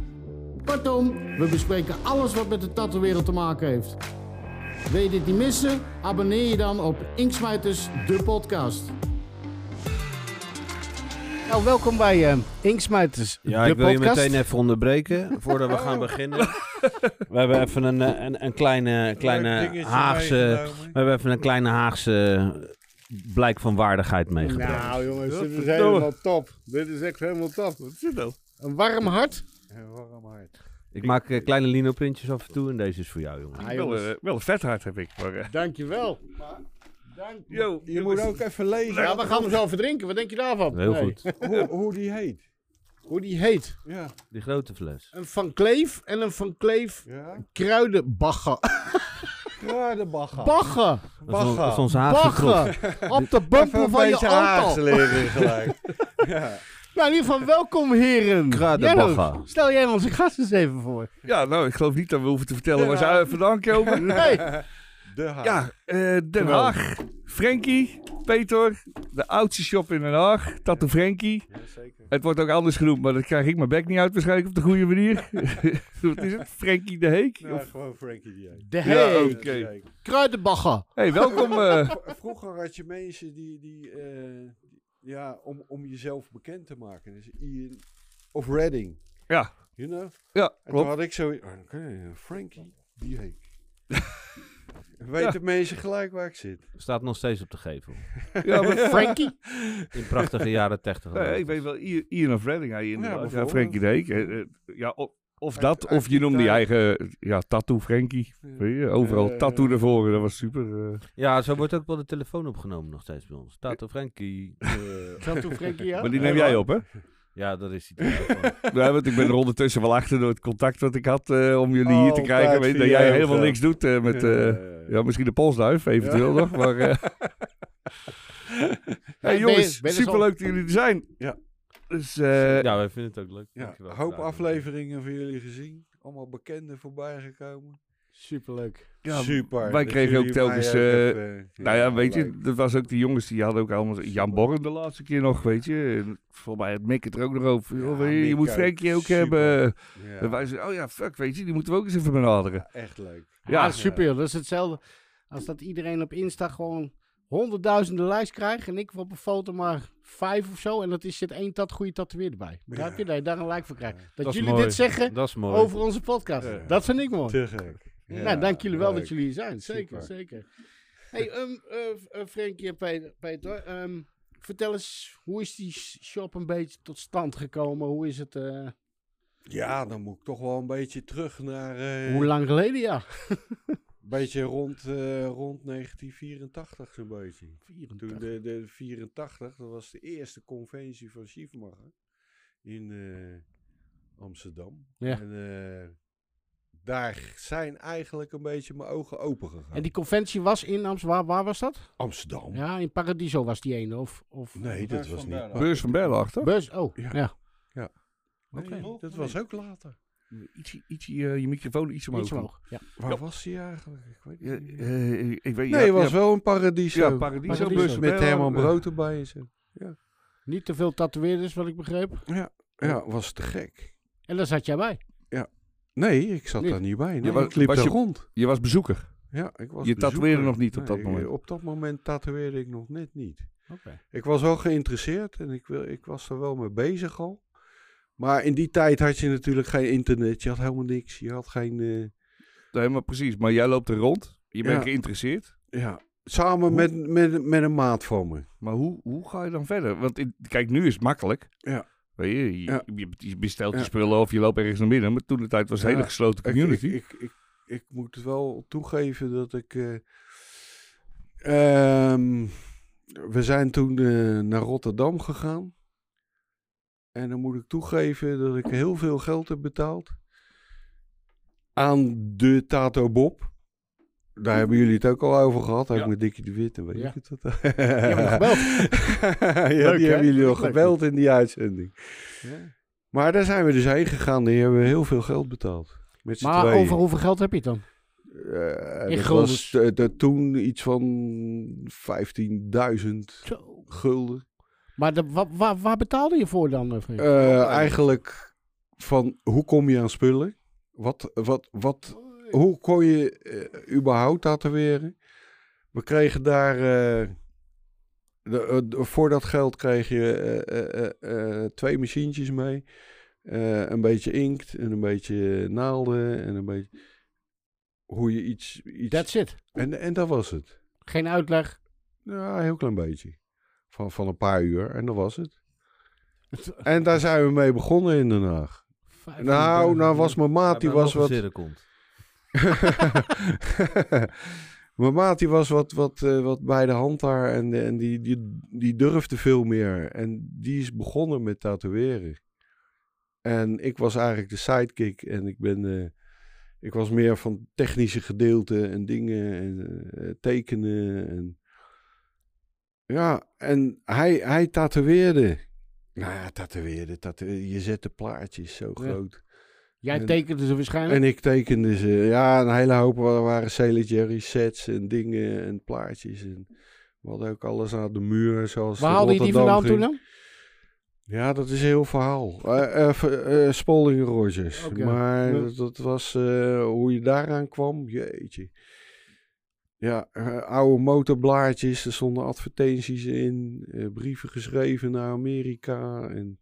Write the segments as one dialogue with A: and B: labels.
A: Kortom, we bespreken alles wat met de tattoo-wereld te maken heeft. Wil je dit niet missen? Abonneer je dan op Inksmijters, de podcast. Nou, welkom bij eh Inksmijters,
B: Ja,
A: de
B: ik wil je
A: podcast.
B: meteen even onderbreken voordat we gaan beginnen. We hebben even een, eh, een, een kleine, kleine Haagse. We hebben even een kleine Haagse blijk van waardigheid meegebracht.
C: Nou jongens, dit is
D: Godverdomme.
C: helemaal top. Dit is echt helemaal top.
D: Wat is dit nou?
C: Een warm hart.
B: Ik maak eh, kleine linoprintjes af en toe en deze is voor jou, jongen.
C: Ah,
D: wel,
C: jongens,
D: eh, wel een vet hart heb ik. Maar, eh,
C: dankjewel. Dank je.
D: yo,
E: Je moet ook even lezen
C: Ja, we gaan hem zo verdrinken. Wat denk je daarvan?
B: Heel
C: Nee.
B: goed.
E: hoe, hoe die heet.
C: Hoe die heet.
E: Ja.
B: Die grote fles.
C: Een Van Kleef en een Van Kleef
E: ja.
C: kruidenbagger.
E: Kruidenbagger.
C: Bagger!
B: Dat is on-
E: Bagger.
B: dat is onze Haagse trots.
C: Bagger! Op de bumper van je auto.
E: leren gelijk. ja.
C: Nou, in ieder geval welkom heren.
B: Kruidenbagger.
C: Jennings, Stel jij onze gast eens even voor.
D: Ja, nou, ik geloof niet dat we hoeven te vertellen waar ze vandaan komen.
C: Hey,
E: De Haag.
D: Ja, eh, Den
C: Terwijl-
D: Haag. Frankie, Peter, de oudste shop in Den Haag. Tattoo Frankie.
E: zeker.
D: Het wordt ook anders genoemd, maar dat krijg ik mijn bek niet uit waarschijnlijk op de goede manier. Wat is het? Frankie de Heek?
E: Ja,
D: Of-
E: Nou, gewoon Frankie die heet.
C: de
D: Ja,
C: hey.
D: ook. Oké.
E: Dat is leuk.
C: Kruidenbagger.
D: hey, welkom. eh,
E: V- Vroeger had je mensen die, die eh, ja, om, om jezelf bekend te maken. Dus Ian of Redding.
D: ja,
E: You know? En
D: ja,
E: toen
D: klopt.
E: had ik zo, oh, oké, Frankie die heet. Weten mensen gelijk waar ik zit.
B: Staat nog steeds op de gevel.
D: Ja, maar-
C: Frankie.
B: In prachtige jaren
C: Oh,
B: 80.
D: Nee, Nou ik weet wel, Ian Ian of Redding. Hij inderdaad. Ja,
E: bijvoorbeeld.
D: Frankie de Heek. eh, eh, Ja, o- of
E: Uit-
D: dat,
E: uit
D: of je noemde je
E: Italië.
D: eigen eh, ja, tattoo Frankie. Weet je, overal
E: Eh,
D: tattoo naar voren, dat was super. eh.
B: Ja, zo wordt ook wel de telefoon opgenomen nog steeds bij ons. Tato Frankie.
C: Zo toen Frankie, ja?
D: maar die neem jij op, hè?
B: Ja, dat is die telefoon.
D: Ja, want ik ben er ondertussen wel achter door het contact wat ik had eh, om jullie hier te
E: Altijd
D: krijgen. Weet, je, dat
E: via
D: jij
E: het,
D: helemaal
E: eh,
D: niks doet eh, met... eh,
E: Eh,
D: ja, misschien de polsduif, eventueel nog. Maar, eh, hey,
C: ben
D: jongens,
C: je- dus ben je zo-
D: superleuk dat jullie er zijn.
E: Ja.
D: Dus, eh,
B: Ja, wij vinden het ook leuk.
E: Ja,
B: Dankjewel.
E: een hoop
B: Graag.
E: afleveringen van jullie gezien. Allemaal bekenden voorbij gekomen.
C: Superleuk.
D: ja,
E: Super.
D: wij
E: dat
D: kregen
E: jullie
D: ook
E: mij
D: telkens,
E: ook
D: eh,
E: even-
D: Nou ja, weet
E: leuk.
D: je, dat was ook die jongens die hadden ook allemaal... Jan Borren de laatste keer nog, weet je. En volgens mij had Mick het er ook nog over.
E: Ja,
D: Joh, weet je, je
E: Mick
D: moet
E: ook.
D: Frenkie ook
E: Super.
D: hebben.
E: Ja.
D: En wij zeiden, oh ja, fuck, weet je, die moeten we ook eens even benaderen.
E: Ja, echt leuk.
D: Ja.
C: Ja, super. joh. Dat is hetzelfde als dat iedereen op Insta gewoon honderdduizenden likes krijgt en ik op een foto maar vijf of zo en dat is zit één tat goede tatoeëerder bij. Begrijp je? Dat je daar een like voor krijgt. Dat,
B: Dat is
C: jullie
B: mooi.
C: dit zeggen
B: Dat is mooi.
C: over onze podcast.
E: Ja.
C: Dat vind ik mooi.
E: Te gek. Ja,
C: nou, dank jullie wel
E: leuk.
C: dat jullie hier zijn. Zeker,
E: Super.
C: zeker. Hey, ehm, eh, eh, Frankie en Pe- Peter, ehm, vertel eens, hoe is die shop een beetje tot stand gekomen? Hoe is het? eh,
E: Ja, dan moet ik toch wel een beetje terug naar... eh,
C: hoe lang geleden? Ja,
E: Een beetje rond, eh, rond 1984 zo'n beetje. Toen
C: 84.
E: de, de 84, dat was de eerste conventie van Schiefmacher in eh, Amsterdam.
C: Ja.
E: En eh, daar zijn eigenlijk een beetje mijn ogen open gegaan.
C: En die conventie was in Amsterdam. Waar, waar was dat?
E: Amsterdam?
C: Ja, in Paradiso was die ene. Of, of
E: Nee, dat was niet.
D: Beurs van Berlaag, toch?
C: Bus. Oh, ja.
E: Ja. Nee,
D: Oké.
E: dat was ook later.
D: Iets, iets, eh, je microfoon iets omhoog.
C: Iets omhoog. Ja.
E: Waar was die eigenlijk? Ik weet
D: Ja,
E: het niet. meer.
D: eh, ik weet,
E: nee,
D: ja,
E: het was
D: ja,
E: wel een paradiso.
D: Ja, Paradiso,
C: Paradiso.
D: Beurs van
E: Met
D: Berlaag.
E: Herman Brood erbij en zo.
C: Niet te veel tatoeëerders, wat ik begreep.
E: Ja, was te gek.
C: En daar zat jij bij.
E: Nee, ik zat
C: Niet?
E: daar niet bij. Nee,
D: wa-
E: ik liep
D: was
E: daar
D: je-
E: rond.
D: Je was bezoeker.
E: Ja, ik was
D: Je tatoeëerde
E: bezoeker.
D: nog niet op dat
E: Nee,
D: moment.
E: Op dat moment tatoeëerde ik nog net niet.
C: Oké.
E: Ik was wel geïnteresseerd en ik, wil, ik was er wel mee bezig al. Maar in die tijd had je natuurlijk geen internet. Je had helemaal niks. Je had geen... eh,
D: Nee, maar precies. Maar jij loopt er rond. Je bent
E: Ja.
D: geïnteresseerd.
E: ja, samen
D: Hoe-
E: met, met, met een maat van me.
D: Maar hoe, hoe ga je dan verder? Want in- kijk, nu is het makkelijk.
E: Ja.
D: Weet je, je,
E: Ja.
D: je- je bestelt je
E: Ja.
D: spullen of je loopt ergens naar binnen. Maar toen de tijd was het een
E: Ja.
D: hele gesloten
E: Ik-
D: community.
E: Ik, ik, ik, ik moet wel toegeven dat ik. eh, ehm, we zijn toen eh, naar Rotterdam gegaan. En dan moet ik toegeven dat ik heel veel geld heb betaald. aan de Tato Bob. Daar hebben jullie het ook al over gehad. Ook
B: Ja.
E: met Dikkie de Wit en weet
C: Ja.
E: ik het. wat.
C: hebben nog gebeld.
E: ja,
C: Leuk,
E: die
C: hè?
E: hebben jullie al
C: Leuk.
E: gebeld in die uitzending. Maar daar zijn we dus heen gegaan. Die hebben we heel veel geld betaald. Met z'n
C: Maar
E: tweeën.
C: over hoeveel geld heb je het dan?
E: Eh,
C: In
E: dat
C: guldens.
E: was eh, dat toen iets van 15.000
C: Zo.
E: gulden.
C: Maar de, wa- wa- waar betaalde je voor dan? eh, vriend?
E: Eh, eigenlijk van hoe kom je aan spullen? Wat, wat, wat, hoe kon je eh, überhaupt tatoeëren? We kregen daar. eh, de, eh, de- voor dat geld kreeg je eh, eh, eh, eh, twee machientjes mee. Eh, een beetje inkt en een beetje naalden en een beetje. Hoe je iets. iets
C: That's it.
E: en, en dat was het.
C: Geen uitleg.
E: Ja, een heel klein beetje. Van, van een paar uur en dat was het. En daar zijn we mee begonnen in Den Haag. Nou, nou was mijn maat, die was wat...
B: Komt.
E: mijn maat die was wat, wat, eh, wat bij de hand daar en, en die, die, die durfde veel meer. En die is begonnen met tatoeëren. En ik was eigenlijk de sidekick en ik ben... eh, ik was meer van technische gedeelte en dingen en eh, tekenen en... Ja, en hij, hij tatoeëerde. Nou ja, tatoeëerde, tatoeëerde. Je zet de plaatjes zo
C: Ja.
E: groot.
C: Jij
E: en-
C: tekende ze waarschijnlijk.
E: En ik tekende ze. Ja, een hele hoop wa- waren Sailor Jerry sets en dingen en plaatjes. En we hadden ook alles aan de muur, zoals
C: waar
E: de
C: haalde je die
E: Rotterdam
C: vandaan toen
E: ging.
C: dan?
E: Ja, dat is een heel verhaal. Eh eh, ver- eh, Spalding Rogers.
C: Oké.
E: Maar
C: Ja.
E: dat, dat was eh, hoe je daaraan kwam. Jeetje. Ja, eh, oude motorblaadjes. Er stonden advertenties in. eh, brieven geschreven naar Amerika. En...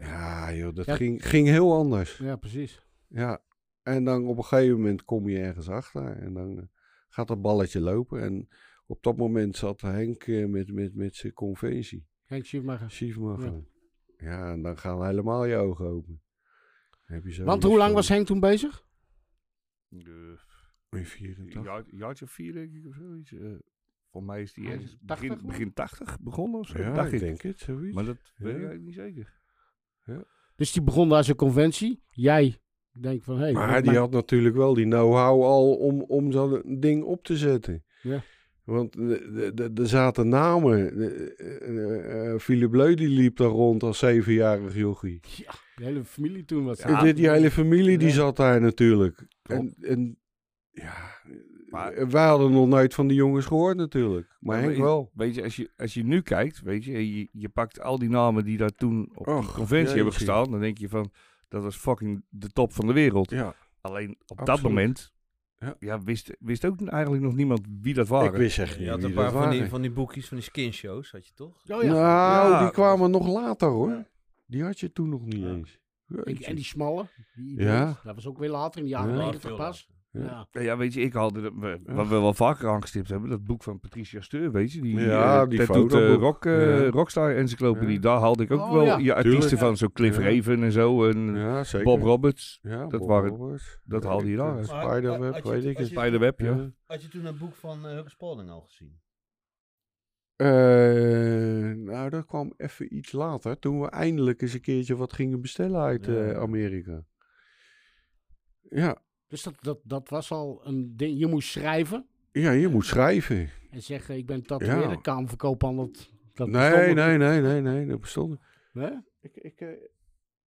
E: Ja, joh, dat
C: Ja.
E: Ging, ging heel anders.
C: Ja, precies.
E: Ja, en dan op een gegeven moment kom je ergens achter en dan eh, gaat dat balletje lopen. En op dat moment zat Henk eh, met, met, met zijn conventie,
C: Henk Schiefmacher.
E: Schiefmacher. Ja. ja, en dan gaan helemaal je ogen open. Dan Heb je zo
C: Want hoe lang was Henk toen bezig?
D: Eh,
E: hij?
D: Een jaar- een jaartje of vier, denk ik, of zoiets. Eh voor mij is die
C: Hij is
D: ergens
C: 80
D: begin,
C: geworden?
D: begin 80 begonnen of zo.
E: Oh, Ja,
D: dacht
E: ik
D: ik.
E: denk het, zoiets.
D: Maar dat weet ik
E: Ja.
D: eigenlijk niet zeker.
C: Dus die begon daar zijn conventie. Jij denkt van, hé. Hey,
E: Maar
C: wat
E: die
C: maakt-
E: had natuurlijk wel die know-how al om, om zo'n ding op te zetten.
C: Ja.
E: Want eh, er zaten namen. De- eh, eh, Philip Leu die liep daar rond als zevenjarig jochie.
C: De hele familie toen was
E: En dit, Eh, die hele familie die
C: Ja.
E: zat daar natuurlijk. En,
D: Klopt.
E: en ja,
D: Maar-
E: wij hadden nog nooit van die jongens gehoord natuurlijk. Maar
D: Ja,
E: Henk
D: je-
E: wel.
D: Weet je, als je, als je nu kijkt, weet je, je, je pakt al die namen die daar toen op die
E: Och,
D: conventie hebben
E: jeetje.
D: gestaan, dan denk je van, dat was fucking de top van de wereld.
E: Ja,
D: Alleen op
E: Absoluut.
D: dat moment
E: Ja.
D: ja. wist, wist ook eigenlijk nog niemand wie dat waren.
E: ik wist echt
B: Je
E: niet
B: had
E: wie
B: een
E: dat
B: paar van die,
E: waren.
B: van die boekjes, van die skinshows, had je toch?
C: Oh ja.
E: Nou,
D: Ja.
E: die kwamen nog later hoor.
D: Ja.
E: Die had je toen nog niet
B: Ja.
E: eens.
C: Ik- en die smalle. Die idee.
E: Ja.
C: Dat was ook weer later in de jaren
E: Ja.
C: 90 pas.
E: Ja.
C: Ja.
D: Ja, Ja, weet je, ik had er- we- wat we wel vaker aangestipt hebben, dat boek van Patricia Steur, weet je, die,
E: Ja,
D: eh,
E: die
D: Tattooed, eh,
E: fotoboek.
D: rock, eh,
E: Ja.
D: Rockstar Encyclopedie,
E: Ja.
D: daar haalde ik ook
C: Oh,
D: wel
C: ja.
D: je artiesten
E: Tuurlijk.
D: van, zo Cliff
E: Ja.
D: Raven en zo, en
E: Ja, zeker.
D: Bob Roberts,
E: Ja,
D: dat
E: Bob
D: waren-
E: Roberts.
D: dat haalde je daar.
E: Maar- Spiderweb,
B: had je-
E: weet ik
B: had
E: het.
B: je-
D: Spiderweb, ja.
E: Ja.
B: Had je toen een boek van eh Hugo Spalding al gezien?
E: Eh, nou, dat kwam even iets later. Toen we eindelijk eens een keertje wat gingen bestellen uit
B: Ja.
E: eh, Amerika. Ja,
C: Dus dat, dat, dat was al een ding. Je moest schrijven
E: ja, je moet schrijven.
C: en zeggen, ik ben tatoeëerder,
E: Ja.
C: kamerverkoophandel. Dat bestond
E: Nee,
C: nog
E: nee, nee, nee, nee, dat bestond niet.
C: niet, hè?
E: Ik, ik, eh,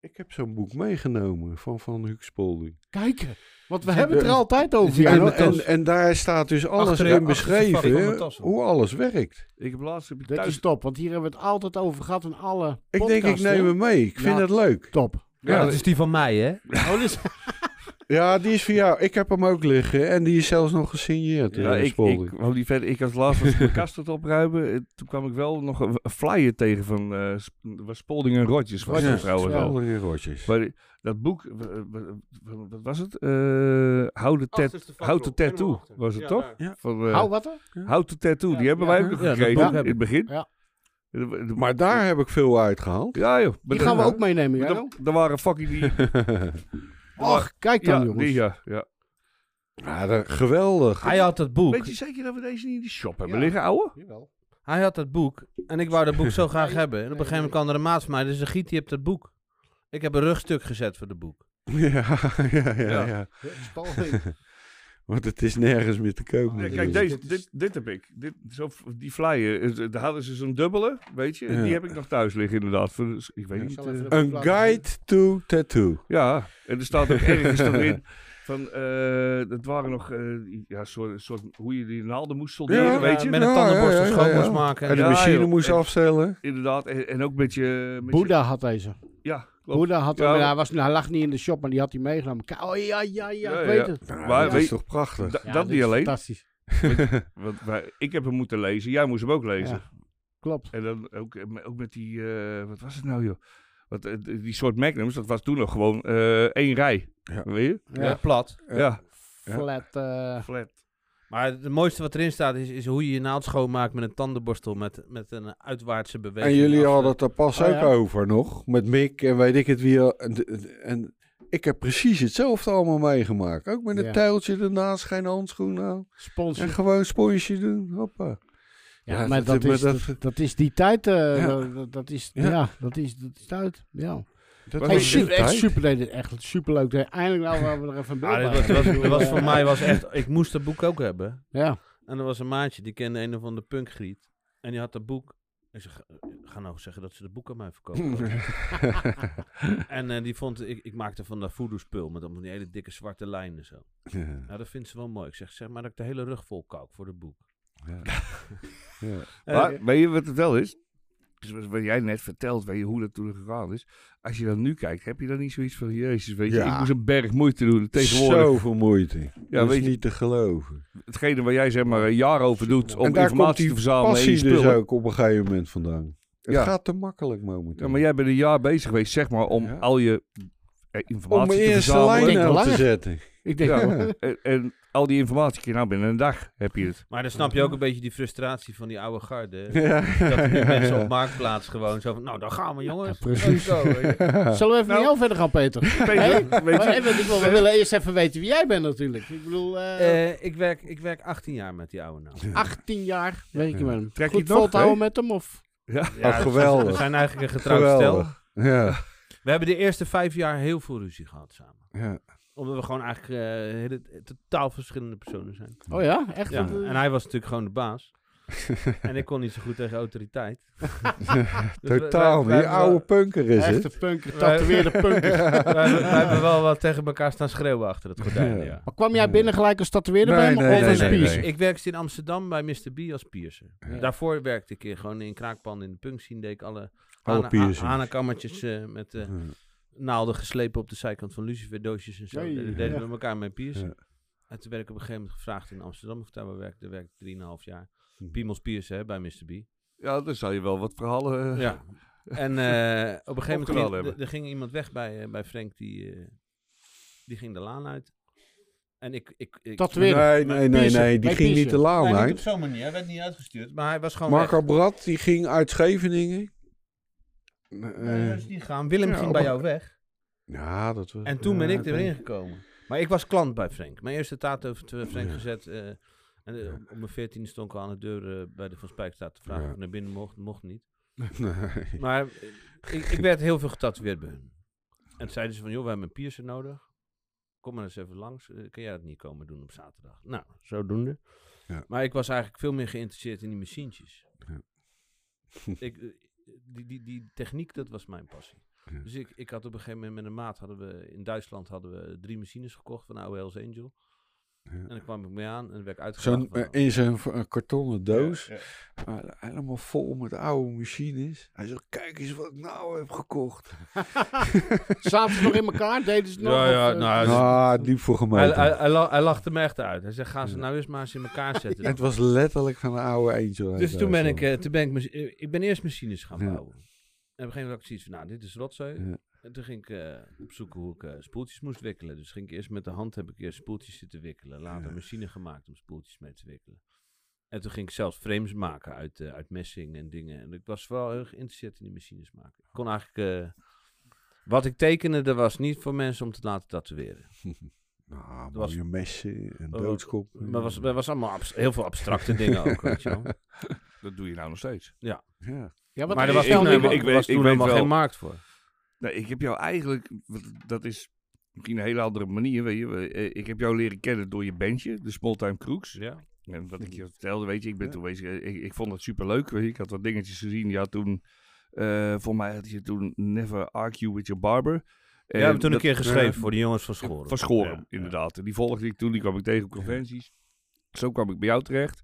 E: ik heb zo'n boek meegenomen van Van Huxpolding.
C: Kijken. Want we
E: Zit
C: hebben het er
E: er-
C: altijd over.
B: Ja,
E: eh, en,
B: dat
E: en,
B: was-
E: en daar staat dus alles
B: Achterin-
E: in
B: achter de verpakking van mijn
E: beschreven
B: tas.
E: hoe alles werkt.
D: Ik heb laatst heb ik
C: Dit is
D: thuis...
C: top, want hier hebben we het altijd over gehad in alle
E: Ik denk, ik
C: podcasts,
E: neem
C: hè?
E: hem mee. Ik vind
C: Ja.
E: het leuk.
C: Top.
B: Ja, dat is die van mij, hè?
C: Oh, dit is-
E: Ja, die is voor jou. Ik heb hem ook liggen en die is zelfs nog gesigneerd.
D: Ja,
E: eh,
D: ik,
E: Spalding.
D: ik, wou die verder, ik als laatst was ik mijn kast aan het opruimen. eh, Toen kwam ik wel nog een een flyer tegen van eh, Sp- was Spolding en Rotjes. Was
C: Rodgers,
D: dat trouwens
C: ja.
D: al.
E: Spalding en Rotjes.
D: Maar die- dat boek, w- w- w- wat was het? Eh Houd de Tat- Houd de Tattoo, was het toch? Van, eh,
C: Hou wat er?
D: Houd de Tattoo,
C: Ja,
D: die hebben
C: ja.
D: wij ook nog
B: Ja, dat
D: gekregen
B: boek heb
D: in het begin.
C: Ja.
E: Maar daar heb ik veel uitgehaald.
D: Ja joh.
C: Die
D: maar
C: gaan we
D: daar-
C: ook meenemen,
D: maar
C: Jarno.
D: daar- Daar waren fucking die...
C: Och, kijk dan,
D: Ja,
C: jongens.
D: die, ja, ja.
E: ja, dat- geweldig.
B: Hij had dat boek.
D: Weet je zeker dat we deze niet in de shop hebben
C: Ja.
D: liggen, ouwe?
C: Jawel.
B: Hij had dat boek. En ik wou dat boek zo graag
C: Nee,
B: hebben. En op een
C: nee,
B: gegeven moment kwam er een maat van mij. Dus een giet, die hebt dat boek. Ik heb een rugstuk gezet voor dat boek.
E: Ja, ja, ja,
D: Ja.
E: ja.
C: Spalding.
E: Want het is nergens meer te koop.
D: Ja,
E: natuurlijk.
D: kijk, deze, dit, dit heb ik. Dit, zo, die flyer. eh, Daar hadden ze zo'n dubbele, weet je.
E: Ja.
D: Die heb ik nog thuis liggen, inderdaad. Voor, dus ik weet
E: Ja.
D: niet.
C: zal even
D: eh,
C: de-
E: Een guide to tattoo.
D: ja, en er staat ook ergens dan in. Van, eh het waren nog, eh ja, soort, soort, hoe je die naalden moest solderen,
E: Ja,
D: weet je.
B: met een
E: Ja,
B: tandenborstel
E: ja, ja,
B: schoon
E: ja.
B: moest maken.
E: En de
D: Ja,
E: machine
D: joh.
E: moest
D: En-
E: afstellen.
D: Inderdaad, en, en ook met je... Met
C: Boeddha had deze.
D: je- ja, klopt.
C: Boeddha had
D: Ja.
C: hem. Hij, was, hij lag niet in de shop, maar die had hij meegenomen. Ka- Oh ja, ja, ja,
D: Ja,
C: ik weet
D: ja.
C: het.
E: Nou,
D: Maar
E: dat
D: weet-
E: is toch prachtig?
D: Da-
C: Ja,
D: dat
C: dit
D: niet
C: is
D: alleen,
C: Fantastisch.
D: want wij- ik heb hem moeten lezen, jij moest hem ook lezen.
C: Ja. Klopt.
D: En dan ook, eh, me- ook met die, eh, wat was het nou joh? Wat, eh, d- die soort magnums, dat was toen nog gewoon eh, één rij.
E: Ja.
D: Weet je?
C: Ja.
B: eh, plat.
E: Ja.
D: ja.
E: Ja.
C: Flat. eh,
D: Flat.
B: Maar het mooiste wat erin staat is, is hoe je je naald schoonmaakt met een tandenborstel met, met een uitwaartse beweging.
E: En jullie
B: Als,
E: hadden het er pas
D: Ah,
C: Oh,
E: ook
C: ja.
E: over nog. Met Mick en weet ik het wie. al- En, en- en ik heb precies hetzelfde allemaal meegemaakt. Ook met een
C: Ja.
E: tuiltje ernaast, geen handschoenen aan. En
C: sponsor.
E: gewoon sponsje doen. Hoppa.
C: Ja,
E: Ja,
C: maar
E: dat-
C: dat,
E: maar
C: is,
E: dat-
C: dat, dat is die tijd. eh,
E: Ja.
C: dat- dat, dat is,
E: Ja.
C: ja. dat is, dat is tijd. Ja.
E: Dat
D: Hey,
C: Hey,
E: was de
C: super, echt
E: tijd.
C: super, nee, dit is echt super leuk. Eindelijk nou waren we er even een
B: eh, ah,
C: beeld
B: dit
C: bij.
B: was, was,
C: Ik bedoel,
B: dit was
C: eh,
B: voor mij was echt, ik moest dat boek ook hebben.
C: Ja,
B: En er was een maatje, die kende een of andere punkgriet. En die had dat boek. Ik zeg, ga nou zeggen dat ze de boek aan mij verkopen. en eh, die vond, ik, ik maakte van dat voodoo-spul met allemaal die hele dikke zwarte lijnen zo.
E: Ja,
B: Nou, dat vindt ze wel mooi. Ik zeg, zeg maar dat ik de hele rug vol kalk voor het boek.
E: ja. Ja.
B: Eh,
D: Maar weet je wat het wel is? Dus wat wat jij net vertelt, weet je hoe dat toen gegaan is. Als je dan nu kijkt, heb je dan niet zoiets van, jezus, weet je,
E: Ja.
D: ik moest een berg moeite doen. Tegenwoordig,
E: Zoveel moeite.
D: Ja,
E: dat
D: weet
E: is
D: je-
E: niet te geloven.
D: hetgene waar jij zeg maar een jaar over doet
E: en
D: om
E: daar komt
D: informatie
E: die
D: te verzamelen en je
E: passie dus
D: spullen.
E: ook op een gegeven moment vandaan. Het
D: Ja.
E: gaat te makkelijk momenteel.
D: Ja, maar jij bent een jaar bezig geweest, zeg maar, om
E: Ja.
D: al je eh,
E: Om
D: informatie
E: mijn
D: te
E: eerste
D: verzamelen.
E: lijn
C: Denk
E: aan te
C: langer.
E: zetten.
C: ik denk,
D: Ja,
E: Ja.
D: en, en al die informatie, kun je nou binnen een dag heb je het.
B: maar dan snap je ook een beetje die frustratie van die oude garde. hè?
E: Ja,
B: Dat er nu
E: ja,
B: mensen
E: ja.
B: op marktplaats gewoon zo van, nou, dan gaan we jongens.
C: Ja, precies.
B: Zo, weet je.
C: oh, zullen we even
D: Nou.
C: met jou verder gaan, Peter?
D: Peter, weet
C: Maar,
D: je,
C: eh, want ik wil, we willen eerst even weten wie jij bent natuurlijk. Ik bedoel, eh,
B: Eh, ik, werk, ik werk 18 jaar met die oude naald.
C: 18 jaar werk je
E: Ja.
C: met hem.
D: Trek je
C: Goed
D: het nog,
C: volhouden met hem of?
B: Ja,
E: Ah, geweldig.
B: We zijn eigenlijk een getrouwd stel.
E: Geweldig. Ja,
B: We hebben de eerste vijf jaar heel veel ruzie gehad samen.
E: ja.
B: Omdat we gewoon eigenlijk eh, hele, totaal verschillende personen zijn.
C: Oh ja, echt?
B: Ja,
C: Want, eh,
B: en hij was natuurlijk gewoon de baas. en ik kon niet zo goed tegen autoriteit. Dus
E: Totaal.
B: wij- wij-
E: Die
B: wij-
E: oude punker is het.
C: Echte punker, tatoeëerde punker.
B: wij- wij- wij hebben wel wat tegen elkaar staan schreeuwen achter het gordijn,
E: Ja.
B: ja.
C: Maar kwam jij binnen gelijk als tatoeëerder bij hem?
E: Nee, nee,
C: of
E: nee,
C: als
E: nee,
C: piercer?
E: nee.
B: Ik werkte in Amsterdam bij Mr. B als piercer.
E: Ja.
B: Daarvoor werkte ik in- gewoon in kraakpanden in de punk scene. Deed ik alle,
E: Alle
B: hana-
E: piercings.
B: ha- hanenkammertjes eh, met eh, naalden geslepen op de zijkant van Lucifer doosjes en zo.
C: Hey.
B: Daar deden
C: Ja.
B: we elkaar mee piercen.
E: Ja.
B: En toen werd ik op een gegeven moment gevraagd in Amsterdam of ik daar wel werkte. Daar werkte ik 3,5 jaar.
E: Hmm.
B: Piemels piercen hè, bij Mr. B.
D: ja, dan zal je wel wat verhalen... eh,
B: Ja. En eh, op een gegeven moment
D: Opgeladen
B: ging-
D: hebben.
B: d- er ging iemand weg bij, eh, bij Frank, die, eh, die ging de laan uit. En ik... ik, ik
E: Nee,
C: Tatoeëerder.
E: nee, nee, nee,
C: Piercing.
E: Die
C: Bij
E: ging niet de
C: piercing.
E: laan
B: Nee, niet op
E: uit.
B: zo'n manier. Hij werd niet uitgestuurd, maar hij was gewoon
E: Marco
B: weg.
E: Brad, die ging uit Scheveningen.
B: Nee, dat
E: Eh,
B: is niet gaan. Willem
E: ja,
B: ging
E: op-
B: bij jou weg.
E: ja, dat was...
B: En toen
E: ja,
B: ben ik
E: dat-
B: erin gekomen. Maar ik was klant bij Frank. Mijn eerste taart heeft eh, Frank gezet. eh, en eh, op mijn veertiende stond ik al aan de deur eh, bij de Van Spijkstraat te vragen
E: Ja.
B: of ik naar binnen mocht. Mocht niet.
E: Nee.
B: Maar eh, ik, ik werd heel veel getatoeëerd bij hun. En toen zeiden ze van, joh, we hebben een piercer nodig. Kom maar eens even langs. Eh, kan jij dat niet komen doen op zaterdag? Nou, zodoende.
E: Ja.
B: Maar ik was eigenlijk veel meer geïnteresseerd in die machientjes.
E: Ja.
B: ik, eh, die, die, die techniek, dat was mijn passie.
E: Ja.
B: Dus ik, ik had op een gegeven moment met een maat, hadden we, in Duitsland hadden we drie machines gekocht van oude Hells Angel.
E: Ja.
B: En daar kwam ik mee aan en dan werd ik uitgedaagd.
E: Zo'n, eh,
B: van,
E: in zijn v- eh, kartonnen doos,
D: Ja, ja.
E: eh, helemaal vol met oude machines. Hij zegt, kijk eens wat ik nou heb gekocht.
C: Zaten ze nog in elkaar? Deden ze nog?
B: Ja, ja,
C: of, eh,
B: nou, Hij is-
E: Ah, diep voor
B: hij,
E: gemeten.
B: hij, hij, la- hij lachte me echt uit. Hij zegt, ga ze nou eens maar eens in elkaar zetten.
E: Het was letterlijk van een oude eentje.
B: Dus toen ben ik, eh, toen ben ik, machi- eh, ik ben eerst machines gaan
E: Ja.
B: bouwen. En op een gegeven moment had ik zoiets van, nou, dit is rotzooi.
E: Ja.
B: En toen ging ik eh, opzoeken hoe ik eh, spoeltjes moest wikkelen. Dus ging ik eerst met de hand, heb ik eerst spoeltjes zitten wikkelen. Later
E: Ja.
B: een machine gemaakt om spoeltjes mee te wikkelen. En toen ging ik zelfs frames maken uit, eh, uit messing en dingen. En ik was vooral heel geïnteresseerd in die machines maken. Ik kon eigenlijk... eh, wat ik tekende, dat was niet voor mensen om te laten tatoeëren.
E: Nou,
B: was-
E: mooie messen en
B: Oh,
E: doodskop.
B: Maar was, er was allemaal abs- heel veel abstracte dingen ook, weet je wel.
D: Dat doe je nou nog steeds.
E: Ja.
C: ja, wat nou?
B: Maar er
D: ik-
B: was
D: ik-
B: toen
D: ik-
B: helemaal-
D: ik
B: er
D: weet-
B: was
D: ik
B: toen
D: weet
B: helemaal
D: wel-
B: geen markt voor.
D: Nee, ik heb jou eigenlijk... want Dat is misschien een hele andere manier. Weet je. We- eh, Ik heb jou leren kennen door je bandje, de Smalltime Crooks.
B: Ja.
D: En wat ik
B: Hm.
D: je vertelde, weet je, ik ben
E: Ja.
D: toen bezig. Ik, ik vond het superleuk. Weet je. Ik had wat dingetjes gezien. Je had toen, eh voor mij had je toen Never Argue with Your Barber.
B: Ja,
D: En
B: we hebben toen
D: dat-
B: een keer geschreven
E: eh,
B: voor de jongens van Schoren.
D: Van Schoren,
B: Ja,
D: inderdaad. En die volgde ik toen, die kwam ik tegen op conventies. Zo kwam ik bij jou terecht.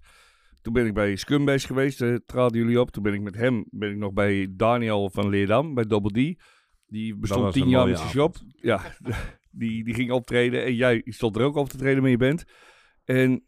D: Toen ben ik bij Scumbase geweest, eh, traden jullie op. Toen ben ik met hem, ben ik nog bij Daniel van Leerdam, bij Double D. Die bestond
B: was
D: tien
B: een
D: jaar
B: mooie
D: met zijn shop. Ja, die, die ging optreden en jij stond er ook op te treden met je band. En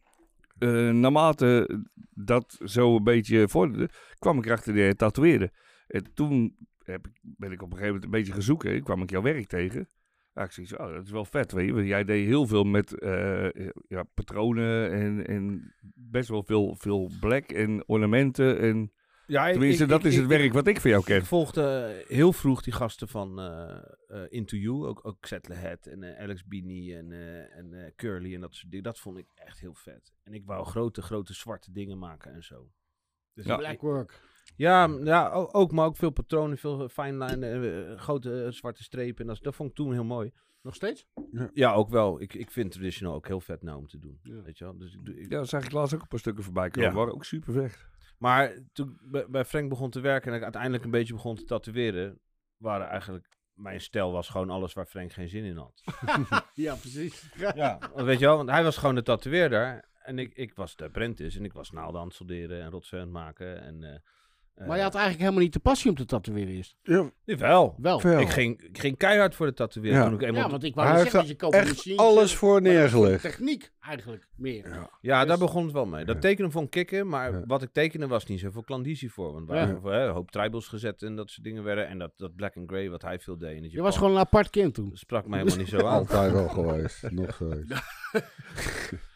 D: eh, naarmate dat zo een beetje vorderde, kwam ik erachter de tatoeëren. En toen heb ik, ben ik op een gegeven moment een beetje gaan zoeken. Ik kwam ik jouw werk tegen. Ja, ik zoiets, oh, dat is wel vet, weet je. Want jij deed heel veel met eh, ja, patronen en, en best wel veel, veel black en ornamenten. En,
B: Ja, ik-
D: tenminste,
B: ik-
D: dat
B: ik-
D: is
B: ik-
D: het werk wat ik van jou ken.
B: Ik volgde eh, heel vroeg die gasten van eh eh, Into You, ook, ook Zettler Head en eh, Alex Bini en, eh, en eh, Curly en dat soort dingen. Dat vond ik echt heel vet. En ik wou grote, grote zwarte dingen maken en zo. Dus
D: Ja.
C: Blackwork.
B: Ja, m- ja o- ook, maar ook veel patronen, veel eh, fine line, eh, grote eh, zwarte strepen. En dat, dat vond ik toen heel mooi.
C: Nog steeds?
B: Ja, ook wel. Ik, ik vind traditional ook heel vet nou om te doen.
C: Ja.
B: Weet je wel? Dus ik, doe- ik-
D: Ja, dat zag ik laatst ook een paar stukken voorbij komen.
B: Ja.
D: waren ook super vet.
B: Maar toen ik bij- bij Frank begon te werken en ik uiteindelijk een beetje begon te tatoeëren, waren eigenlijk... Mijn stijl was gewoon alles waar Frank geen zin in had.
C: Ja, precies.
B: Ja, want weet je wel, want hij was gewoon de tatoeëerder. En ik, ik was de apprentice en ik was naalden aan het solderen en rotsen aan het maken. En, eh, eh,
C: Maar je had eigenlijk helemaal niet de passie om te tatoeëren eerst.
E: Ja,
B: Jawel.
C: Wel.
E: Veel.
B: Ik ging, ik ging keihard voor de tatoeëren
E: Ja.
B: toen ik eenmaal...
C: Ja,
B: Ja,
C: want ik wou
E: Hij
C: net
E: heeft
C: zeggen, dat je koopt
E: echt
C: machines
E: alles
C: en- maar
E: voor
C: dat is voor
E: neergelegd.
C: Techniek eigenlijk meer.
B: daar
C: Dus-
B: begon het wel mee. Dat tekenen vond ik kicken, maar
E: Ja.
B: wat ik tekende was niet zoveel klandizie voor. Want wij
C: Ja.
B: hadden eh, een hoop tribals gezet en dat soort dingen werden. En dat, dat black and grey wat hij veel deed in het
C: Je was
B: Japan,
C: gewoon een apart kind toen.
B: sprak mij helemaal niet zo aan.
E: altijd al geweest. Nog steeds.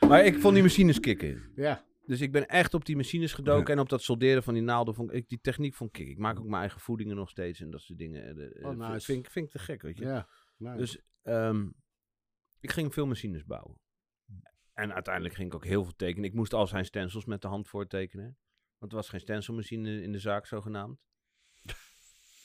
B: Maar ik vond die machines kicken.
C: Ja.
B: Dus ik ben echt op die machines gedoken en op dat solderen van die naalden. Vond ik, ik- die techniek vond ik kick. Ik maak ook mijn eigen voedingen nog steeds en dat soort dingen. Eh, de- eh,
C: Oh,
B: vind-
C: nice.
B: vind, ik- vind ik te gek, weet je.
C: Ja. Nou,
B: Dus ehm, ik ging veel machines bouwen. En uiteindelijk ging ik ook heel veel tekenen. Ik moest al zijn stencils met de hand voortekenen. Want er was geen stencilmachine in de zaak, zogenaamd.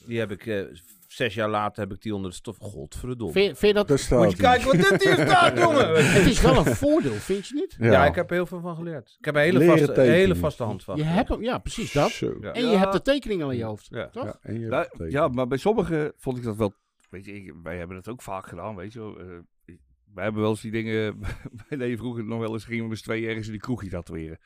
B: Die heb ik, eh, zes jaar later heb ik die onder de stof. Godverdomme.
C: vind, je- vind je dat...
E: Daar
B: Moet
E: staat
B: je kijken wat dit hier staat, jongen!
C: Het is wel een voordeel, vind je niet?
B: Ja. ik heb er heel veel van geleerd. Ik heb een hele
E: Leren
B: vaste, een
E: tekenen.
B: hele vaste hand van.
C: Je hebt hem, ja, precies dat.
E: Zo.
B: Ja.
C: En je hebt de tekening al in je hoofd,
B: Ja.
C: toch?
E: Ja, en je
D: Nou,
E: hebt het
D: ja, maar bij sommigen vond ik dat wel... Weet je, ik- wij hebben dat ook vaak gedaan, weet je wel. Eh, ik- wij hebben wel eens die dingen... Wij deden vroeger nog wel eens... Gingen we met z'n tweeën ergens in de kroegje tatoeëren.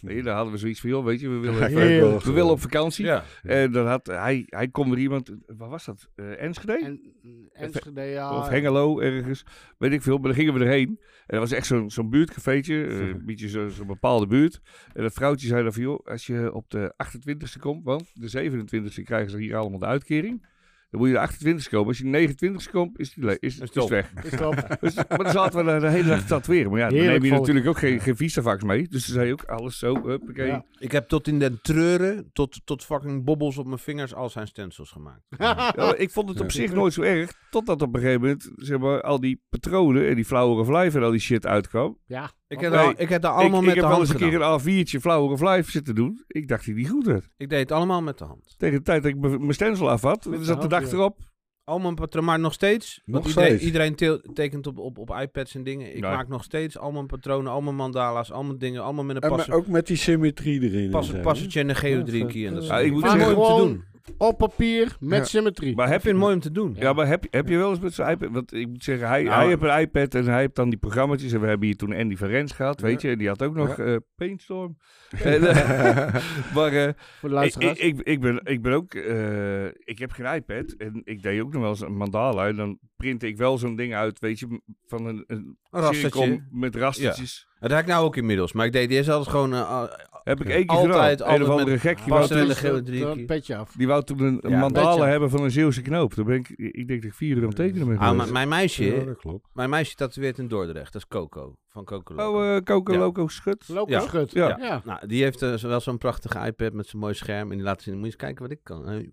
D: Weet je, daar hadden we zoiets van... Joh, weet je, we willen,
E: tekenen.
C: Heel-
E: Heel-
D: we willen op vakantie.
B: Ja.
D: En dan had hij... Hij kon er iemand... Waar was dat? Eh, Enschede?
C: En mm, Enschede, ja.
D: Of Hengelo ergens, weet ik veel. Maar dan gingen we erheen. En dat was echt zo'n zo'n buurtcafeetje, eh, een beetje zo- zo'n bepaalde buurt. En dat vrouwtje zei dan van, joh, als je op de 28e komt, want de 27e krijgen ze hier allemaal de uitkering. Dan moet je de 28e komen. Als je de 29e komt, is die, le- is, is,
B: het op.
D: weg.
C: Is dat-
D: Dus, maar dan zaten we daar de hele dag te tatoeëren. Maar ja, dan
C: Heerlijk
D: neem je
C: volk.
D: natuurlijk ook geen, geen visavax mee. Dus ze zei ook alles zo, huppakee.
C: Ja.
B: Ik heb tot in den treuren, tot, tot fucking bobbels op mijn vingers, al zijn stencils gemaakt.
D: Ja,
B: Ah.
D: maar ik vond het op zich nooit zo erg. Totdat op een gegeven moment, zeg maar, al die patronen en die flower of life en al die shit uitkwam.
C: ja.
B: Ik heb,
D: Nee,
B: daar- ik heb daar allemaal
D: ik,
B: met
D: ik
B: de
D: heb wel
B: hand
D: eens een
B: gedaan.
D: keer een A4'tje Flower of Life zitten doen. Ik dacht die niet goed uit.
B: Ik deed het allemaal met de hand.
D: Tegen de tijd dat ik mijn mijn stencil af had,
C: Met de
D: zat de
C: hand,
D: dag
C: ja.
D: erop.
B: Al mijn patronen, maar nog steeds. want
E: Nog
B: iedereen,
E: steeds.
B: iedereen teel- tekent op, op, op iPads en dingen. Ik
D: Ja.
B: maak nog steeds al mijn patronen, al mijn mandala's, al mijn dingen, allemaal met een
E: En maar
B: passen,
E: ook met die symmetrie erin. en zo,
B: passen,
E: hè?
B: passetje en een geodriekie. En dat soort
D: Ja, ik
B: dingen.
D: moet
B: Vind
D: zeggen-
B: mooi om te
C: Gewoon-
B: doen.
C: Op papier, met
E: Ja.
C: symmetrie.
D: Maar
B: Ik
D: heb
B: vind
D: je,
B: het mooi om te doen.
D: ja, maar heb, heb je wel eens met zijn iPad... Want ik moet zeggen, hij,
B: Nou,
D: hij heeft een iPad en hij heeft dan die programma's. En we hebben hier toen Andy van Rens gehad, weet je. En die had ook nog eh, Paintstorm. En, eh,
C: voor
D: maar eh,
C: de
D: ik, ik,
C: luisteraars.
D: ik, ik ben, ik ben ook... eh, ik heb geen iPad en ik deed ook nog wel eens een mandala. En dan print ik wel zo'n ding uit, weet je. Van een, een
B: Een rastertje.
D: cirkel met rastertjes.
B: Dat heb ik nou ook inmiddels. Maar ik deed eerst altijd gewoon eh, al-
D: Heb ik één keer
B: Altijd,
D: gedaan.
B: altijd
D: een of andere
B: met
D: gek. Die
B: pas-
D: wou,
B: passen en
D: toen,
B: de gele driehoekje.
C: Een petje af.
D: die wou toen een
B: Ja,
D: mandala
C: weet je.
D: hebben van een Zeeuwse knoop. Daar ben ik, ik denk dat ik vier uur aan het tekenen ben
B: Ah,
D: geweest.
B: maar mijn
E: Ja,
B: meisje,
E: dat klopt.
B: mijn meisje tatoeëert in Dordrecht. Dat is Coco, van Coco Loco.
D: Oh, eh Coco
B: Ja.
D: Loco Schut.
C: Lopen
B: Ja.
C: schut.
D: Ja.
C: Ja.
B: eh, Nou, die heeft eh, zo- wel zo'n prachtige iPad met zo'n mooi scherm. En die laat zien, moet je eens kijken wat ik kan. En-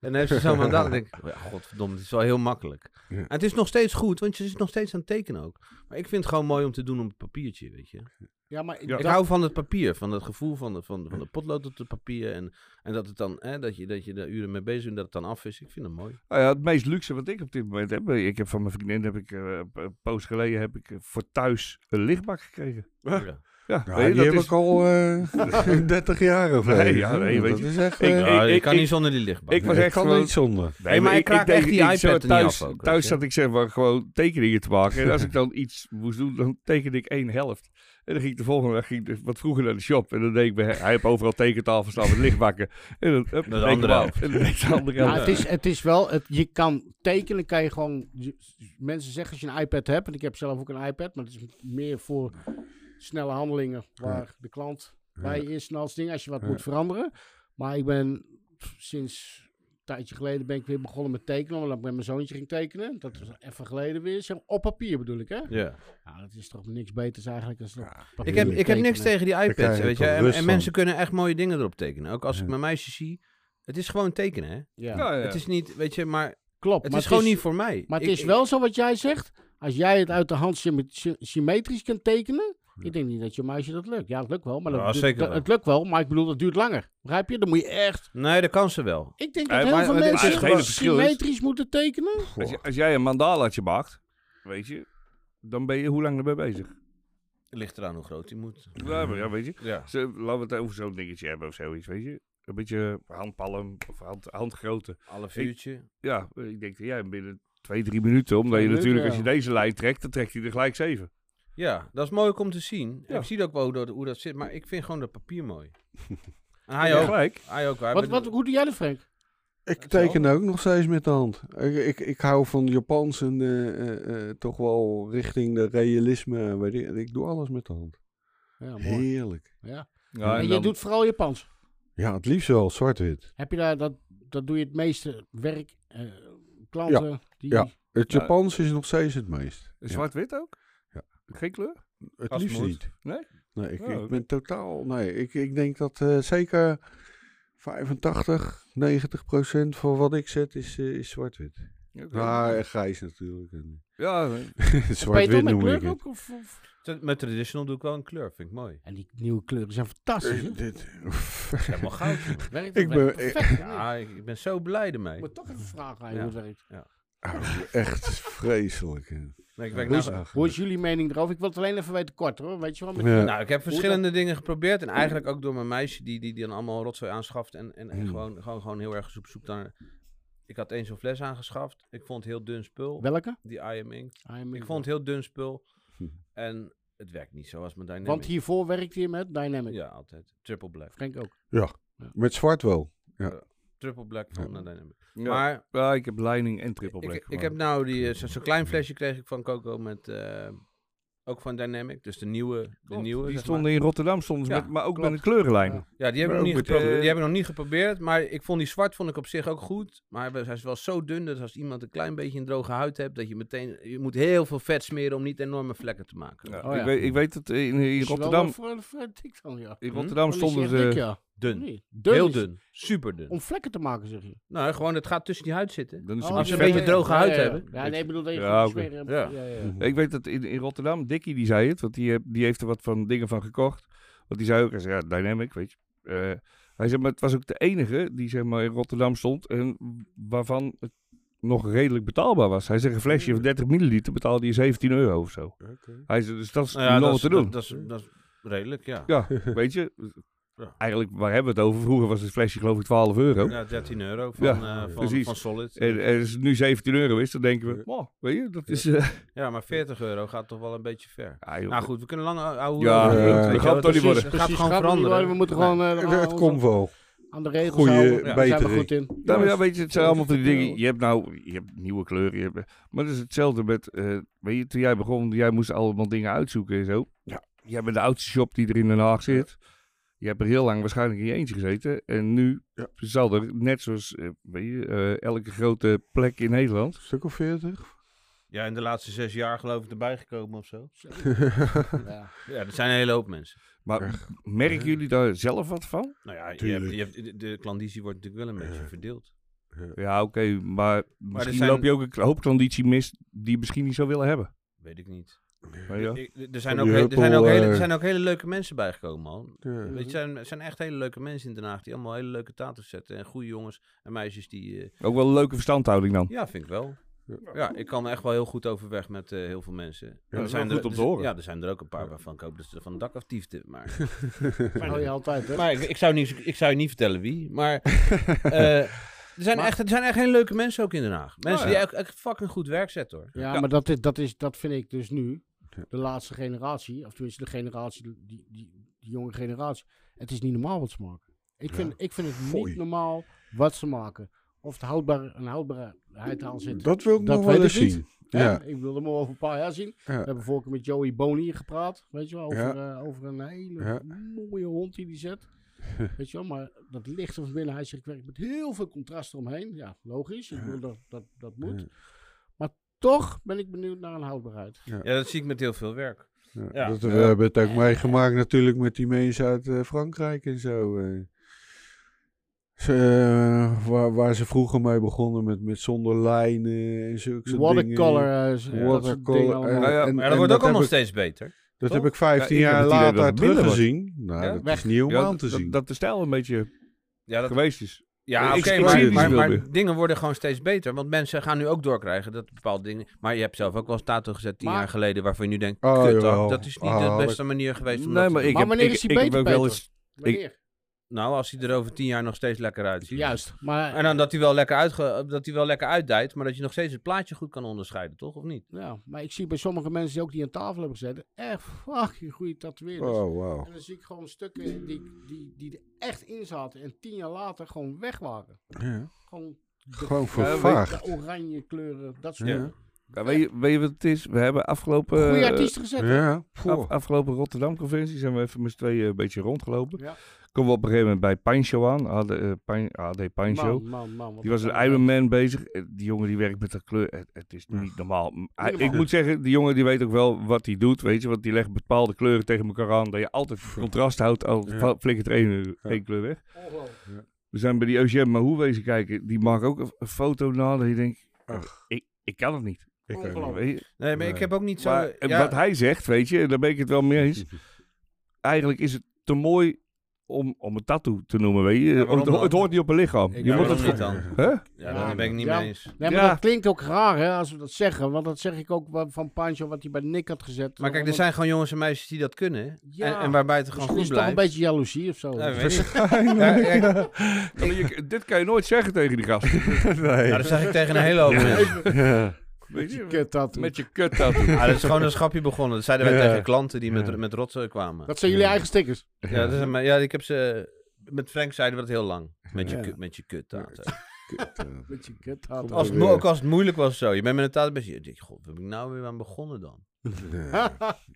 B: En dan heeft ze zo'n mandaat. En denk ik, oh ja, godverdomme, dit is wel heel makkelijk.
E: Ja.
B: En het is nog steeds goed, want je is nog steeds aan het tekenen ook. Maar ik vind het gewoon mooi om te doen op het papiertje, weet je.
C: Ja, maar ik
D: Ja.
B: Ik
C: dacht-
B: hou van het papier, van het gevoel van de, van, van de potlood op het papier. En, en dat, het dan, hè, dat, je, dat je er uren mee bezig bent en dat het dan af is. Ik vind het mooi.
D: Nou ja, het meest luxe wat ik op dit moment heb. eh, Ik heb van mijn vriendin, heb ik, eh, een poos geleden, heb ik eh, voor thuis een lichtbak gekregen.
B: Ja.
D: Ja,
E: Ja,
D: weet je,
E: Nou, die
D: dat
E: heb
D: is,
E: ik al eh 30 jaar of
D: Nee,
E: even.
D: ja, nee, weet
E: dat
D: je.
E: is echt...
D: Ik-
E: eh,
B: Ja, je
D: ik-
B: kan
D: ik-
B: niet zonder die lichtbak.
D: ik was
E: ik
D: echt
E: kan
D: gewoon-
E: niet zonder.
D: Nee,
B: Hey, maar ik raak echt
D: deed-
B: die
D: ik
B: iPad
D: zat
B: er niet
D: thuis,
B: af ook, weet
D: thuis
B: je.
D: zat ik zeg maar gewoon tekeningen te maken. En als ik dan iets moest doen, dan tekende ik één helft. En dan ging ik de volgende dag ging ik wat vroeger naar de shop. En dan deed ik bij hem, hij heeft overal tekentafels staan met lichtbakken. En dan hup,
B: de
D: deed ik
B: andere
D: hem af.
B: helft.
D: En dan deed ik de andere
C: Ja,
D: helft.
C: het, is, het is wel, het, je kan tekenen, kan je gewoon. je- mensen zeggen als je een iPad hebt, en ik heb zelf ook een iPad, maar het is meer voor snelle handelingen waar de klant bij is en als ding, als je wat
E: Ja.
C: moet veranderen. Maar ik ben sinds een tijdje geleden ben ik weer begonnen met tekenen, omdat ik met mijn zoontje ging tekenen. Dat was even geleden weer, zeg, op papier bedoel ik hè.
B: Ja.
C: Nou, dat is toch niks beters eigenlijk dan op papier
B: Ik heb, ik heb niks
C: tekenen.
B: tegen die iPads,
E: krijg je
B: weet je.
E: toch
B: En,
E: rust
B: en
E: van.
B: mensen kunnen echt mooie dingen erop tekenen. Ook als ik
E: Ja.
B: mijn meisje zie. Het is gewoon tekenen, hè.
C: Ja.
D: Ja, ja.
B: Het is niet, weet je, maar het
C: Klopt,
B: is
C: maar
B: gewoon niet voor mij.
C: Maar het
B: Ik-
C: is wel zo wat jij zegt. Als jij het uit de hand symme- sy- symmetrisch kunt tekenen. Ik denk niet dat je meisje dat lukt. Ja, het lukt wel. Maar dat
B: Ja,
C: duurt-
B: zeker
C: dat-
B: wel.
C: het lukt wel, maar ik bedoel, dat duurt langer. Begrijp je? Dan moet je echt...
B: Nee, dat kan ze wel.
C: Ik denk
D: Ja,
C: dat heel
D: maar-
C: veel
D: maar dit is
C: mensen
D: het hele verschil dus- is-
C: symmetrisch moeten tekenen.
D: Als, je- als jij een mandalaatje maakt, weet je, dan ben je hoe lang erbij bezig?
B: Ligt eraan hoe groot die moet.
D: Ja, maar ja weet je.
B: Ja.
D: Ze, laten we het over zo'n dingetje hebben of zoiets, weet je. Een beetje handpalm of hand, handgrootte.
B: Half uurtje.
D: Ja, ik denk dat jij binnen twee, drie minuten, omdat je
C: Minuten,
D: natuurlijk als
C: ja.
D: je deze lijn trekt, dan trekt hij er gelijk zeven.
B: Ja, dat is mooi ook om te zien.
D: Ja.
B: Ik zie ook wel hoe dat, hoe dat zit, maar ik vind gewoon dat papier mooi. en hij
D: Ja,
B: ook.
D: gelijk.
B: Hij ook. Hij
C: Wat,
B: bedoelt-
C: wat, hoe doe jij dat, Frank?
E: Ik teken ook nog steeds met de hand. Ik, ik, ik hou van Japans en eh, eh, eh, toch wel richting de realisme. Weet ik, ik doe alles met de hand.
C: Ja, mooi.
E: Heerlijk.
C: Ja.
D: Ja,
C: En,
D: en
C: je
D: dan-
C: doet vooral Japans.
E: Ja, het liefst wel zwart-wit.
C: Heb je daar, dat, dat doe je het meeste werk, eh, klanten... Die,
E: Ja. Het
D: Ja.
E: Japans is nog steeds het meest. Ja,
D: Zwart-wit ook?
E: Ja.
D: Geen kleur?
E: het
D: als
E: liefst
D: moet.
E: niet.
D: Nee?
E: Nee, ik,
D: Oh,
E: ik
D: oké.
E: ben totaal... Nee, ik, ik denk dat eh, zeker 85, 90 procent van wat ik zet is, eh, is zwart-wit.
D: Oké.
E: Ja, en grijs natuurlijk. En
D: Ja, nee.
C: Peter,
E: Zwart-wit
C: met
E: noem ik
C: kleur
E: het.
C: ook? Of, of-
B: Tra- Met traditional doe ik wel een kleur, vind ik mooi.
C: En die nieuwe kleuren zijn fantastisch. hè?
E: Eh, dit-
B: Helemaal goud. jongen.
C: Werkt
E: Ik
C: het werkt
E: ben-
C: perfect.
B: ja, ik, ik ben zo blij ermee.
C: Ik moet toch even vragen aan je
B: Ja.
C: hoe het werkt.
E: Oh, echt vreselijk. hè.
B: Nee, ik werk
C: Hoe
B: nou,
C: is, hoe is jullie mening erover? Ik wil het alleen even weten kort hoor. Weet je wel? Met
E: Ja.
B: nou, ik heb verschillende dingen geprobeerd. En eigenlijk ook door mijn meisje, die, die, die dan allemaal rotzooi aanschaft. En, en, en
E: Hmm.
B: gewoon, gewoon, gewoon heel erg zoek, zoek naar... Ik had eens zo'n fles aangeschaft. Ik vond het heel dun spul,
C: Welke? Ah,
B: die I am Ink.
C: I
D: Hm.
C: am
B: Ik
C: in-
B: vond het heel dun spul.
E: Hm.
B: En het werkt niet zoals mijn Dynamic.
C: Want hiervoor werkte je met Dynamic.
B: Ja, altijd. Triple black.
C: Frank ook.
E: Met zwart wel.
B: Triple black van eh, Dynamic.
D: Ja.
B: Maar
D: Ja, ik heb leiding en triple black.
B: Ik, ik
D: maar-
B: heb nou die, eh, zo- zo'n klein flesje kreeg ik van Coco met, eh, ook van Dynamic, dus de nieuwe, de
D: Klopt,
B: nieuwe
D: die
B: zeg
D: stonden
B: maar.
D: in Rotterdam soms,
B: Ja,
D: met, maar ook
C: klopt.
D: met de kleurenlijnen.
B: Ja, die heb, ik
E: Maar
B: nog niet
E: ook met,
B: geprobeerd,
D: eh,
B: die heb ik nog niet geprobeerd, maar ik vond die zwart vond ik op zich ook goed, maar hij is wel zo dun dat als iemand een klein beetje een droge huid hebt, dat je meteen, je moet heel veel vet smeren om niet enorme vlekken te maken.
D: Ja,
C: Oh, ja.
D: Ik, weet, ik weet dat in, in
C: Is je wel
D: Rotterdam,
C: wel Voor, voor dik dan, ja.
D: in
B: Hm?
D: Rotterdam stonden ze...
B: Dun.
C: Nee,
B: heel
C: is-
B: dun. Super dun.
C: Om vlekken te maken, zeg je. Oh,
B: Nou, gewoon het gaat tussen die huid zitten.
D: Dan is het
B: als
D: iets
B: je een
C: ja,
B: beetje
C: ja,
B: droge
C: ja,
B: huid
C: ja,
B: hebben.
C: Ja, nee, ik bedoel dat je
D: Ja,
C: gewoon
D: oké.
C: smeren hebt.
B: Ja.
C: Ja, ja, ja.
E: Mhm.
D: Ik weet dat in, in Rotterdam, Dickie die zei het, want die, heb- die heeft er wat van dingen van gekocht. Want die zei ook, hij zei, ja, Dynamic, weet je. Eh, hij zei, maar het was ook de enige die zeg maar, in Rotterdam stond en waarvan het nog redelijk betaalbaar was. Hij zei, een flesje van 30 milliliter betaalde je 17 euro of zo. Hij zei, dus dat is
B: Nou ja,
D: nog
B: dat,
D: wat
B: is,
D: te doen.
B: dat, dat is, dat is redelijk, ja.
D: Ja, weet je.
B: Ja.
D: Eigenlijk, waar hebben we het over? Vroeger was het flesje geloof ik 12 euro.
B: Ja, 13 euro van,
D: Ja,
B: eh, van,
D: precies.
B: van Solid.
D: En, en als het nu 17 euro is, dan denken we, oh, weet je, dat is... eh,
B: Ja, maar 40 euro gaat toch wel een beetje ver.
D: ah, joh.
B: Nou goed, we kunnen lang ou- ouwe
D: Ja,
B: hoeren.
E: eh,
B: Weet
E: dat
B: je
E: gaat
B: wel,
D: het toch
B: precies,
D: niet worden.
B: Het gaat
C: Precies,
B: gewoon
C: gaat niet
B: veranderen.
C: worden. We moeten gewoon eh, aan-
E: Het komt wel.
C: aan de regels
E: Goeie,
C: houden. Ja. Daar zijn we
E: betere.
C: goed in.
D: Nou
E: Ja,
D: ja, weet je, het zijn
C: dat
D: allemaal
C: is
D: van die dingen.
C: wel-
D: Je hebt nou, je hebt nieuwe kleuren. Je hebt, maar het is hetzelfde met, eh, weet je, toen jij begon, jij moest allemaal dingen uitzoeken en zo. Ja. Jij bent de oudste shop die er in Den Haag zit. Je hebt er heel lang waarschijnlijk in je eentje gezeten. En nu
E: Ja.
D: zal er, net zoals eh, weet je, eh, elke grote plek in Nederland.
E: Een stuk of 40.
C: eh,
B: Ja, in de laatste zes jaar geloof ik erbij gekomen of zo.
C: Ja.
B: Ja, er zijn een hele hoop mensen.
D: Maar merken jullie daar zelf wat van?
B: Nou ja, je
E: Tuurlijk.
B: hebt, je hebt, de- de klandizie wordt natuurlijk wel een beetje verdeeld.
D: Ja, oké, maar misschien
B: zijn-
D: loop je ook een hoop klanditie mis die je misschien niet zou willen hebben.
B: Weet ik niet.
D: Weet je wel?
B: Ik- Er zijn
E: die
B: ook, he- er zijn
E: huppel,
B: ook, hele,
E: eh.
B: er zijn ook hele leuke mensen bijgekomen, man.
E: Ja.
B: Weet je, er zijn, er zijn echt hele leuke mensen in Den Haag die allemaal hele leuke tattoos zetten. En goede jongens en meisjes die... eh,
D: Ook wel een leuke verstandhouding dan.
B: ja, vind ik wel.
E: Ja.
B: Ja, ik kan er echt wel heel goed overweg met eh, heel veel mensen. En
D: dat
B: er
D: is wel goed
B: er,
D: om te
B: er-
D: horen.
B: Ja, er zijn er ook een paar waarvan ik hoop dat ze er van het dak af tiefden. Maar,
C: Dat hou je altijd, hè?
B: maar ik, ik zou niet, ik zou je niet vertellen wie. Maar eh, er, zijn
C: Maar-
B: echt, er zijn echt hele leuke mensen ook in Den Haag. Mensen
D: Oh, ja.
B: die echt, echt fucking goed werk zetten, hoor.
C: Ja,
D: Ja.
C: maar dat, is, dat, is, dat vind ik dus nu,
E: Ja.
C: de laatste generatie, of tenminste de generatie, die, die, die jonge generatie. Het is niet normaal wat ze maken. Ik vind, ik vind het
E: Foei.
C: niet normaal wat ze maken. Of de houdbaar, een houdbaarheid aan zit.
E: Dat wil ik
C: Dat
E: nog wel
C: weet
E: eens
C: ik niet.
E: zien.
C: Hè?
E: Ja.
C: Ik wil hem over een paar jaar zien. We
E: Ja.
C: hebben vorige keer met Joey Boni gepraat, weet je wel, over, eh, over een hele
E: Ja.
C: mooie hond die die zet. weet je wel, maar dat licht er van binnen, hij zegt, ik werk met heel veel contrast omheen. Ja, logisch, ik bedoel, dat, dat, dat moet. Maar toch ben ik benieuwd naar een houdbaarheid.
B: Ja, dat zie ik met heel veel werk.
E: Ja,
B: Ja.
E: Dat, we hebben het ook meegemaakt natuurlijk met die mensen uit eh, Frankrijk en zo. eh. Ze, eh, waar, waar ze vroeger mee begonnen met, met zonder lijnen en zulke soort
C: Watercolor, eh, z-
E: dingen.
C: dat soort dingen
E: Watercolor. eh,
C: allemaal.
D: Ja, ja,
B: Maar dat wordt ook allemaal
E: allemaal
B: steeds beter.
E: Dat heb
B: toch?
E: ik 15
D: Ja, ik heb
E: jaar
D: het idee dat
E: later
D: het minder wordt.
E: teruggezien. Nou,
B: Ja?
E: dat
C: Weg.
E: is niet om
D: Ja,
E: aan te
D: dat-
E: zien.
D: Dat de stijl een beetje
B: Ja, dat,
D: geweest is.
B: ja
D: Ik-
B: oké,
D: ik zie
B: maar,
D: het
B: maar,
D: niet
B: maar
D: gebeuren.
B: dingen worden gewoon steeds beter. Want mensen gaan nu ook doorkrijgen dat bepaalde dingen... Maar je hebt zelf ook wel eens tato gezet tien
C: Maar-
B: jaar geleden... waarvan je nu denkt,
E: Oh,
B: kut,
E: jawel.
B: dat, dat is niet
E: Ah,
B: de beste manier geweest om
D: Nee,
B: dat
D: Oh, maar
B: te
D: ik
B: doen.
C: Maar
D: heb,
C: wanneer
D: ik,
C: is die
D: ik heb
C: beter,
D: ook wel
C: Peter?
D: eens...
C: Wanneer?
B: Nou, als hij er over tien jaar nog steeds lekker uitziet.
C: Juist, maar
B: En dan dat hij wel lekker, uitge- dat hij wel lekker uitdijt... maar dat je nog steeds het plaatje goed kan onderscheiden, toch? Of niet?
C: ja, maar ik zie bij sommige mensen die ook die aan tafel hebben gezeten, echt fucking goede tatoeëerders.
E: Oh, wauw.
C: En dan zie ik gewoon stukken die, die, die er echt in zaten en tien jaar later gewoon weg waren.
E: Ja.
C: Gewoon
E: Gewoon
C: de
E: vervaagd.
C: oranje kleuren, dat soort
B: Ja.
C: dingen.
D: Ja, weet, je, weet je wat het is? We hebben afgelopen...
C: Goeie
D: eh,
C: artiesten gezet. hè?
E: Ja,
D: Af,
E: Goh.
D: afgelopen Rotterdam-conventie zijn we even met z'n tweeën een beetje rondgelopen.
C: Ja.
D: Komen we op een gegeven moment bij Pancho aan, AD, eh, Pijn- AD Pancho.
C: Man, man, man. wat
D: Die was
C: een
D: een Iron Man bezig. Eh, Die jongen die werkt met de kleur. Het, het is
E: Ja.
D: niet normaal. M- hij-
C: Helemaal.
D: ik moet zeggen, die jongen die weet ook wel wat hij doet. Weet je, want die legt bepaalde kleuren tegen elkaar aan. Dat je altijd contrast houdt. Al
E: Ja.
D: ja. flikkert er één,
E: Ja.
D: één kleur weg.
C: Ongelooflijk.
D: We zijn bij die Eugène Mahou wezen kijken. Die maakt ook een, een foto na. Dat je denkt,
E: Ach.
D: ik, ik kan het niet.
E: Ik ook
C: Ongelooflijk.
E: niet.
D: Weet je?
B: Nee, maar ik
E: Nee.
B: heb ook niet zo...
D: Maar eh,
B: ja,
D: wat hij zegt, weet je, daar ben ik het wel mee eens. Eigenlijk is het te mooi om, om een tattoo te noemen, weet je.
B: waarom
D: het, ho-
B: dan?
D: het hoort niet op een lichaam.
B: ik
D: je
B: moet
D: moet
B: het
D: het
B: niet
D: gewoon-
B: dan.
D: Hè?
B: Ja, daar ben ik niet
C: Ja.
B: mee eens.
C: Nee, maar
D: Ja.
C: dat klinkt ook raar hè, als we dat zeggen. Want dat zeg ik ook wa- van Pancho wat hij bij Nick had gezet.
B: Maar kijk, er
C: Omdat-
B: zijn gewoon jongens en meisjes die dat kunnen.
C: Ja.
B: En, en waarbij het gewoon
C: Misschien is
B: goed
C: het toch een
B: blijft.
C: beetje jaloezie of zo.
B: Ja, weet
C: Dat
B: ik
C: is-
B: Ja, kijk,
D: Maar je- dit kan je nooit zeggen tegen die gast.
B: Nou, dat zeg ik tegen een hele hoop mensen.
D: Weet je,
C: Kut dat.
D: met je kut tattoo.
B: Ah, dat is gewoon een schapje begonnen. Dat zeiden wij
E: Ja.
B: tegen klanten die
E: Ja.
B: met, met rotzooi kwamen.
C: Dat zijn jullie eigen stickers.
B: Ja, dat is een- ja, ik heb ze... Met Frank zeiden we dat heel lang. Met je,
C: Ja.
B: kut, met je kut tato.
E: Kut, eh.
C: Met je kut dat.
E: Kom
B: Als, het mo-
E: weer.
B: ook als het moeilijk was zo. Je bent met een tato bezig. Je denkt, god, waar ben ik nou weer aan begonnen dan?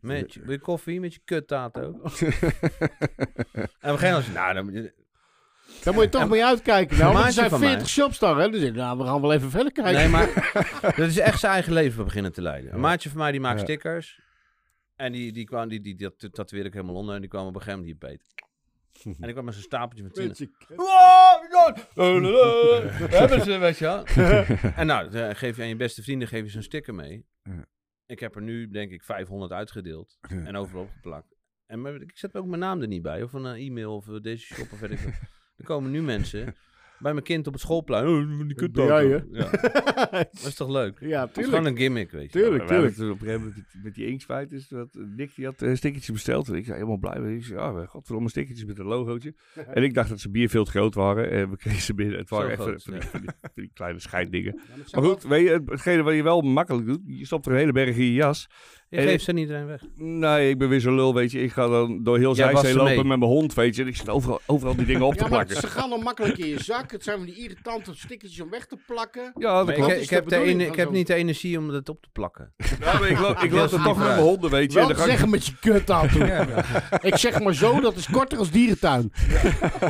B: Met je, wil je koffie met je kut tato? en op een gegeven moment was het, nou, dan,
C: Daar moet je toch mee uitkijken. Nou, want er
B: maatje
C: zijn
B: van mij.
C: 40 shops daar. Hè? Dus ik, nou, we gaan wel even verder kijken.
B: Nee, maar dat is echt zijn eigen leven beginnen te leiden. Een maatje van mij die maakt
E: Ja.
B: stickers. En die, die kwam, die, die, die, dat tatoeëerde ik helemaal onder. En die kwam op een gegemen moment hier beet. En ik kwam met zo'n stapeltje van tien.
C: Met je kut.
B: Hebben ze, weet je wel. En nou, dan geef je aan je beste vrienden geef je zo'n sticker mee.
E: Ja.
B: Ik heb er nu, denk ik, 500 uitgedeeld.
E: Ja.
B: En overal opgeplakt. En maar, ik zet ook mijn naam er niet bij. Of een eh, e-mail of eh, deze shop of weet ik wat. Er komen nu mensen bij mijn kind op het schoolplein. Oh, die kunt
C: Ben jij, hè?
B: Ja. Dat is toch leuk?
C: Ja,
B: Het is
C: tuurlijk.
B: gewoon een gimmick, weet je.
C: Tuurlijk,
D: We
C: tuurlijk.
D: hebben toen op een gegeven moment met- met die inksfeit is dat eh, Nick die had eh, een stickertje besteld. En ik zei helemaal blij. mee. Ik zei, ah, godverdomme stickertjes met een logootje. En ik dacht dat ze bier veel te groot waren. En we kregen ze binnen. Het
B: Zo
D: waren echt
B: groot,
D: van, van
B: ja.
D: die, van die- van die kleine scheiddingen.
C: Ja, maar ik
D: Maar
C: zou
D: goed, weet je, hetgene wat je wel makkelijk doet, je stopt er een hele berg in je jas.
B: Je geeft ze niet iedereen weg.
D: Nee, ik ben weer zo'n lul, weet je. Ik ga dan door heel
B: Jij was er
D: Zijzee lopen
B: mee.
D: met mijn hond, weet je. En ik zit overal, overal die dingen op te
C: Ja, maar
D: plakken.
C: ze gaan dan makkelijk in je zak. Het zijn van die irritante stickertjes om weg te plakken.
D: Ja, dat
B: Maar
D: klopt.
B: ik,
C: is
B: ik
C: de
B: heb de
C: bedoeling
B: ene-
C: van
B: ik heb
C: zo'n-
B: niet de energie om dat op te plakken.
D: Ja, maar ik loop, ik loop
B: Ja,
D: er toch met mijn honden, weet je. En
C: Wel
D: dan
C: te
D: ga ik-
C: zeggen met je kut aan toe. Ik zeg maar zo, dat is korter als dierentuin.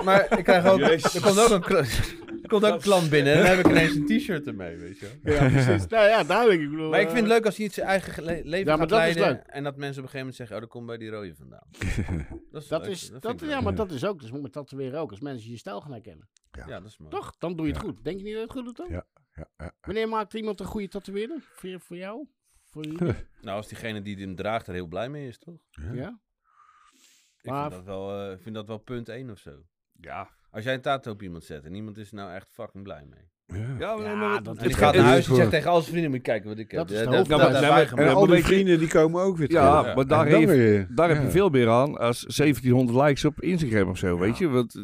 B: Maar ik krijg ook, er komt ook, een, kla- er
F: komt ook een klant binnen en dan heb ik ineens een t-shirt ermee, weet je wel.
C: Ja, precies. nou ja, duidelijk. Ik bedoel,
B: Maar ik vind het
C: eh,
B: leuk als je iets zijn eigen le- leven
C: maar
B: gaat
C: dat is
B: leiden.
C: leuk.
B: En dat mensen op een gegeven moment zeggen, oh, dat komt bij die rode vandaan. dat is,
C: Dat
B: leuk,
C: is,
B: vind
C: dat,
B: ik
C: ja,
B: leuk.
C: maar dat is ook. Dus met tatoeëren ook. Als mensen je stijl gaan herkennen.
B: ja, dat is mooi.
C: Toch? Dan doe je het goed. Denk je niet dat het goed doet dan?
E: Ja, ja.
C: Wanneer maakt iemand een goede tatoeëerder? Voor, voor jou? Voor jullie?
B: Nou, als diegene die hem draagt er heel blij mee is, toch?
C: ja?
B: Ik
C: Maar-
B: vind, dat wel, eh, ik vind dat wel punt 1 of zo.
D: Ja,
B: Als jij een tato op iemand zet en iemand is er nou echt fucking blij mee.
D: ja, maar-
C: Ja,
D: maar-
C: dat-
B: En die
D: het
C: ga-
B: gaat naar huis en
E: voor-
B: zegt tegen al zijn vrienden, moet je kijken wat ik heb.
C: Dat is de
B: Ja,
D: Ja, maar-
B: hebben
D: ja,
B: wij
D: maar-
B: gemaakt.
E: En
D: maar
E: al
D: een
E: die
D: beetje-
E: vrienden die komen ook weer terug.
D: Ja,
B: Ja.
D: maar
E: En
D: daar,
E: dan
D: heeft,
E: weer-
D: daar heb
E: ja.
D: je veel meer aan als 1700 likes op Instagram of zo, weet je. Want, eh,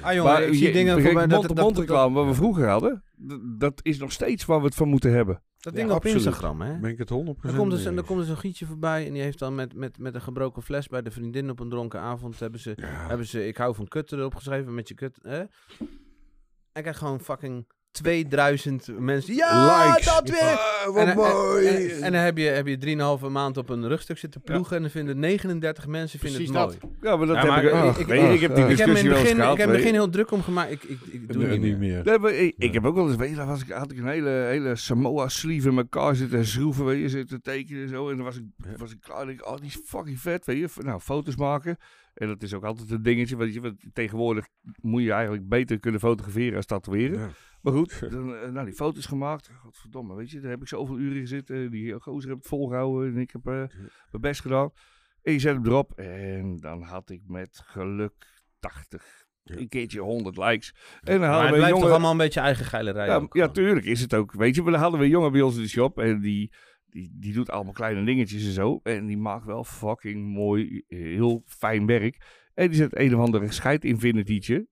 B: Ah jongen, ik zie
D: je-
B: dingen
D: kijk,
B: voorbij dat- dat-
D: mond-to-mond
B: dat-
D: reclame wat we vroeger hadden, d- dat is nog steeds waar we het van moeten hebben.
B: Dat
E: Ja,
B: ding op
E: absoluut.
B: Instagram, hè?
E: Ben ik het 100%
B: Dan komt, dus,
E: mee
B: en dan
E: eens.
B: komt dus een gietje voorbij en die heeft dan met, met, met een gebroken fles bij de vriendin op een dronken avond. Hebben ze, hebben ze ik hou van kut erop geschreven met je kut. Hè? En ik krijg gewoon fucking 2000 mensen. Ja,
E: Likes.
B: dat weer!
E: Ah, wat
B: En, en-
E: mooi!
B: en, en dan heb je, heb je drieënhalve maand op een rugstuk zitten ploegen en dan vinden 39 mensen vinden het
C: Precies
B: mooi.
D: Ja, maar dat
B: Ja,
D: heb
B: maar
D: ik,
B: ik-
D: ik,
B: ik-
D: weet je, ik heb die
E: ik
B: Ik heb,
D: discussie
B: me in het
D: wel eens
B: begin,
D: gehad.
B: ik heb me in het
D: weet je.
B: begin heel druk om gemaakt. Ik, ik, ik doe
E: Nee,
B: het niet meer.
D: Nee, maar ik, ik heb ook wel eens, weet je, dan was ik, had ik een hele, hele Samoa-sleeve in elkaar zitten schroeven, weet je, zitten tekenen en zo. En dan was ik, was ik klaar, denk ik, oh, die is fucking vet, weet je. Nou, foto's maken. En dat is ook altijd een dingetje, weet je, want tegenwoordig moet je eigenlijk beter kunnen fotograferen als tatoeëren.
E: Ja.
D: Maar goed, dan, eh, nou, die foto's gemaakt, godverdomme, weet je, daar heb ik zoveel uren gezeten. Die eh, gozer heb het volgehouden en ik heb eh, mijn best gedaan. En je zet hem erop en dan had ik met geluk 80, een keertje 100 likes. En dan
B: Maar het
D: hadden we een
B: blijft toch
D: jongen...
B: allemaal een beetje eigen geile rij.
D: Ja, ja, tuurlijk is het ook. Weet je, maar dan hadden we een jongen bij ons in de shop en die, die, die doet allemaal kleine dingetjes en zo. En die maakt wel fucking mooi, heel fijn werk. En die zet een of andere scheid infinitytje.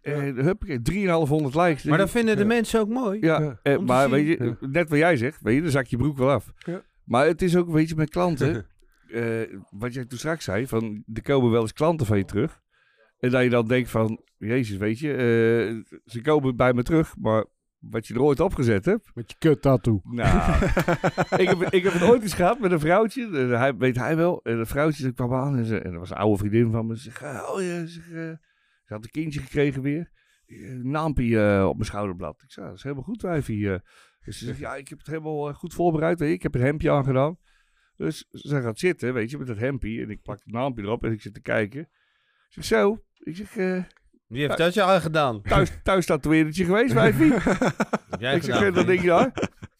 D: En huppakee, 3,500 likes.
B: maar dat vinden de mensen ook mooi.
D: ja,
E: Ja.
D: eh,
B: Om te
D: maar
B: zien.
D: weet je, net wat jij zegt, weet je, dan zak je broek wel af.
E: Ja.
D: Maar het is ook, weet je, met klanten, eh, wat jij toen straks zei, van er komen wel eens klanten van je terug. En dat je dan denkt van, jezus, weet je, eh, ze komen bij me terug, maar wat je er ooit opgezet hebt,
C: Met je kut tattoo.
D: nou, ik, heb, ik heb het ooit eens gehad met een vrouwtje. En hij, weet hij wel. En dat vrouwtje dat kwam aan. En, ze, en dat was een oude vriendin van me. Ze zegt, eh, oh ja, ze, zegt, eh, ze had een kindje gekregen weer. Eh, Naampie eh, op mijn schouderblad. Ik zei, dat is helemaal goed wijfie. eh. Dus ze zegt, ja, ik heb het helemaal eh, goed voorbereid. weet je. Ik heb een hemdje aangedaan. Dus ze gaat zitten, weet je, met dat hempie. En ik pak het naampje erop en ik zit te kijken. Ik zeg, zo. Ik zeg, eh,
B: Wie heeft dat je al gedaan?
D: thuis, thuis tatoeëerdertje geweest, wijfie?
B: Heb jij
D: Ik zeg,
B: gedaan?
D: eh, dat denk je daar.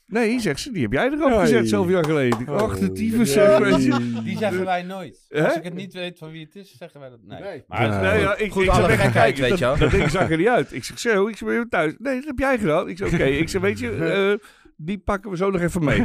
D: Nee, zegt ze, die heb jij erop gezet,
E: Hey.
D: zoveel jaar geleden. Ik, Ach, de tyfus,
E: Oh. Ja.
D: zeg, weet je.
B: Die zeggen wij nooit.
D: Hè?
B: Als ik het niet weet van wie het is, zeggen wij dat. Nee.
C: Nee.
B: Maar
E: Ja.
D: Nee, ja, ik,
B: goed,
D: ik
B: alle
D: zat echt te
B: gekheid,
D: kijken,
B: weet
D: dat-
B: je wel.
D: Dat ding zag er niet uit. Ik zeg, zo, ik zeg, ben je thuis. Nee, dat heb jij gedaan. Ik zeg, oké, ik zeg, weet je, eh, die pakken we zo nog even mee.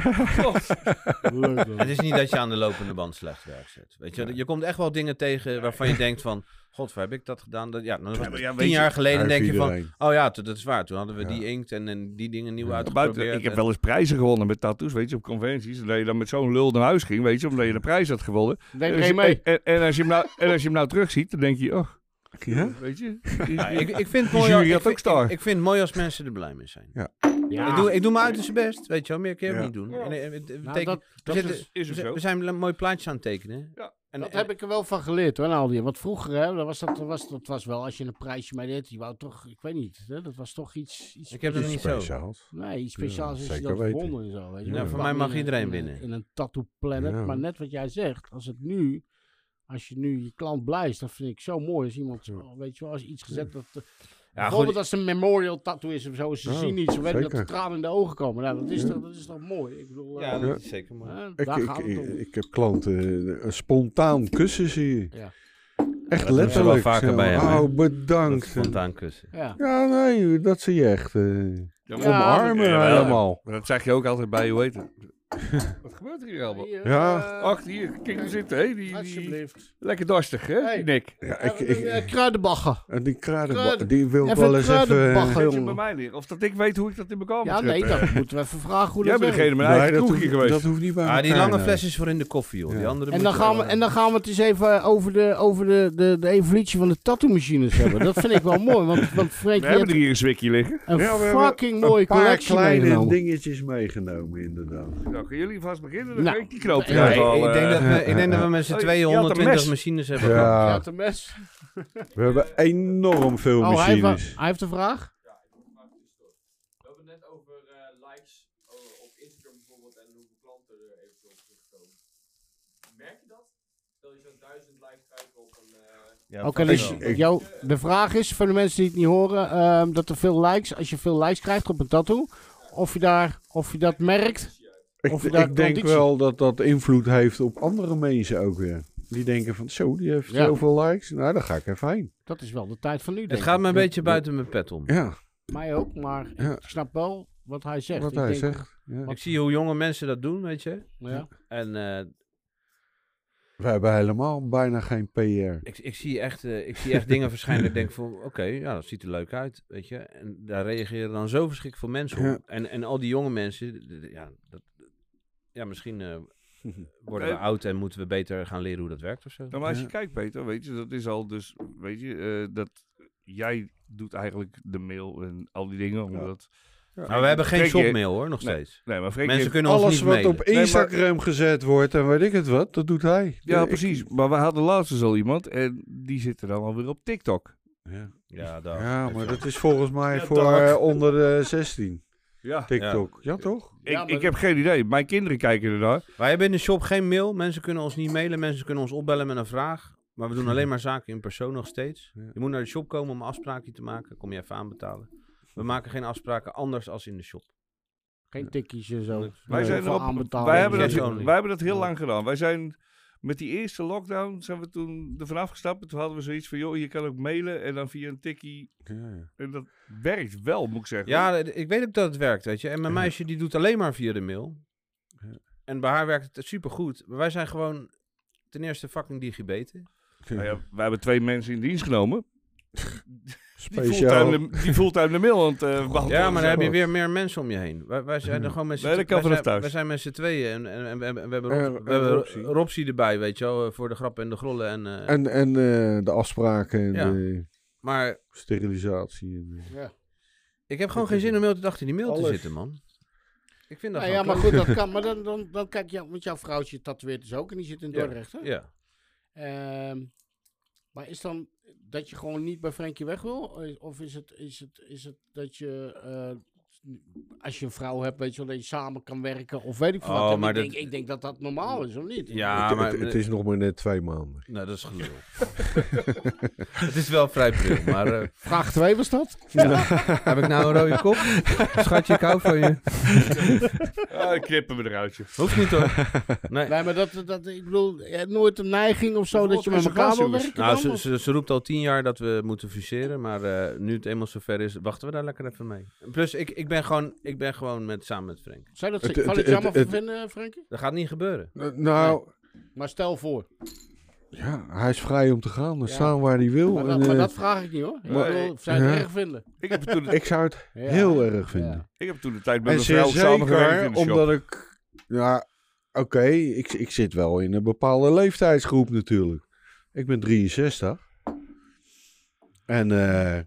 C: Leuk hoor.
B: het is niet dat je aan de lopende band slecht werk zet. Weet je, je komt echt wel dingen tegen waarvan je denkt van... God, waar heb ik dat gedaan? Dat, ja, dan was
D: Ja,
B: het
D: maar ja, weet
B: tien
D: je,
B: jaar geleden
E: Hij
B: denk je
E: heeft
B: van...
E: iedereen.
B: Oh ja, t- dat is waar. Toen hadden we
E: Ja.
B: die inkt en, en die dingen nieuw
D: Buiten,
B: uitgeprobeerd.
D: ik heb
B: en-
D: wel eens prijzen gewonnen met tattoos, weet je, op conventies. En dat je dan met zo'n lul naar huis ging, weet je, omdat je de prijs had gewonnen.
C: Denk
D: Dus-
C: geen mee.
D: En, en, als je hem nou, en als je hem nou terugziet, dan denk je, oh,
E: Ja?
D: weet je.
B: Ja, ik, ik vind het
D: Die
B: mooi
D: jury
B: ik
D: had
B: vind-
D: ook star.
B: Ik, ik vind het mooi als mensen er blij mee zijn.
C: Ja.
B: Ik, doe, ik doe mijn uiterste best, weet je wel. Meer kun je ook
E: Ja.
B: niet doen. En, eh, het- het
C: Nou,
B: betekent-
C: dat-
B: we,
D: dat
B: zitten-
D: is- is ook
B: we-
D: zo.
B: we zijn een mooi plaatje aan het tekenen.
D: Ja.
B: En,
C: Dat
E: Eh,
B: en-
C: heb ik er wel van geleerd hoor, Aldi. Want vroeger hè, dat was dat, was, dat was wel, als je een prijsje mee deed, die wou toch, ik weet niet, hè, dat was toch iets, iets,
B: Ik heb dat niet zo.
E: Speciaals.
C: nee, iets speciaals
E: Ja,
C: als je
E: zeker
C: dat
E: weten.
C: gewonnen en zo. Weet je.
E: Ja,
C: wel.
E: voor
C: Dat
B: mij
C: in
B: mag
C: een-
B: iedereen
C: in een-
B: winnen.
C: In een tattoo planet,
E: Ja.
C: maar net wat jij zegt, als het nu, als je nu je klant blij is, dat vind ik zo mooi. Als iemand, oh, weet je wel, als iets gezet, dat, eh, bijvoorbeeld als het een memorial tattoo is of zo, ze
E: Ja,
C: zien iets, ze weten dat de
E: zeker.
C: tranen in de ogen komen. Nou, dat is, toch, dat is toch mooi. Ik bedoel,
B: Ja,
C: eh,
B: dat is zeker mooi.
C: hè,
E: Ik,
C: daar
E: ik,
C: gaat het
E: ik,
C: om.
E: ik heb klanten eh, spontaan kussen zie je.
C: Ja.
E: Echt
B: hebben ze wel
E: letterlijk.
B: vaker
E: zeg
B: bij
E: maar.
B: hem, hè?
E: oh,
B: Dat
E: bedankt.
B: spontaan kussen.
C: ja.
E: Ja, nee, dat zie je echt. eh,
C: maar-
E: omarmen
D: Ja, wel.
E: helemaal.
D: Maar dat zeg je ook altijd bij, hoe heet het? Wat gebeurt er hier allemaal?
C: Hier,
E: Ja.
C: eh,
D: Ach, hier, kijk hoe zitten, hè? Die, die,
C: Alsjeblieft.
D: lekker dorstig, hè?
C: Hey.
D: Nick.
E: Ja,
C: Ik,
E: ik, ik,
C: kruidenbagger.
E: en die
C: Kruiden.
E: kruiden, die wil ik
C: Even
E: wel eens even...
C: kruidenbagger.
E: eh,
D: Gaat je
C: jongen.
D: bij mij leren? Of dat ik weet hoe ik dat in elkaar moet
C: Ja, nee,
D: zetten.
C: dat moeten we even vragen hoe
D: Jij
C: dat
D: bent degene
C: werkt.
D: met mijn eigen
E: dat
D: kroegje
E: hoeft,
D: geweest.
E: dat hoeft niet bij
B: Ah, die
E: elkaar,
B: lange
E: nee.
B: fles is voor in de koffie, joh.
E: Ja.
B: Die andere
C: En
B: moet
C: dan,
B: je
C: gaan we,
B: wel, eh,
C: en dan gaan we het eens even over de, over de, de, de evolutie van de tattoo-machines hebben. Dat vind ik wel mooi, want, want Freek
D: We
C: die
D: hebben
C: heeft
D: er hier een zwikje liggen.
C: een
E: Ja, we hebben
C: fucking mooie
E: Een paar
C: collectie
E: kleine
C: meegenomen.
E: dingetjes meegenomen, inderdaad.
D: Nou, gaan jullie vast beginnen? Dan
C: Nou.
D: ga ik die knoop
C: Ja,
B: Ja,
D: eruit
B: ik- eh,
D: halen.
B: ik, denk dat we, ik denk dat we met z'n
D: Oh, je-
B: tweeën
D: je had een
B: 120
D: mes.
B: machines hebben. gehad.
E: Ja,
C: Ja, de mes.
E: we hebben enorm veel
C: Oh, hij heeft,
E: machines.
C: hij heeft een vraag?
G: eh, we er eventueel op terugkomen. Merk je dat? Stel je zo'n duizend live struiken op een... eh,
F: Ja,
C: Oké,
E: ik
C: dus
E: wel. Ik-
C: jou, de vraag is voor de mensen die het niet horen, ehm, dat er veel likes, als je veel likes krijgt op een tattoo, of je, daar, of je dat merkt.
E: Ik,
C: Of
E: ik
C: daar
E: denk
C: conditie-
E: wel dat dat invloed heeft op andere mensen ook weer. Die denken van, zo, die heeft
C: Ja.
E: zoveel likes. Nou, dan ga ik even heen.
C: Dat is wel de tijd van nu.
B: Het
C: denk
B: gaat
C: ik.
B: me een beetje buiten mijn pet om.
E: Ja,
C: Mij ook, maar
E: Ja.
C: ik snap wel wat hij zegt.
E: wat
C: Ik
E: hij
C: denk-
E: zegt. Ja.
B: Ik zie hoe jonge mensen dat doen, weet je.
C: Ja.
B: En eh,
E: We hebben helemaal bijna geen PR.
B: ik, ik zie echt, eh, ik zie echt dingen verschijnen. dat Ik denk van, oké, ja, dat ziet er leuk uit, weet je. En daar reageren dan zo verschrikkelijk veel mensen op.
E: Ja.
B: En, en al die jonge mensen, d- d- ja, dat, ja misschien eh, worden we
D: Eh.
B: oud en moeten we beter gaan leren hoe dat werkt of zo.
D: Nou, maar als je
E: Ja.
D: kijkt, Peter, weet je, dat is al dus, weet je, eh, dat jij doet eigenlijk de mail en al die dingen, omdat...
B: Nou, we hebben geen
D: Freek, je-
E: eh,
B: shopmail hoor, nog
D: Nee.
B: steeds.
D: Nee, maar Freek
B: Mensen
D: heeft-
B: kunnen ons
E: Alles
B: niet
E: wat
B: mailen.
E: op Instagram gezet wordt en weet ik het wat, dat doet hij.
D: Ja,
E: Eh, Ik-
D: precies. Maar we hadden laatst dus al iemand en die zit er dan alweer op TikTok.
E: Ja,
B: Ja, daar.
E: ja maar dat is volgens mij
D: Ja,
E: voor
D: dag.
E: eh, onder de 16,
D: Ja.
E: TikTok. Ja, toch?
D: Ik,
C: Ja, maar-
D: ik heb geen idee. Mijn kinderen kijken ernaar.
B: Wij hebben in de shop geen mail. Mensen kunnen ons niet mailen. Mensen kunnen ons opbellen met een vraag. Maar we doen alleen maar zaken in persoon nog steeds.
E: Ja.
B: Je moet naar de shop komen om een afspraakje te maken. Kom je even aanbetalen. We maken geen afspraken anders als in de shop.
C: Geen tikkies en zo.
D: Wij,
C: Nee,
D: zijn
C: voor
D: erop,
C: aanbetaling.
D: wij, hebben
B: yes
D: dat,
B: only.
D: wij hebben dat heel
C: Ja.
D: lang gedaan. Wij zijn met die eerste lockdown zijn we toen ervan afgestapt. En toen hadden we zoiets van, joh, je kan ook mailen en dan via een tikkie.
E: Ja.
D: En dat werkt wel, moet ik zeggen.
B: Ja, d- ik weet ook dat het werkt, weet je. En mijn meisje die doet alleen maar via de mail.
E: Ja.
B: En bij haar werkt het supergoed. Maar wij zijn gewoon ten eerste fucking digibeten.
D: Nou ja, wij hebben twee mensen in dienst genomen. Die
E: Speciaal.
D: fulltime, de, die fulltime de mail aan het eh, beantwoorden
B: Ja, maar dan
D: zijn.
B: heb je weer meer mensen om je heen. Wij, wij zijn er
E: Ja.
B: gewoon met z'n
D: Nee, dat
B: twee-
D: kan
B: wij
D: vanaf
B: zijn-
D: thuis.
B: Wij zijn met z'n tweeën en, en, en we hebben, we hebben,
E: En-
B: Rob- we
E: en
B: hebben
E: Robsie.
B: Ro- Robsie erbij, weet je wel, eh, voor de grappen en de grollen. En, eh,
E: En, en eh, de afspraken en
B: Ja.
E: de
B: maar
E: sterilisatie. En, eh,
C: Ja.
B: ik heb gewoon geen zin om de hele dag in die mail te zitten, man. Ik vind dat
C: Nou ja,
B: gewoon
C: maar
B: kloten.
C: goed, dat kan. Maar dan, dan, dan kijk je, want jouw vrouwtje tatoeëert dus ook en die zit in
B: Ja.
C: Dordrecht. hè?
B: Ja.
C: Ehm, maar is dan dat je gewoon niet bij Frenkie weg wil? Eh, Of is het, is het, is het dat je, eh, als je een vrouw hebt, weet je wel, dat je samen kan werken? Of weet ik veel
B: Oh,
C: wat. En
B: maar
C: ik,
B: dat-
C: denk, ik denk dat dat normaal is, of niet?
B: ja,
E: het,
B: Ah, maar
E: het, het is nog maar net twee maanden.
B: Nou, dat is gelul. het is wel vrij pril, maar eh,
C: Vraag 2 was dat?
B: heb ik nou een rode kop? Schatje, ik hou van je.
D: Ah, dan knippen we eruit, joh.
B: Hoeft niet hoor. Nee.
C: Nee, maar dat, dat, ik bedoel, je hebt nooit een neiging of zo dat je met
D: Bijvoorbeeld
C: elkaar wil
D: reservaties.
C: werken?
B: Nou,
C: dan,
B: ze,
C: of-
B: ze, ze roept al tien jaar dat we moeten fuseren, maar eh, nu het eenmaal zover is, wachten we daar lekker even mee. Plus, ik, ik ben gewoon, ik ben gewoon met, samen met Frank.
C: Zou je dat
E: Het-
C: zou je
E: het-
C: het jammer
E: het-
C: voor vinden, eh, Frenkie?
B: Dat gaat niet gebeuren.
E: Eh, nou,
C: Maar stel voor.
E: ja, hij is vrij om te gaan en
C: Ja.
E: staan waar hij wil.
C: Maar
E: en,
C: dat, maar
E: eh,
C: dat vraag ik niet hoor. Ik
D: maar-
C: bedoel, zou je het
E: Ja.
C: erg vinden?
D: Ik heb toen,
E: Ik zou het
C: Ja.
E: heel erg vinden.
C: Ja.
D: ik heb toen de tijd met
E: En
D: mijn vrouw
E: zeer
D: samengewerkt
E: zeker
D: in de shop.
E: omdat ik... Ja, oké, ik, ik zit wel in een bepaalde leeftijdsgroep natuurlijk. Ik ben 63. En eh,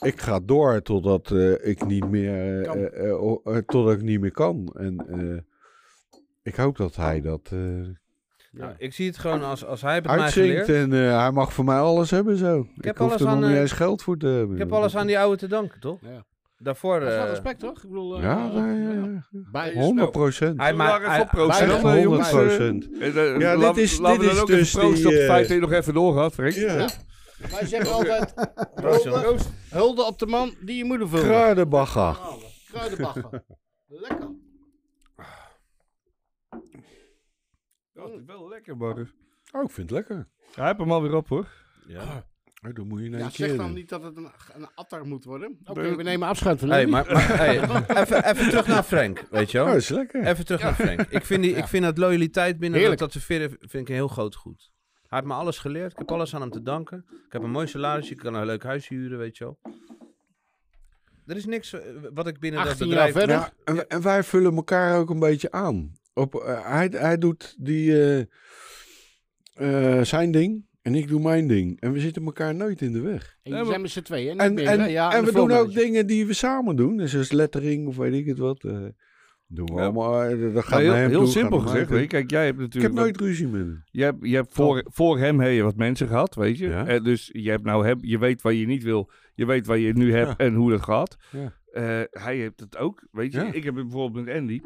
E: ik ga door totdat eh, ik niet meer... eh,
C: Kan.
E: eh, eh, o- eh, totdat ik niet meer kan. En eh, ik hoop dat hij dat eh
B: Nou, ik zie het gewoon als, als hij het mij
E: uitzinkt.
B: geleerd.
E: En eh, hij mag voor mij alles hebben zo. Ik,
B: heb
E: hoef
B: alles
E: er
B: aan,
E: nog
B: eh,
E: niet eens geld voor te hebben.
B: Ik heb alles aan die oude te danken, toch?
C: Ja.
B: Daarvoor.
C: Dat is wel
B: eh,
C: respect toch? Ik bedoel, eh,
E: Ja, nee, ja,
C: ja.
E: ja.
C: Bij-
E: 100 procent.
B: hij
D: Zullen
B: maakt-
D: we daar even
B: hij-
D: op proosten
C: wij-
D: dan, eh, jongens?
E: 100 procent.
D: Eh, eh,
E: Ja, dit
D: laat-
E: is-
D: laten we
E: dit
D: dan
E: is
D: ook even
E: dus
D: proosten op het
E: die,
D: feit
E: eh,
D: dat je nog even doorgaat, Frank.
E: Ja.
C: Wij zeggen altijd, hulde, hulde op de man die je moeder
E: eh,
C: vult.
E: Kruidenbagger.
C: Kruidenbachen. Lekker.
D: Dat is wel lekker, man.
E: Oh, ik vind het lekker.
D: Hij heeft hem alweer op, hoor.
B: Ja.
E: Oh, dan moet je naar
C: Ja,
E: ja,
C: zeg
E: keer
C: dan
E: doen.
C: niet dat het een, een atter moet worden. Oké,
D: Nee.
C: we nemen afscheid van
B: Hey,
C: hem.
B: maar, maar hey, even, even terug naar Frank, weet je
E: Oh,
B: wel?
E: dat is lekker.
B: Even terug naar Frank. Ik vind, die, ik vind dat loyaliteit binnen dat
C: Heerlijk.
B: dat sfeer vind ik een heel groot goed. Hij heeft me alles geleerd. Ik heb alles aan hem te danken. Ik heb een mooi salaris. Ik kan een leuk huis huren, weet je wel. Er is niks eh, wat ik binnen dat
C: 18 jaar
B: bedrijf...
C: verder.
E: Ja, en, en wij vullen elkaar ook een beetje aan. Op, eh, hij, hij doet die, eh, eh, zijn ding en ik doe mijn ding. En we zitten elkaar nooit in de weg.
C: En je zijn met z'n tweeën. niet
E: En,
C: meer,
E: en,
C: hè? Ja,
E: en
C: de
E: we doen ook
C: voormanager.
E: dingen die we samen doen. Dus als lettering of weet ik het wat. eh, doen we
D: Ja.
E: allemaal. eh, Dat gaat
D: Ja, heel
E: naar hem
D: heel
E: toe,
D: simpel
E: gaat naar mij
D: gezegd,
E: toe.
D: weet je. Kijk, jij hebt
E: Ik heb
D: natuurlijk...
E: nooit ruzie met hem.
D: Je hebt, je hebt voor, voor hem heb je wat mensen gehad, weet je.
E: Ja.
D: En dus je, hebt nou hem, je weet wat je niet wil. Je weet wat je nu hebt en hoe dat gaat.
E: Ja.
D: Eh, hij heeft het ook, weet je.
E: Ja.
D: Ik heb het bijvoorbeeld met Andy.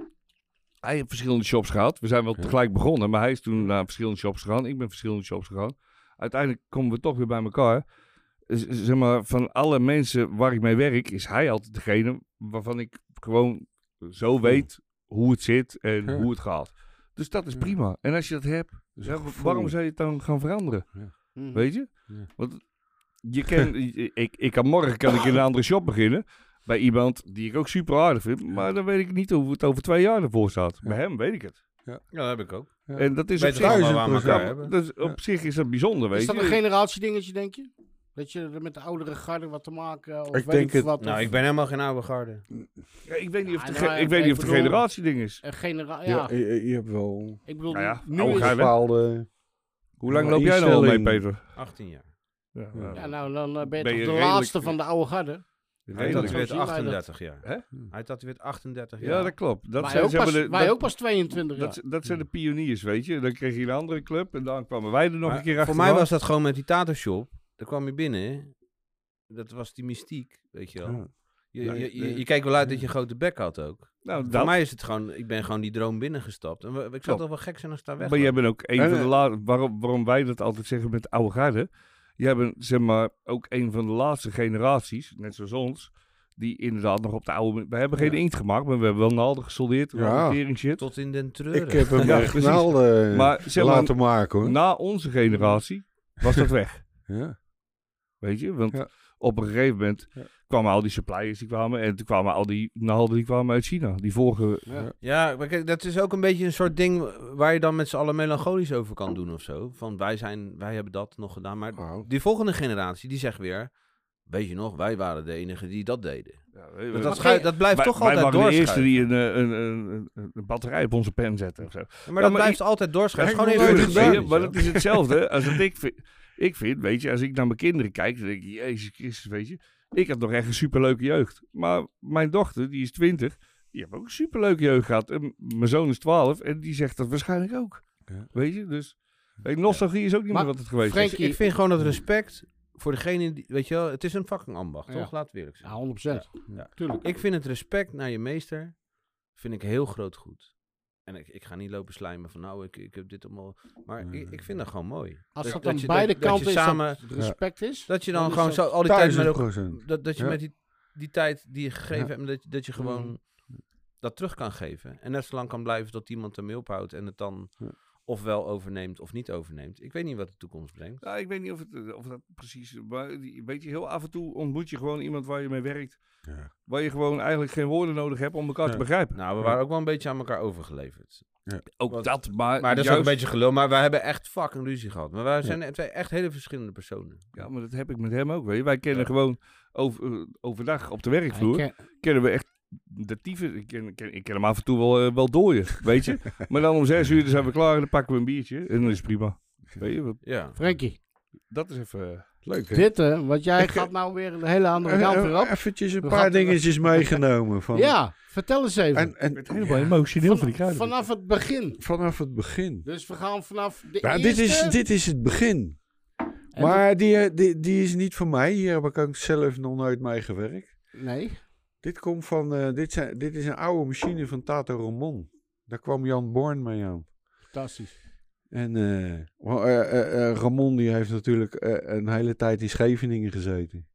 D: hij heeft verschillende shops gehad. We zijn wel tegelijk begonnen, maar hij is toen naar verschillende shops gegaan. Ik ben verschillende shops gegaan. Uiteindelijk komen we toch weer bij elkaar. Z- Zeg maar, van alle mensen waar ik mee werk, is hij altijd degene waarvan ik gewoon zo weet hoe het zit en
E: Ja.
D: hoe het gaat. Dus dat is prima. En als je dat hebt,
E: Dus
D: ja,
E: een
D: wa-
E: gevoel.
D: waarom zou je het dan gaan veranderen?
C: Mhm.
D: Weet je?
E: Ja.
D: Want je kan, ik, ik kan morgen kan ik in een andere shop beginnen. Bij iemand die ik ook super aardig vind. Maar dan weet ik niet hoe het over twee jaar ervoor staat. Bij hem weet ik het.
B: Ja, dat heb ik ook.
E: Ja.
D: En dat is op
B: Weet
D: zich...
B: het allemaal
E: duizend
B: waar we
E: procent.
B: elkaar
D: Ja,
B: hebben.
D: dat is- op zich is dat bijzonder, weet
C: Is dat
D: je.
C: een generatiedingetje, denk je? Dat je er met de oudere garde wat te maken of
E: Ik
C: weet
E: denk
C: ik veel
E: het.
C: wat.
B: Nou,
C: of
B: ik ben helemaal geen oude garde.
D: Ja, ik weet niet of
C: Ja,
D: de,
C: nou,
D: ge- ik weet
C: ik
D: niet of de
C: bedoel-
D: generatie ding is.
C: een genera- ja,
E: Ja, je, je hebt wel
C: ik bedoel,
D: Nou ja,
C: nu
D: oude
C: is
D: garde.
E: een bepaalde...
D: Hoe lang
E: Maar
D: loop jij nou al mee,
E: instelling-
D: Peter?
B: 18 jaar.
D: Ja,
C: Ja, nou, dan eh, ben je,
D: Ben je
C: toch de
D: redelijk-
C: laatste van de oude garde.
B: Hij
C: dat
B: dat
C: zo
B: weer
C: zien wij dat.
B: 38 jaar.
D: Hè?
B: Hij dat weer 38 jaar.
D: ja, dat klopt. Dat
C: wij
D: zijn,
C: ook
D: ze
C: pas,
D: hebben de-
C: wij
D: dat-
C: ook pas 22 jaar.
D: Dat, dat zijn de pioniers, weet je. Dan kreeg je een andere club en dan kwamen wij er nog
B: Maar
D: een keer achter.
B: Voor mij was dat gewoon met die Tato Shop. Daar kwam je binnen. Dat was die mystiek, weet je wel.
E: Ja.
B: Je,
E: Ja,
B: je,
E: ja.
B: je, je kijkt wel uit dat je een grote bek had ook.
D: Nou,
B: Voor
D: dat,
B: mij is het gewoon, ik ben gewoon die droom binnengestapt. En we- ik zou
D: Klopt.
B: toch wel gek zijn als ik daar weg
D: maar jij
B: was.
D: bent ook een
E: Nee,
D: van de
E: nee.
D: laatste... Waarom, waarom wij dat altijd zeggen met de oude garde... Jij bent, zeg maar, ook een van de laatste generaties, net zoals ons... Die inderdaad nog op de oude... We hebben geen inkt gemaakt, maar we hebben wel naalden gesoldeerd.
E: Ja.
D: Ja. shit.
B: Tot in den treuren.
E: Ik heb hem
D: Ja,
E: echt
D: precies.
E: naalden
D: Maar zeg maar, nou-
E: laten maken, hoor.
D: na onze generatie was dat weg.
E: Ja.
D: Weet je? Want
E: Ja.
D: op een gegeven moment
E: Ja.
D: kwamen al die suppliers die kwamen... En toen kwamen al die naalden die kwamen uit China. Die vorige...
B: Ja, maar kijk, dat is ook een beetje een soort ding waar je dan met z'n allen melancholisch over kan doen of zo. Van wij zijn, wij hebben dat nog gedaan. Maar
E: Wauw.
B: die volgende generatie, die zegt weer, weet je nog, wij waren de enigen die dat deden. Dat, dat,
C: Wat
B: schui-
C: ge-
B: dat blijft
D: eh, wij,
B: toch
D: wij
B: altijd
D: waren de eerste
B: doorschuiven.
D: die een, eh, een, een, een, een batterij op onze pen zetten. Of zo.
B: Ja, maar
D: Ja,
B: dat
D: maar
B: blijft altijd doorschuiven.
E: Henk
B: Gewoon
E: Mulder
B: even
E: heeft het
B: gedaan,
D: Weet je,
E: gedaan.
B: weet
D: maar
B: je
D: dat is hetzelfde als dat ik vind. Ik vind, weet je, als ik naar mijn kinderen kijk, dan denk ik, Jezus Christus, weet je. Ik had nog echt een superleuke jeugd. Maar mijn dochter, die is 20, die heeft ook een superleuke jeugd gehad. En mijn zoon is 12 en die zegt dat waarschijnlijk ook.
E: Ja.
D: Weet je, dus weet je, nostalgie is ook niet
C: Maar
D: meer wat het geweest
C: Frank-
D: is.
B: wel. Ik vind gewoon dat respect voor degene die, weet je wel, het is een fucking ambacht,
C: Ja.
B: toch? Laat het eerlijk zijn.
C: Ja, 100
B: Ja.
C: Tuurlijk.
B: Ik vind het respect naar je meester vind ik heel groot goed. En ik, ik ga niet lopen slijmen van nou, ik, ik heb dit allemaal. Maar ik, ik vind dat gewoon mooi.
C: Als
B: dat-
C: dat
B: dat
C: aan
B: je-
C: beide
B: dat- dat
C: kanten
B: je
C: is, dat
B: samen-
C: het respect is.
B: Dat je
C: Dan
B: dan
C: is
B: gewoon
C: dat
B: zo
E: Oh,
B: al die tijd met
E: Duizend
B: elkaar.
E: procent.
B: Dat, dat je
E: Ja.
B: met die, die tijd die je gegeven
E: Ja. Mm.
B: hebt, dat, je- dat je gewoon
C: Mhm.
B: dat terug kan geven. En net zo lang kan blijven tot iemand ermee ophoudt en het dan
E: Ja.
B: ofwel overneemt of niet overneemt. Ik weet niet wat de toekomst brengt.
D: Nou, ik weet niet of, het, eh, of dat precies... Maar die- weet je, heel af en toe ontmoet je gewoon iemand waar je mee werkt.
E: Ja.
D: Waar je gewoon eigenlijk geen woorden nodig hebt om elkaar
E: Ja.
D: te begrijpen.
B: Nou, we waren ook wel een beetje aan elkaar overgeleverd.
D: Ook
B: Wat-
D: dat,
E: Eh,
D: maar...
B: Maar dat is ook
D: juist-
B: een beetje gelul. Maar wij hebben echt fucking ruzie gehad. Maar wij zijn twee echt hele verschillende personen.
D: Ja, maar dat heb ik met hem ook. Weet je. Wij kennen gewoon over, eh, overdag op de werkvloer.
C: Ik, eh,
D: kennen we echt de tyfus. Ik ken, ik ken, ik ken hem af en toe wel, eh, wel dooien, weet je. maar dan om zes uur dan zijn we klaar en dan pakken we een biertje. En dan is het prima. Weet je, we-
B: Ja.
C: Frankie,
D: dat is even... eh,
E: Leuk, hè?
C: dit hè, want jij
E: Ik, eh,
C: gaat nou weer een hele andere
E: Eh,
C: kant
E: eh,
C: weer op.
E: eventjes een
C: We
E: paar
C: gaan-
E: dingetjes meegenomen. Van,
C: Ja, vertel eens even.
E: En, en
D: helemaal
E: ja,
D: emotioneel van die
C: Van-
D: kruiden.
C: vanaf het begin.
E: vanaf het begin.
C: Dus we gaan vanaf de
E: Ja,
C: eerste...
E: Nou, dit, is, dit is het begin.
C: en
E: Maar die, eh, die, die is niet van mij. Hier heb ik ook zelf nog nooit mee gewerkt.
C: de- Nee.
E: Dit, komt van, eh, dit, zijn, dit is een oude machine van Tato Ramon. Daar kwam Jan Born mee aan.
C: Fantastisch.
E: En eh, wel, eh, eh, eh, Ramon die heeft natuurlijk eh, een hele tijd in Scheveningen gezeten.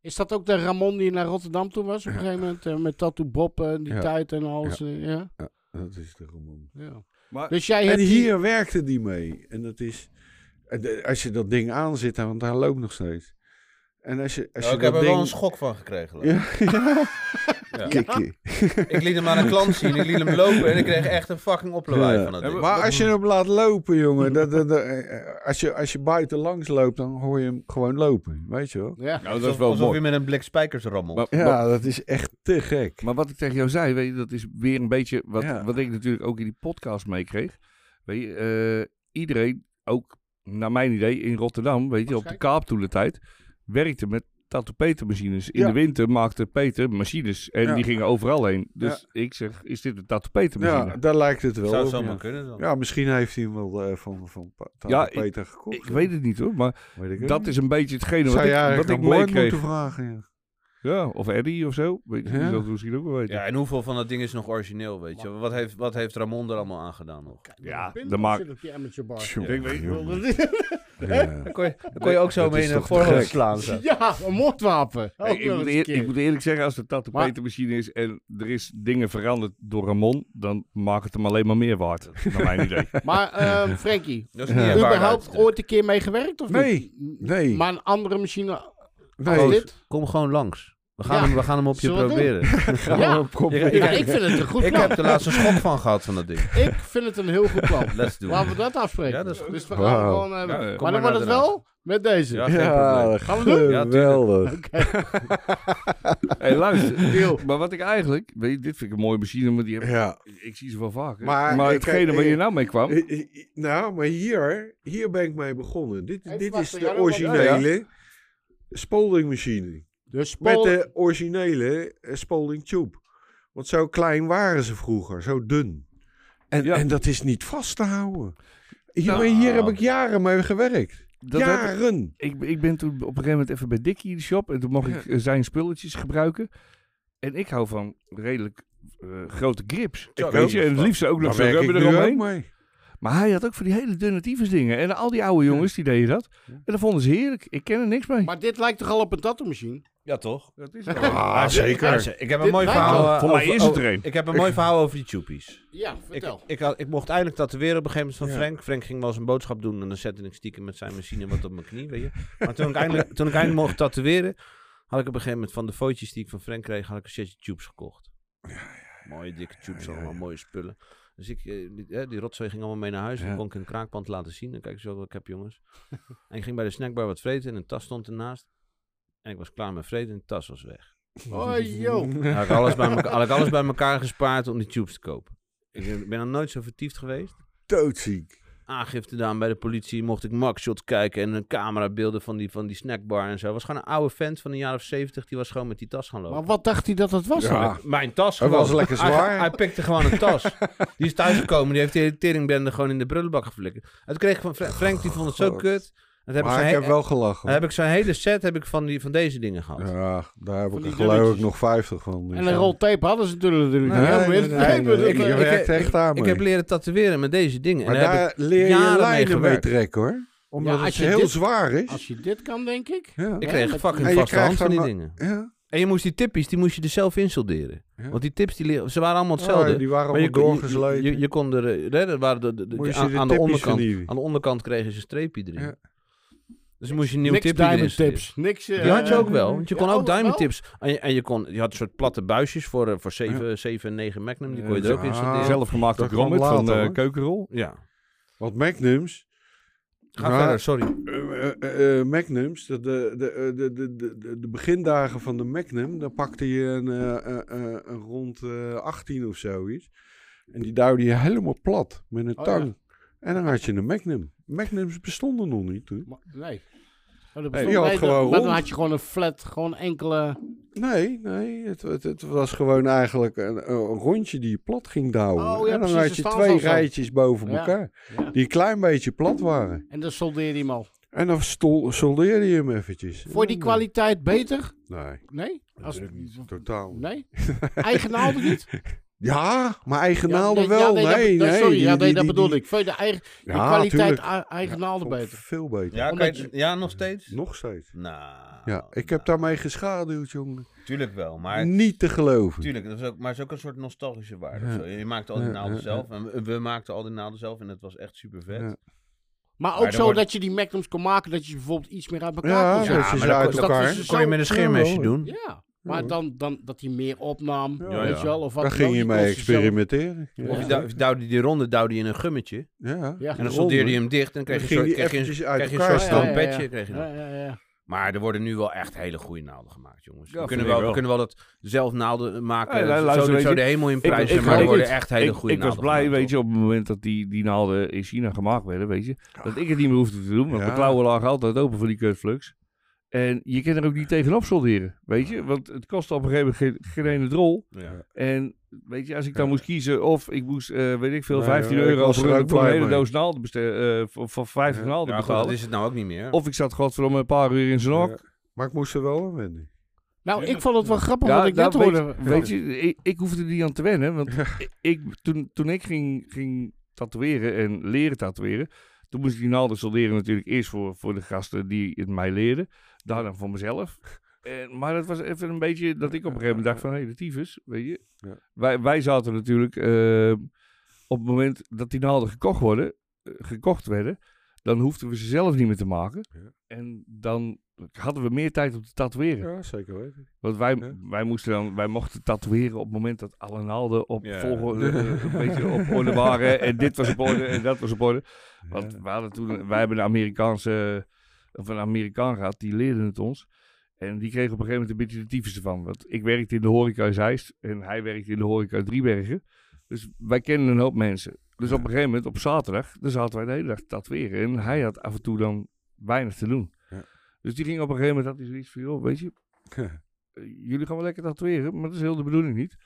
C: Is dat ook de Ramon die naar Rotterdam toe was op een gegeven moment? eh, met Tattoo Bob en die
E: Ja.
C: tijd en alles. eh, ja.
E: Dat is de Ramon.
C: Ja.
D: Maar-
C: Dus jij
E: En
C: hebt die-
E: hier werkte die mee. En dat is... eh, de- Als je dat ding aanzet, want hij loopt nog steeds. En als je, als je
B: Nou, ik heb
E: dat
B: er
E: ding...
B: wel een schok van gekregen.
E: Ja.
B: Ja.
E: Kikken.
B: Ik liet hem aan een klant zien, ik liet hem lopen en ik kreeg echt een fucking oplawaai
E: Ja.
B: van dat
D: Ja,
B: ding.
E: Maar als je hem laat lopen, jongen, dat, dat, dat- eh, als, je, als je buiten langs loopt, dan hoor je hem gewoon lopen, weet je wel.
C: Ja.
D: Nou,
B: alsof, alsof je met een blik spijkers rommelt.
D: Maar, maar,
E: Ja, dat is echt te gek.
D: maar wat ik tegen jou zei, weet je, dat is weer een beetje wat,
E: Ja.
D: wat ik natuurlijk ook in die podcast meekreeg. Weet je, eh, iedereen, ook naar mijn idee, in Rotterdam, weet je, op de Kaap toen de tijd, werkte met tatoepetermachines. In
E: Ja.
D: de winter maakte Peter machines en
E: Ja.
D: die gingen overal heen. Dus ik zeg, is dit een tatoepetermachine?
E: Ja, daar lijkt het wel
B: Zou
E: op,
B: het zomaar
E: ja.
B: kunnen dan?
E: Ja, misschien heeft hij hem wel eh, van, van Pa- Tata
D: Ja, ik-
E: Peter gekocht.
D: Ik weet het niet hoor, maar
E: Weet ik ook
D: dat
E: niet.
D: is een beetje hetgene wat
E: Zou je
D: ik, wat
E: eigenlijk
D: ik
E: aan Born
D: meekreeg.
E: moeten vragen, ja.
D: Ja, of Eddie of zo. Weet je,
E: Ja.
D: die zal het misschien ook wel weten.
B: Ja, en hoeveel van dat ding is nog origineel, weet je? Wat heeft, wat heeft Ramon er allemaal aan gedaan nog?
D: Ja,
C: Pindel
D: dat maakt-
C: zit op je amateur bar.
E: Tjonge,
D: Ik weet
E: jonge.
F: Dan
E: Ja.
F: kon je, dan kon je ook zo
E: Dat
F: mee
E: is
F: in een
E: toch te
F: voorhoofd
E: gek.
F: slaan. Zo.
C: Ja, een moordwapen. Ook
D: Hey, ik,
C: wel
D: moet
C: eens een
D: eer-
C: keer.
D: ik moet eerlijk zeggen, als de tatoeëermachine is en er is dingen veranderd door Ramon, dan maakt het hem alleen maar meer waard, naar mijn idee.
C: Maar ehm Frankie,
B: Dat is niet
E: Ja.
B: een waar
C: überhaupt
B: uitstek.
C: ooit een keer mee gewerkt of
E: Nee,
C: niet?
E: nee.
C: Maar een andere machine als
E: Nee,
C: dit?
B: Kom gewoon langs. We gaan,
C: Ja.
B: hem, we gaan hem op je
C: Zullen we het
B: proberen.
E: gaan
C: Ja.
E: we proberen.
C: Ja, ik vind het een goed
B: Ik
C: plan.
B: heb er laatst een schok van gehad van dat ding.
C: Ik vind het een heel goed plan.
B: Let's do
C: Laten
B: it.
C: we dat afspreken.
B: Ja, dat is goed.
C: Dus we
E: Wauw.
C: gaan gewoon... eh,
D: Ja, eh,
B: kom
C: maar dan
B: maar
C: wordt het
B: naar de
C: wel met deze.
B: Ja, geen
E: Ja,
B: probleem.
C: Gaan we doen?
B: Ja,
E: geweldig.
D: hey, luister, maar wat ik eigenlijk, weet je, dit vind ik een mooie machine, maar die heb,
E: Ja.
D: ik- ik zie ze wel vaker. Maar,
E: Maar ik-
D: hetgene waar
E: ik-
D: je nou mee kwam,
E: Eh, eh, eh, Nou, maar hier, hier ben ik mee begonnen. Dit,
C: Even
E: dit is
C: wachten,
E: de
C: ja, dat was-
E: originele spoldingmachine.
C: De
E: Met
C: spol...
E: de originele eh, Spalding Tube. Want zo klein waren ze vroeger, zo dun. En,
D: Ja.
E: en dat is niet vast te houden. Hier,
D: Nou.
E: hier heb ik jaren mee gewerkt.
D: dat heb ik-
E: jaren.
D: ik, ik ben toen op een gegeven moment even bij Dickie in de shop. En toen mocht ik eh, zijn spulletjes gebruiken. En ik hou van redelijk eh, grote grips.
E: Ik
D: weet
E: ook.
D: je, en het liefst ook nog
E: Daar
D: zo'n
E: werk ik
D: rubber
E: nu ook
D: eromheen.
E: mee.
D: Maar hij had ook van die hele dunne tyfus dingen. En al die oude jongens, die deden dat. En dat vonden ze heerlijk. Ik ken er niks mee.
C: Maar dit lijkt toch al op een tattoo machine?
B: Ja, toch?
D: dat is
E: Ah, zeker.
B: Ik heb een
C: Dit
B: mooi
C: lijkt
B: verhaal.
C: wel-
B: eh,
D: Voor mij
B: over-
D: is het
B: over-
D: er een.
B: Ik heb een mooi verhaal over die Chupies.
C: Ja,
B: Ik,
C: vertel.
B: ik, had, ik mocht eindelijk tatoeëren op een gegeven moment van
E: Ja.
B: Frank. Frank ging wel eens een boodschap doen en dan zette ik stiekem met zijn machine wat op mijn knie, weet je. Maar toen ik eindelijk, toen ik eindelijk mocht tatoeëren, had ik op een gegeven moment van de foto's die ik van Frank kreeg, had ik een setje tubes gekocht. Mooie dikke tubes, allemaal mooie spullen. Dus ik, eh, die, eh, die rotzooi ging allemaal mee naar huis.
D: Ja.
B: Dan kon ik een kraakpand laten zien. Dan kijk zo wat ik heb, jongens. en ik ging bij de snackbar wat vreten en een tas stond ernaast. En ik was klaar met vreten en de tas was weg.
C: Oh, joh.
B: Had ik, alles bij elkaar, had ik alles bij elkaar gespaard om die tubes te kopen. Ik ben nog nooit zo vertiefd geweest
E: Doodziek.
B: aangifte gedaan bij de politie. Mocht ik magshots kijken en een camerabeelden van die, van die snackbar en zo. Was gewoon een oude vent van een jaar of zeventig. Die was gewoon met die tas gaan lopen.
C: Maar wat dacht hij dat het was?
E: Ja.
C: dan?
B: Mijn tas
E: Ah. Hij
B: gewoon.
E: was lekker
B: Hij-
E: zwaar.
B: Hij, pikte gewoon een tas. die is thuisgekomen. Die heeft die hele teringbende gewoon in de brullenbak geflikkerd. En toen kreeg ik van Fra- Frank, die vond het zo
E: God.
B: kut. En toen heb ik,
E: Maar
B: zijn
E: ik
B: he-
E: heb wel
B: en
E: gelachen.
B: heb ik zijn hele set heb ik van, die, van deze dingen gehad.
E: Ja, daar heb
C: Van
E: ik
C: die
E: er geloof ik
C: dunnetjes.
E: nog 50 van. dus.
C: En een rol tape hadden ze natuurlijk niet.
E: Nee,
C: Heel
E: nee,
C: min.
E: nee,
C: Nee,
E: nee,
C: maar
E: Ik
C: dat-
B: ik-
E: werkte echt aan
B: Ik heb leren tatoeëren met deze dingen.
E: Maar
B: en daar
E: daar
B: heb ik,
E: leer je
B: jaren mee
E: lijnen mee
B: gewerkt.
E: trekken hoor. Omdat
C: Ja,
E: het
C: als je
E: heel
C: dit-
E: zwaar is.
C: Als je dit kan, denk ik.
E: Ja.
B: ik
C: Ja,
B: kreeg
C: dat-
B: fucking
E: En je
B: vaste hand
E: krijgt
B: van die
E: dan-
B: dingen.
E: Ja.
B: En je moest die tippies, die moest je er zelf in solderen.
E: Ja.
B: Want die tips, die, li- ze waren allemaal
E: Oh,
B: hetzelfde.
E: die waren
B: maar je,
E: allemaal
B: kon- je,
E: doorgesleten.
B: je, je kon er, eh, hè, dat waren de, de- de-
E: Moest je
B: aan,
E: de
B: aan de
E: tippies
B: onderkant,
E: vernieuwen.
B: aan de onderkant kregen ze een streepje erin.
E: Ja.
B: Dus dan moest je een nieuw
C: Niks
B: tipje erin
C: diamond
B: steken.
C: tips. Niks...
B: Die
C: eh,
B: had je ook wel, want je
C: ja,
B: kon
C: oh,
B: ook diamond
C: wel?
B: tips. En je, en je, kon, je had een soort platte buisjes voor, eh, voor 7, 7 en 9 Magnum, die
D: Ja,
B: kon je er ook in
E: ah.
B: solderen.
E: Zelf-
D: Zelfgemaakte
E: Dat kwam
D: grommet van
E: later,
D: eh,
E: hoor.
D: keukenrol.
B: Ja.
E: Want Magnums.
B: Ga
E: Ja.
B: verder, sorry.
E: eh, eh, eh, Magnums, de, de, de, eh, de, de, de, de- de begindagen van de Magnum, dan pakte je een, eh, eh, eh, een rond eh, 18 of zoiets. En die duwde je helemaal plat met een
C: Oh,
E: tang. En dan had je een Magnum. Magnums bestonden nog niet toen.
C: Maar- Nee. Oh, dat
E: je
C: bestond-
E: had
C: nee,
E: gewoon
C: dat- Maar dan
E: rond.
C: had je gewoon een flat, gewoon enkele...
E: Nee, nee. Het, het, het was gewoon eigenlijk een, een rondje die je plat ging douwen.
C: Oh, ja,
E: en dan
C: precies,
E: had je
C: een
E: twee
C: staalzaal.
E: rijtjes boven
C: Ja,
E: elkaar.
C: ja.
E: Die een klein beetje plat waren.
C: En dan soldeerde hij hem al.
E: En dan stol, soldeerde je hem eventjes.
C: Voor die kwaliteit beter?
E: Nee,
C: Nee? Als,
E: natuurlijk niet. Totaal niet.
C: nee? Eigen naalden niet?
E: Ja, maar eigen naalden
C: ja,
E: wel.
C: nee, dat
E: nee,
C: be- dat-
E: nee.
C: Sorry, ja,
E: die-
C: nee,
E: die-
C: dat
E: die-
C: bedoel ik. Vond je de eigen, de
E: Ja,
C: kwaliteit
E: tuurlijk.
C: a- eigen naalden
E: Vond ik
C: beter?
E: Veel beter.
B: Ja,
C: Omdat
B: kan je- ja, nog steeds?
E: Nog steeds.
B: Nou,
E: Ja, ik heb daarmee geschaduwd, jongen.
B: Tuurlijk wel, maar...
E: Niet te geloven.
B: Tuurlijk, dat is ook, maar het is ook een soort nostalgische waarde. of
E: Ja.
B: zo. Je maakte al die
E: Ja,
B: naalden
E: ja,
B: zelf. En we- we maakten al die naalden zelf en het was echt super vet.
E: Ja.
C: Maar
B: Maar
C: ook
B: dan
C: zo
B: wordt-
C: dat je die magnums kon maken, dat je ze bijvoorbeeld iets meer uit elkaar
E: Ja,
C: kon
E: dat
C: zetten.
E: je
B: maar
E: ze
B: dat-
E: uit
B: dat
E: elkaar.
C: is-
B: Kon je met een scheermesje
E: Ja,
B: doen?
C: Ja, maar dan, dan dat hij meer opnam,
E: Ja,
C: weet
B: ja.
C: je wel. Of wat
E: Daar
C: dan
E: ging
C: ook.
E: je
C: kon
E: mee
C: ze zelf-
E: experimenteren.
B: Of je
E: Ja.
B: dou- of je duwde die ronde duwde je in een gummetje.
E: Ja.
C: Ja.
B: En dan soldeerde je hem dicht en dan kreeg je een
E: Dan
B: soort,
E: ging die
B: kreeg je een,
E: eventjes uit
B: kreeg je een
E: elkaar
B: soort
E: staan.
B: stampetje. Kreeg je dan.
C: Ja, ja, ja, ja.
B: Maar er worden nu wel echt hele goede naalden gemaakt, jongens.
D: Ja,
B: we, kunnen
D: vind ik
B: wel, we
D: wel.
B: kunnen wel dat zelf naalden maken.
D: Hey, lu-
B: zo-
D: luister,
B: zo,
D: weet
B: zo
D: je,
B: de hemel in
D: ik-
B: prijzen,
D: ik-
B: maar er
D: ik-
B: worden echt hele
D: ik,
B: goede
D: ik was
B: naalden
D: blij,
B: gemaakt,
D: weet je, op het moment dat die, die naalden in China gemaakt werden, weet je, dat ik het niet meer hoefde te doen, want
E: Ja.
D: mijn klauwen lagen altijd open voor die kutflux. En je kan er ook niet tegenop solderen, weet je, want het kost op een gegeven moment geen, geen ene drol.
B: toch? Ja.
D: En weet je, als ik dan moest kiezen of ik moest, eh, weet ik veel,
E: Nee,
D: 15
E: ik
D: euro
E: was er
D: voor, een-
E: ook
D: voor een
E: blij
D: hele
E: mee.
D: doos naalden bestellen, voor, voor 50
E: Ja.
D: naalden
B: Ja, goed, dat
D: betalen.
B: is het nou ook niet meer.
D: Of ik zat godverdomme een paar uur in zijn hok.
E: Maar ik moest er wel aan wennen.
C: Nou, ik vond het wel grappig wat ik
D: nou,
C: net hoorde.
D: Weet, weet je, ik, ik hoefde er niet aan te wennen. Want ik, toen, toen ik ging, ging tatoeëren en leren tatoeëren. Toen moest ik die naalden solderen natuurlijk eerst voor, voor de gasten die het mij leerden. Daarna voor mezelf. En, maar dat was even een beetje dat ik op een gegeven moment dacht van... Hé, hey, de tyfus, weet je.
E: Ja.
D: Wij, wij zaten natuurlijk... eh, op het moment dat die naalden gekocht, worden, eh, gekocht werden... Dan hoefden we ze zelf niet meer te maken.
E: Ja.
D: En dan hadden we meer tijd om te tatoeëren.
E: Ja, zeker weten.
D: Want wij,
E: Ja.
D: wij, moesten dan, wij mochten tatoeëren op het moment dat alle naalden op
F: Ja.
D: volgorde eh, een beetje op orde waren. En dit was op orde en dat was op orde. Want we hadden toen, wij hebben een Amerikaanse, of een Amerikaan gehad, die leerde het ons. En die kreeg op een gegeven moment een beetje de tyfus ervan. Want ik werkte in de horeca in Zeist en hij werkte in de horeca in Driebergen. Dus wij kennen een hoop mensen. Dus op een gegeven moment, op zaterdag, dan zaten wij de hele dag te tatoeëren. En hij had af en toe dan weinig te doen.
E: Ja.
D: Dus die ging op een gegeven moment, had hij zoiets van, joh, weet je, eh, jullie gaan wel lekker tatoeëren, maar dat is heel de bedoeling niet.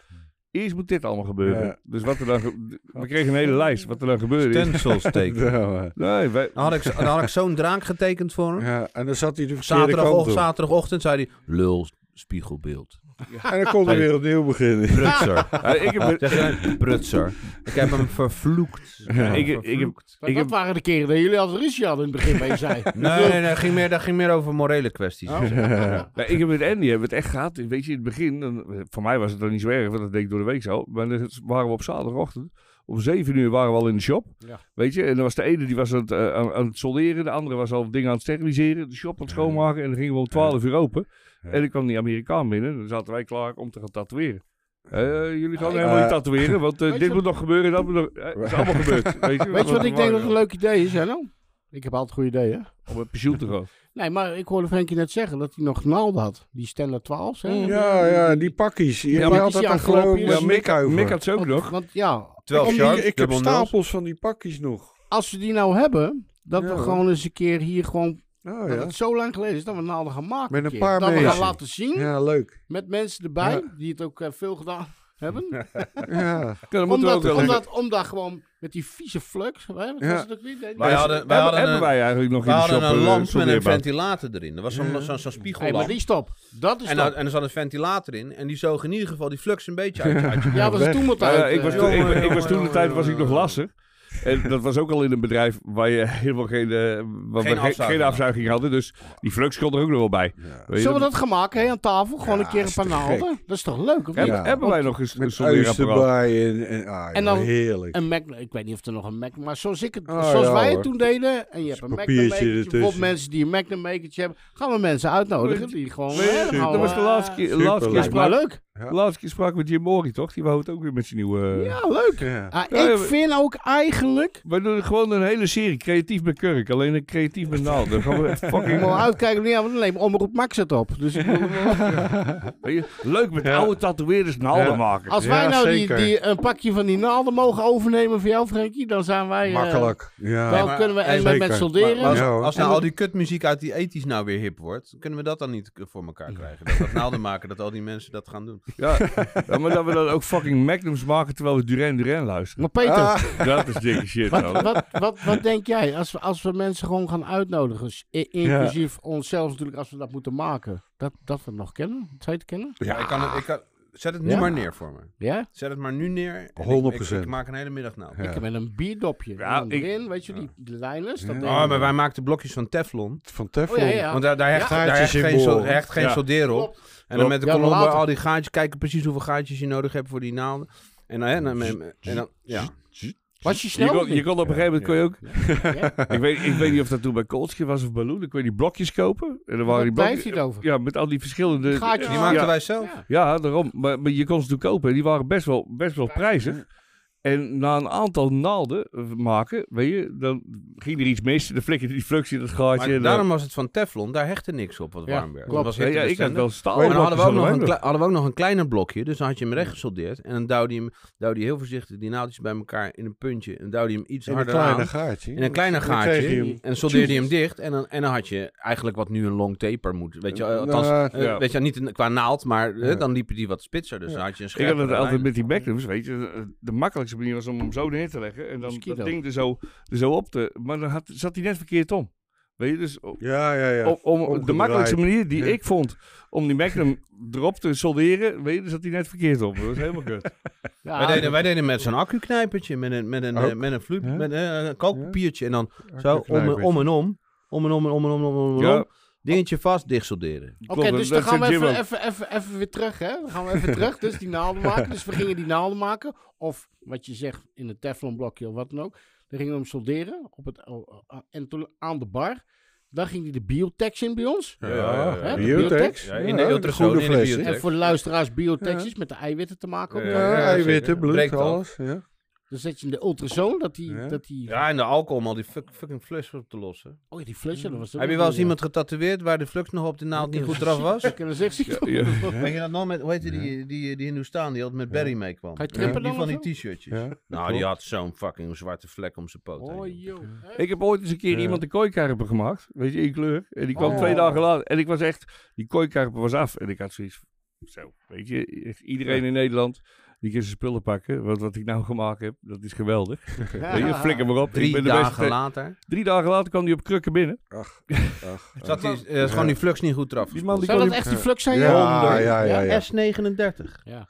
D: Eerst moet dit allemaal gebeuren.
E: Ja.
D: Dus wat er dan... ge- We kregen een hele lijst wat er dan gebeurde is.
B: Stencils tekenen.
E: Ja, maar-
D: Nee, wij,
B: Dan had ik, dan had ik zo'n draak getekend voor hem.
E: ja, en dan zat hij de verkeerde kant
B: Zaterdagochtend,
E: op.
B: zaterdagochtend zei hij, lul, spiegelbeeld.
E: En dan kon hij weer opnieuw beginnen.
B: Prutser.
D: Ja, ik heb,
B: Zeg je dan, prutser. Ik heb hem vervloekt.
D: Ja, ik heb- ik heb-
C: Maar
D: ik
C: dat
D: heb-
C: waren de keren dat jullie al ruzie hadden in het begin, waar je zei. Oh.
B: Nee, nee, nee, ging meer, dat ging meer over morele kwesties.
D: Ja, ik heb met Andy hebben we het echt gehad. Weet je, in het begin, dan, voor mij was het dan niet zo erg, want dat deed ik door de week zo. Maar dan waren we op zaterdagochtend. Om zeven uur waren we al in de shop.
C: Ja.
D: Weet je, en dan was de ene die was aan het, eh, aan, aan het solderen. De andere was al dingen aan het steriliseren. De shop aan het schoonmaken. En dan gingen we om twaalf uur open.
E: Ja.
D: En dan kwam die Amerikaan binnen. En dan zaten wij klaar om te gaan tatoeëren. Eh, jullie gaan
C: Ah,
D: helemaal
E: eh,
D: niet tatoeëren, want eh,
C: Weet je
D: dit
C: wat-
D: moet nog gebeuren. Dat moet nog, eh, het is allemaal gebeurd. Weet je,
C: Weet je wat ik denk dat een
D: leuk
C: leuk idee is, Hello? Ik heb altijd goede ideeën.
D: Om een pensioen te gaan.
C: Nee, maar ik hoorde Frenkie net zeggen dat hij nog naalden had. Die Stella 12, hè?
E: Ja, ja, die pakkies. Je
C: Ja,
E: had
C: maar
E: altijd
C: die
E: dan
C: afgelopen
E: gewoon
C: is-
E: met
C: Ja,
E: Mick over.
D: Mick had ze ook
C: want,
D: nog.
C: Want ja,
B: Terwijl
E: ik,
B: Sharp,
E: ik heb
B: dubbel nul.
E: stapels van die pakkies nog. Oh,
C: als we die nou hebben, dat
E: Ja,
C: we
E: hoor.
C: gewoon eens een keer hier gewoon...
E: Oh
C: dat
E: ja.
C: het zo lang geleden is dat we naalden gaan maken.
E: Met een
C: keer.
E: paar
C: Dat we gaan
E: mensen.
C: laten zien,
E: Ja, leuk.
C: met mensen erbij, die het ook eh, veel gedaan hebben.
E: Ja.
D: Ja, dan moeten we
C: Omdat,
D: ook wel
C: omdat, omdat gewoon met die vieze flux. Hè, dat
E: Ja.
C: was het ook niet. Nee,
B: Wij
C: nee.
B: hadden, wij
D: Hebben,
B: hadden
D: hebben
B: een,
D: wij eigenlijk nog
B: wij
D: in de shop
B: hadden een
D: eh,
B: lamp met een
D: soldeerbaar?
B: ventilator erin. Er was zo'n zo'n zo'n
C: Hey, maar
B: spiegellamp.
C: die stop. Dat is
B: En,
C: stop.
B: dan- en er zat een ventilator in. En die zoog in ieder geval die flux een beetje uit. uit je-
C: ja, dat is toen wat
D: Ja,
C: uit.
D: ja, ik
C: eh,
D: was, toen- ik,
B: jongen,
D: ik was
B: jongen,
D: toen de
B: jongen,
D: tijd was ik nog
B: jongen.
D: lastig. En dat was ook al in een bedrijf waar je helemaal geen, eh, waar
B: Geen
D: we geen,
B: afzuiging
D: geen afzuiging hadden. Dus die flux kon er ook nog wel bij. Weet je,
C: Zullen we
D: dat-
C: dat gaan maken, hè, aan tafel? Gewoon een keer een paar naalden. Dat is toch leuk, of niet?
D: hebben,
E: Ja.
D: hebben wij nog eens een
E: Met uis
D: soldeerapparaat?
E: erbij. En, en, ah,
C: En
E: joh,
C: dan-
E: heerlijk.
C: Een Mac, ik weet niet of er nog een Mac, maar zoals, ik het,
E: Ah,
C: zoals
E: ja,
C: wij het
E: hoor.
C: toen deden, en je hebt
E: een
C: een Mac
E: papiertje
C: makertje, bijvoorbeeld
E: ertussen.
C: mensen die een Mac makertje hebben, gaan we mensen uitnodigen die gewoon...
D: Weet je,
C: hè, gewoon,
D: Dat was de
C: eh,
D: laatste keer,
E: Superleuk.
D: laatste keer,
C: Lijkt mij
D: sprak,
C: leuk.
E: Ja.
D: laatste keer sprak ik met Jim Mori, toch? Die wou het ook weer met zijn nieuwe... eh,
C: Ja, leuk.
E: Ja.
C: Ah,
D: Ja, ja,
C: ik
D: we-
C: vind ook eigenlijk,
D: We doen gewoon een hele serie, creatief met Kurk. Alleen een creatief met Naald. Dan gaan we
C: ik
D: fucking...
C: wil uitkijken, ja, want dan neemt Omroep Max het op. Dus ik bedoel,
D: Weet je, leuk met oude tatoeëerders naalden
E: Ja.
D: maken.
C: als wij
E: Ja,
C: nou die,
E: zeker.
C: die, een pakje van die naalden mogen overnemen voor jou, Frenkie, dan zijn wij... eh,
E: Makkelijk. Ja.
C: Dan
B: maar-
C: kunnen we
B: Hey,
C: en met,
E: zeker.
C: met
B: Maar-
C: solderen.
B: maar als,
E: Ja, hoor.
B: als nou
C: En
B: al
C: we-
B: die kutmuziek uit die ethisch nou weer hip wordt, kunnen we dat dan niet voor elkaar krijgen? Dat, dat naalden maken, dat al die mensen dat gaan doen.
D: Ja, ja, maar dat we dan ook fucking magnums maken terwijl we Duran Duran luisteren.
C: Maar Peter,
E: Ah,
D: Dat is dikke shit, man.
C: Wat, wat, wat, wat denk jij als we, als we mensen gewoon gaan uitnodigen? s- i- Inclusief onszelf natuurlijk, als we dat moeten maken. Dat, dat we het nog kennen? Zou je het kennen?
B: Ja. ik kan het, ik kan, zet het nu
C: Ja.
B: maar neer voor me.
C: Ja?
B: Zet het maar nu neer. en ik- Ik,
E: 100%.
B: ik maak een hele middag nou.
E: Ja.
C: Ik Met een bierdopje.
D: Ja,
C: Ja,
D: ik- Ah,
C: erin, weet je, die, die lijners. Dat
E: Ja.
C: ding.
B: Oh, maar wij maakten blokjes van Teflon.
E: Van Teflon.
C: Oh, ja, ja.
B: Want daar, daar, hecht,
E: Ja.
B: daar hecht geen,
E: Gaatjesymbool.
B: sol- hecht geen
D: Ja.
B: soldeer op.
C: Klopt.
B: En dan met de
C: Ja, maar
B: kolom bij
C: later.
B: al die gaatjes kijken precies hoeveel gaatjes je nodig hebt voor die naalden. En dan, en dan, en dan, en dan- ja.
C: Was je
D: Je
C: snel? of
D: kon, je
C: niet?
D: kon op een gegeven moment kon je ook.
C: Ja.
D: Ik, weet, ik weet niet of dat toen bij Koltje was of Balloon. Ik weet die blokjes kopen. En dan waren die
C: Waar heeft
D: blokjes.
C: hij het over?
D: Ja, met al die verschillende.
C: Gaatjes.
B: Die
C: Ja.
B: maakten
D: ja,
B: wij zelf.
D: ja, daarom. Maar, maar je kon ze toen kopen. En die waren best wel, best wel prijzig. En na een aantal naalden eh, maken, weet je, dan ging er iets mis. Dan flikkerde die flux in het gaatje.
B: Maar
D: en dan-
B: daarom was het van Teflon, daar hechtte niks op wat
C: Ja,
B: warm werd.
C: klopt.
B: Dat was
D: Ja, ja, ik had
B: hittebestendig.
D: wel staal.
B: Maar dan hadden we, ook
D: blokjes
B: nog een
D: hadden wij
B: klei- hadden we ook nog een kleiner blokje, dus dan had je hem recht gesoldeerd. En dan duwde je hem, duwde je heel voorzichtig die naaldjes bij elkaar in een puntje. En duwde je hem iets
E: In een
B: harder
E: kleine
B: aan.
E: gaatje.
B: In een kleine
E: En dan kreeg
B: gaatje.
E: je hem.
B: En soldeerde je hem dicht. En dan, en dan had je eigenlijk wat nu een long taper moet. Weet je, eh,
E: Nou,
B: althans, eh,
D: ja.
B: weet je niet een- qua naald, maar eh,
E: Ja.
B: dan liepen die wat spitser. Dus dan had je een
D: Ik had het
B: scherpere
D: altijd
B: lijn.
D: met die
E: eh,
D: magnums, weet je. Eh, De makkelijkste manier was om hem zo neer te leggen. En dan
C: Mosquito.
D: dat ding er zo, er zo op te... Maar dan had, zat hij net verkeerd om. Weet je, dus o-
E: Ja, ja, ja.
D: om, om de
E: Omgedraaid.
D: makkelijkste manier die
E: Ja.
D: ik vond om die Magnum erop te solderen, weet je, dus dat hij net verkeerd op. Dat was helemaal kut.
C: Ja,
B: Wij deden, wij deden met zo'n accuknijpertje, met een, met een, eh,
E: Ook?
B: met een, vloe-
E: Ja?
B: met een, eh, kalkpapiertje. En dan zo om, en-
E: Accuknijpertje.
B: om en om, om en om en om en om, en om, en
D: Ja,
B: om. dingetje vast, dicht solderen.
C: Oké,
D: klopt,
C: dus
D: dat
C: dan gaan we
D: zei Jim
C: even,
D: ook.
C: even, even, even weer terug, hè? Dan gaan we even terug. Dus die naalden maken. Dus we gingen die naalden maken. Of wat je zegt in een teflonblokje of wat dan ook. Dan gingen we hem solderen op het, o- o- a- en toen aan de bar. Dan ging hij de biotex in bij ons.
E: Ja,
F: ja,
C: Hè, de
E: Biotex?
C: biotex.
F: Ja, in de
E: Ja,
F: ultrasoon,
E: goede
F: in de
E: fles, hè?
F: biotech.
C: En voor de luisteraars, biotex
E: Ja.
C: is met de eiwitten te maken.
F: Ja,
E: Ja,
C: ook.
F: ja,
E: eiwitten,
F: zeker.
E: bloed,
F: Breekt af.
E: alles. Ja.
C: Dan zet je in de ultrasoon dat die...
E: Ja.
C: Dat die
B: Ja, en de alcohol om al die fuck- fucking flux op te lossen.
C: Oh ja, die flusje, dat was ook
B: Heb
C: nog
B: je wel eens
C: een,
B: iemand getatoeëerd waar de flux nog op de naald niet
C: Ja.
B: goed eraf was?
C: eh, Ik kan er zeggen, zie ik
D: ja.
C: toch?
B: Weet je dat nog met, hoe heette die, die, die Hindoestaan die altijd met Barry meekwam?
C: Ga je
B: Die,
C: trippen dan
B: van die
C: of zo?
B: t-shirtjes.
E: Ja.
B: Nou, die had zo'n fucking zwarte vlek om zijn poot
C: Oh,
B: heen.
C: joh.
D: Ik heb ooit eens een keer
E: Ja.
D: iemand een kooikarper gemaakt. Weet je, in kleur. En die kwam
C: Oh.
D: twee dagen later. En ik was echt... Die kooikarper was af. En ik had zoiets... Zo, weet je. echt Iedereen in Nederland... Die kan zijn spullen pakken. Want wat ik nou gemaakt heb, dat is geweldig. Weet je, flikker maar op. ik
B: Drie
D: ben de
B: dagen
D: beste.
B: later.
D: Drie dagen later kwam die op krukken binnen.
E: Ach, ach.
B: Zat die, eh, is gewoon die flux niet goed eraf.
D: Die man die
C: Zou
D: kon
C: dat
D: die-
C: echt die flux
E: Ja,
C: zijn, joh?
E: ja, ja, ja. ja.
B: S39.
E: Ja.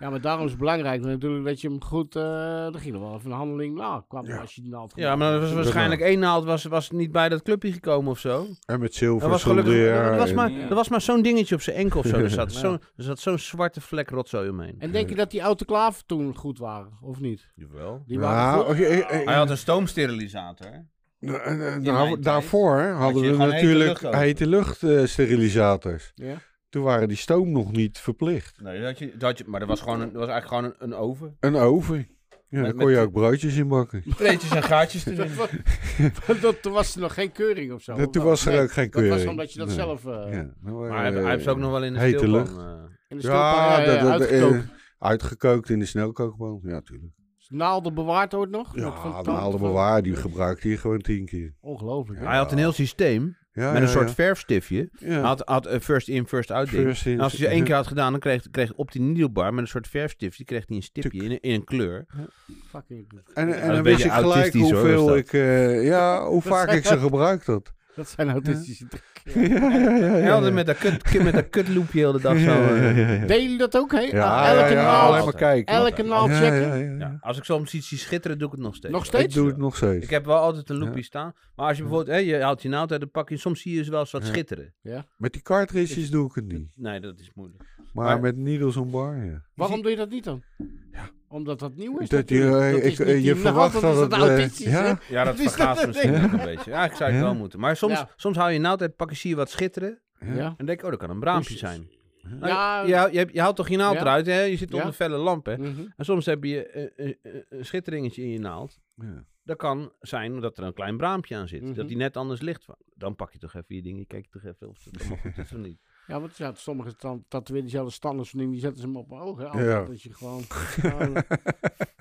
C: Ja, maar daarom is het belangrijk natuurlijk dat je hem goed... eh dan ging er wel even een handeling na. Kwam
E: Ja.
C: als je die naald
B: Ja, maar er was waarschijnlijk één naald was, was niet bij dat clubje gekomen of zo.
E: En met
B: Er
E: zilver
B: was gelukkig er
E: solderen
B: was
E: en-
B: maar, er was maar zo'n dingetje op zijn enkel of zo. Er zat zo'n er zat zo'n zwarte vlek rotzooi omheen.
C: En denk je dat die autoclaven toen goed waren, of niet?
B: Jawel.
C: Die
E: Ja,
C: waren goed.
E: oké, eh, eh,
B: Hij had een stoomsterilisator. hè?
E: nou, eh,
B: in
E: nou,
B: mijn
E: daarvoor hadden
B: je
E: we
B: gewoon hete
E: natuurlijk
B: lucht over.
E: hete luchtsterilisators.
C: Ja.
E: Toen waren die stoom nog niet verplicht.
B: Nee, dat had je, dat had je, maar dat was, gewoon een, dat was eigenlijk gewoon een, een oven.
E: Een oven. Ja, daar
B: met-
E: kon je ook broodjes in bakken.
B: Treetjes en gaatjes erin.
C: Want dat, toen was er nog geen keuring of zo.
E: Dat-
C: of
E: toen
C: wel?
E: was er
C: Nee,
E: ook geen
C: Dat
E: keuring.
C: was omdat je dat
E: Nee.
C: zelf eh,
E: Ja, dan waren,
B: Maar hij, hij heeft ze ook nog wel in de
E: Hete
B: stilpan.
E: lucht.
B: eh.
C: in de
E: Ja,
C: stilpaar
E: dat- dat-
C: uitgekookt.
E: eh, uitgekookt in de snelkookpan. Ja, tuurlijk.
C: Naalden bewaard ooit nog? Met van
E: Ja,
C: tand-
E: de oude
C: van-
E: bewaar, die gebruikte je gewoon tien keer.
C: Ongelooflijk. hè?
B: Hij had een heel systeem
E: Ja,
B: met een
E: ja,
B: soort
E: ja.
B: verfstiftje.
E: Ja.
B: Hij had, had eh, first in, first out ding.
E: First in-
B: En Nou, als hij ze één keer had gedaan, dan kreeg, kreeg op die nieuwbar met een soort verfstiftje, kreeg hij een stipje in, een- in een kleur.
C: Fucking,
E: En, en
B: een
E: dan wist
B: beetje
E: ik gelijk
B: autistisch, hoor, was
E: hoeveel
B: dat.
E: ik, eh, ja, hoe
C: Dat
E: vaak
C: zei
E: ik
C: hij
E: ze gebruikt had.
C: dat zijn autistische trekken.
E: Ja, ja, ja. ja,
B: Hij
E: ja.
B: had het met dat, kut, kut- met dat kutloepje heel de dag zo.
E: Ja,
B: eh.
E: ja, ja, ja.
C: Deden jullie dat ook, hè?
E: Ja,
C: nou elke
E: ja, ja,
C: naald,
E: alleen maar kijken.
C: elke naald
E: Ja,
C: checken.
E: ja, ja, ja.
B: Ja, als ik soms iets zie schitteren, doe ik het nog steeds.
C: Nog
E: Ik
C: steeds?
E: doe het nog steeds.
B: Ik heb wel altijd een loopje
E: Ja.
B: staan. Maar als je bijvoorbeeld, hè, je haalt je naald uit de pak en soms zie je ze wel eens wat schitteren.
E: Met die cartridges doe ik het niet.
B: Nee, dat is moeilijk.
E: Maar,
B: Maar-
E: met needles on bar, ja.
C: Waarom doe je dat niet dan? Omdat dat nieuw is.
E: Dus Dat je,
C: natuurlijk.
E: eh,
C: Dat is
E: ik-
C: niet
E: eh,
C: die
E: je
C: naald,
E: verwacht
C: is
E: dat
C: dat
E: het, eh,
C: autistisch,
E: ja.
C: hè?
B: Ja, dat
C: Dus dat-
B: vergaat
C: dat
B: misschien
E: denk
B: ook een beetje. Ja, ik zou het
E: Ja.
B: wel moeten. Maar soms,
C: Ja.
B: soms haal je naald uit het pak en zie je wat schitteren.
C: Ja.
B: En denk ik, oh, dat kan een braampje zijn. Nou,
C: Ja.
B: je, je, je haalt toch je naald
C: Ja.
B: eruit, hè? Je zit onder
C: Ja.
B: felle lampen.
C: Mhm.
B: En soms heb je eh, eh, eh, een schitteringetje in je naald.
E: Ja.
B: Dat kan zijn dat er een klein braampje aan zit.
C: Mhm.
B: Dat die net anders ligt. Dan pak je toch even je dingen. Kijk toch even of het allemaal goed is of niet.
C: Ja, want ja, sommige tand- tatoeëren die zelfs standaard zo'n ding, die zetten ze hem op mijn ogen. hè.
E: Ja.
C: Dat je gewoon...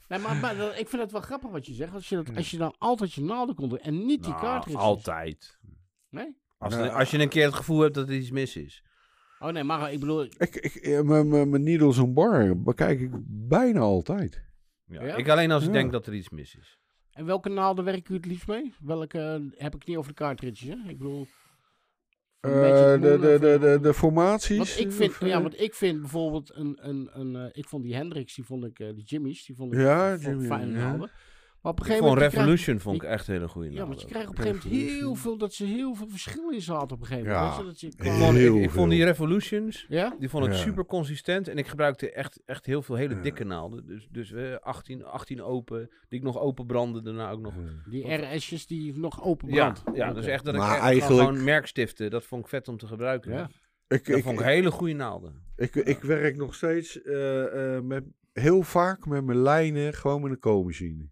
C: nee, maar, maar dat- ik vind het wel grappig wat je zegt. Als je, dat, als je dan altijd je naalden kon doen en niet die
B: Nou,
C: kaart
B: Altijd.
C: Nee?
B: Als,
E: Nou,
B: als je een keer het gevoel hebt dat er iets mis is.
C: Oh nee, maar ik bedoel...
E: Ik, ik, eh, mijn- mijn mijn needles on bar bekijk ik bijna altijd.
B: Ja.
C: Ja?
B: Ik alleen als ik
E: Ja.
B: denk dat er iets mis is.
C: En welke naalden werk je het liefst mee? Welke eh, heb ik het niet over de kaartritjes, hè? Ik bedoel... van
E: Eh,
C: Magic
E: de,
C: Moon
E: de,
C: of,
E: de,
C: eh,
E: de, de formaties.
C: Want ik
E: of,
C: vind,
E: eh,
C: ja, want ik vind bijvoorbeeld een, een, een eh, ik vond die Hendrix, die vond ik, eh, die Jimmy's, die vond ik
E: Ja,
C: vond ik
E: Jimmy,
C: fijn
E: ja.
C: naalden. Maar op een
B: Ik
C: gegeven
B: vond
C: moment. je krijgt-
B: Revolution vond ik echt een hele goede
C: ja, want
B: naald
C: je
B: ook.
C: krijgt op een gegeven moment heel veel dat ze heel veel verschil in ze hadden op een gegeven moment.
E: Ja.
C: weet je, dat je
E: Heel
B: Ik vond- ik, ik
E: veel.
B: vond die Revolutions,
C: ja?
B: die vond ik
E: Ja.
B: super consistent. En ik gebruikte echt, echt heel veel hele dikke naalden. Dus, dus eh, 18, 18 open, die ik nog open brandde daarna ook nog.
C: Die RS'jes die nog open
B: Ja,
C: brand.
B: ja, dus echt dat ik
E: Maar
B: echt gewoon-
E: eigenlijk-
B: gewoon merkstiften, dat vond ik vet om te gebruiken.
C: Ja.
E: Ik,
B: Dat
E: ik,
B: vond ik hele goede naalden.
E: ik, ik werk nog steeds eh, eh, met, heel vaak met mijn lijnen gewoon met een koolmachine.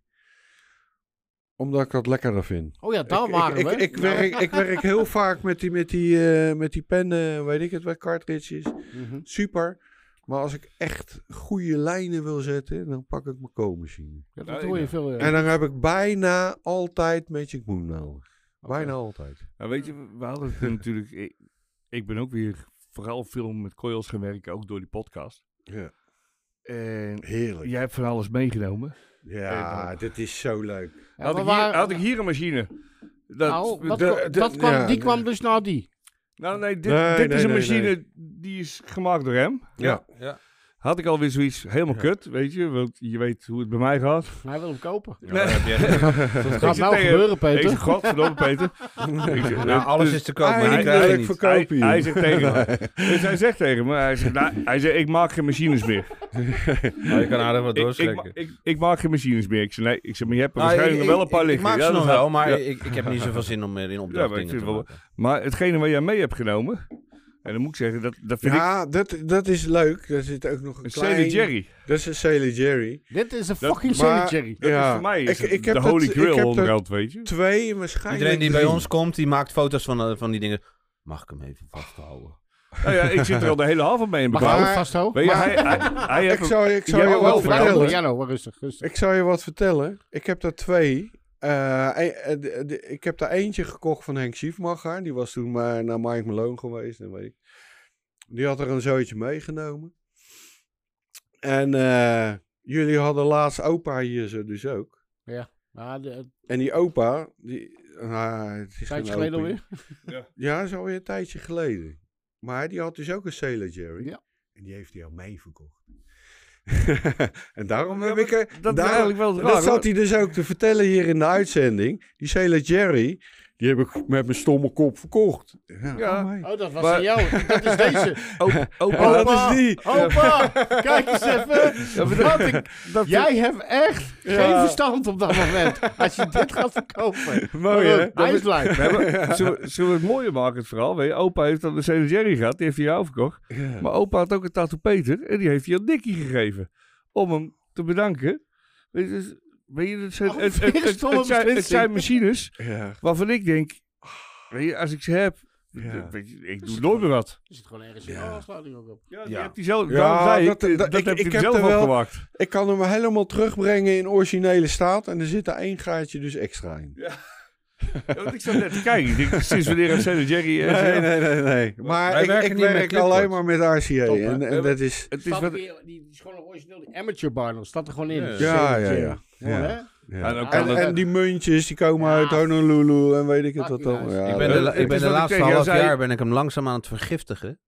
E: Omdat ik dat lekkerder vind.
C: Oh ja, daar
E: ik,
C: waren
E: ik,
C: we.
E: Ik, ik, werk,
D: Nou.
E: ik werk heel vaak met die, met die, eh, met die pennen, weet ik het, wat cartridges.
C: Mhm.
E: Super. Maar als ik echt goede lijnen wil zetten, dan pak ik mijn koolmachine.
C: Ja, dat hoor je veel. eh.
E: En dan heb ik bijna altijd Magic Moon nodig. Bijna altijd.
D: Nou, weet je, we hadden het natuurlijk... Ik, ik ben ook weer vooral veel met coils gaan werken, ook door die podcast.
E: Ja.
D: En
E: Heerlijk.
D: jij hebt van alles meegenomen.
E: Ja, dit is zo leuk.
C: Ja,
D: had,
C: we
D: ik hier, Nou,
C: waren-
D: had ik hier een machine. Dat,
C: Nou, wat,
E: de-
C: kwa-
E: de-
C: dat kwam,
E: ja,
C: die
E: nee.
C: kwam dus na die.
D: nou, nee, dit,
E: Nee,
D: dit
E: nee,
D: is een
E: nee,
D: machine
E: nee.
D: die is gemaakt door hem.
E: Ja.
B: Ja.
D: Had ik alweer zoiets helemaal
F: Ja.
D: kut, weet je, want je weet hoe het bij mij gaat.
C: Hij wil hem kopen.
F: Ja, daar heb jij-
C: Dat gaat
D: Ik
C: nou
D: zeg tegen-
C: gebeuren,
D: Ik
C: Peter.
D: zeg, godverdomme Peter. Ik zeg,
B: Nou, alles
D: dus-
B: is te koop, maar die krijg je
E: Eindelijk
B: niet.
D: Hij,
E: verkoop je.
D: hij zegt tegen me, dus hij zegt tegen me, hij zegt, nou, hij zegt ik maak geen machines meer.
F: Maar je kan aardig wat
D: Ik, ik, ma-
F: doorslikken.
D: ik, ik maak geen machines meer. Ik zeg, nee, ik zeg, maar je hebt er
B: Nou,
D: waarschijnlijk
B: ik-
D: nog wel een paar
B: ik-
D: liggen.
B: Ik maak
D: Ja,
B: ze
D: dat
B: nog
D: gaat-
B: wel, maar
D: ja.
B: ik, ik heb niet zoveel zin om er in
D: Ja, maar
B: opdracht
D: ik
B: dingen
D: vind
B: te
D: wel-
B: maken.
D: Maar hetgene wat jij mee hebt genomen, en dan moet ik zeggen, dat, dat vind ik
E: Ja, dat, dat is leuk. Daar zit ook nog een,
D: een
E: klein...
D: Sailor Jerry.
E: Dat is een Sailor Jerry.
C: Dit is een
D: Dat-
C: fucking
E: maar-
C: Sailor Jerry.
D: Dat
E: ja.
D: is voor mij is
E: ik,
D: ik,
E: ik heb
D: de holy
E: dat-
D: grail
E: ik heb dat
D: onderhand, weet je.
E: twee, waarschijnlijk
B: Iedereen die bij
E: drie.
B: ons komt, die maakt foto's van, eh, van die dingen. Mag ik hem even vasthouden?
D: Nou ja, ik zit er al de hele avond mee in
C: Mag ik hem
D: elkaar.
E: Maar-
C: vasthouden?
D: Weet je,
E: maar-
D: hij, hij, hij heeft
E: Ik zou, ik zou
D: Jij
E: je
D: wil
E: wat
D: wel
C: Vrouw,
E: vertellen.
C: Ja, nou, rustig, rustig.
E: Ik zou je wat vertellen. Ik heb daar twee. Eh, e- eh, de- de- ik heb daar eentje gekocht van Henk Schiefmacher. Die was toen maar naar Mike Malone geweest. En weet ik. Die had er een zootje meegenomen. En eh, jullie hadden laatst opa hier zo dus ook.
C: Maar de- een
E: En die opa... Die, ah, het is
C: tijdje
E: geen
C: geleden
E: opa.
C: alweer.
E: Ja, is alweer een tijdje geleden. Maar die had dus ook een Sailor Jerry.
C: Ja.
E: En die heeft hij al meeverkocht. en daarom
D: Ja,
E: heb
D: maar
E: ik... er-
D: dat is
E: daarom-
D: eigenlijk wel
E: dat
D: raar. hoor.
E: zat hij dus ook te vertellen hier in de uitzending. Die Sailor Jerry, die heb ik met mijn stomme kop verkocht. Ja,
D: Ja.
E: oh my.
C: Oh, dat was
D: Maar-
C: aan jou. Dat is deze.
D: Opa,
E: dat is die.
C: Opa, kijk eens even. Wat ik-
D: dat-
C: jij hebt echt geen verstand op dat moment. Als je dit gaat verkopen.
D: Mooi, hè?
C: Goed, Hij is blij.
D: We hebben- zullen, we- zullen we het mooier maken, het verhaal? Weet je, opa heeft dan de Sailor Jerry gehad, die heeft hij jou verkocht. Maar opa had ook een tattoo Peter en die heeft hij aan Dickie gegeven. Om hem te bedanken. Weet je, dus, weet je het, zijn,
C: Oh,
D: het, het,
C: weer een
D: het- het
C: stomme
D: zijn, het
C: beslissing.
D: zijn machines
E: Ja.
D: waarvan ik denk, weet je, als ik ze heb,
E: Ja.
D: weet je, ik doe nooit meer wat.
C: Er zit gewoon ergens
E: Ja.
C: in. Oh, slaat die ook op.
D: Ja,
B: die Ja.
D: hebt
B: hebt
D: hij zelf,
E: Ja,
D: daarom zei ik,
E: dat-
D: dat,
E: dat-
D: dat
E: ik-
D: heb
E: ik
D: je
E: heb
D: zelf
E: er wel-
D: opgemaakt.
E: Ik kan hem helemaal terugbrengen in originele staat. En er zit er één gaatje dus extra in.
D: Ja, want ik zat net te kijken, ik denk, sinds wanneer heeft Sailor Jerry... eh,
E: Nee,
D: zo-
E: nee, nee. nee. Maar
F: Wij
E: ik,
F: werken
E: ik
F: niet met
E: werk
F: clipboard.
E: alleen maar met RCA.
C: Top, hè?
E: en en dat is...
D: Het is
C: Staat
D: wat,
C: weer- die, die is gewoon een origineel. Die amateur barnel staat er gewoon in.
F: Ja,
E: Ja,
C: Sailor
E: ja,
C: Jerry.
E: ja.
C: Mooi,
E: Ja.
C: hè?
D: Ja, dan kan
E: En,
D: dat-
E: en die muntjes, die komen
C: Ja.
E: uit Honolulu en weet ik het
C: Maakt
E: wat
C: niet
E: dan.
C: uit.
E: Ja,
B: ik ben
E: dat-
B: de, la-
D: het is
B: ik ben de
D: wat ik
B: laatste
D: tegen jou
B: half
D: zei.
B: jaar ben ik hem langzaam aan het vergiftigen.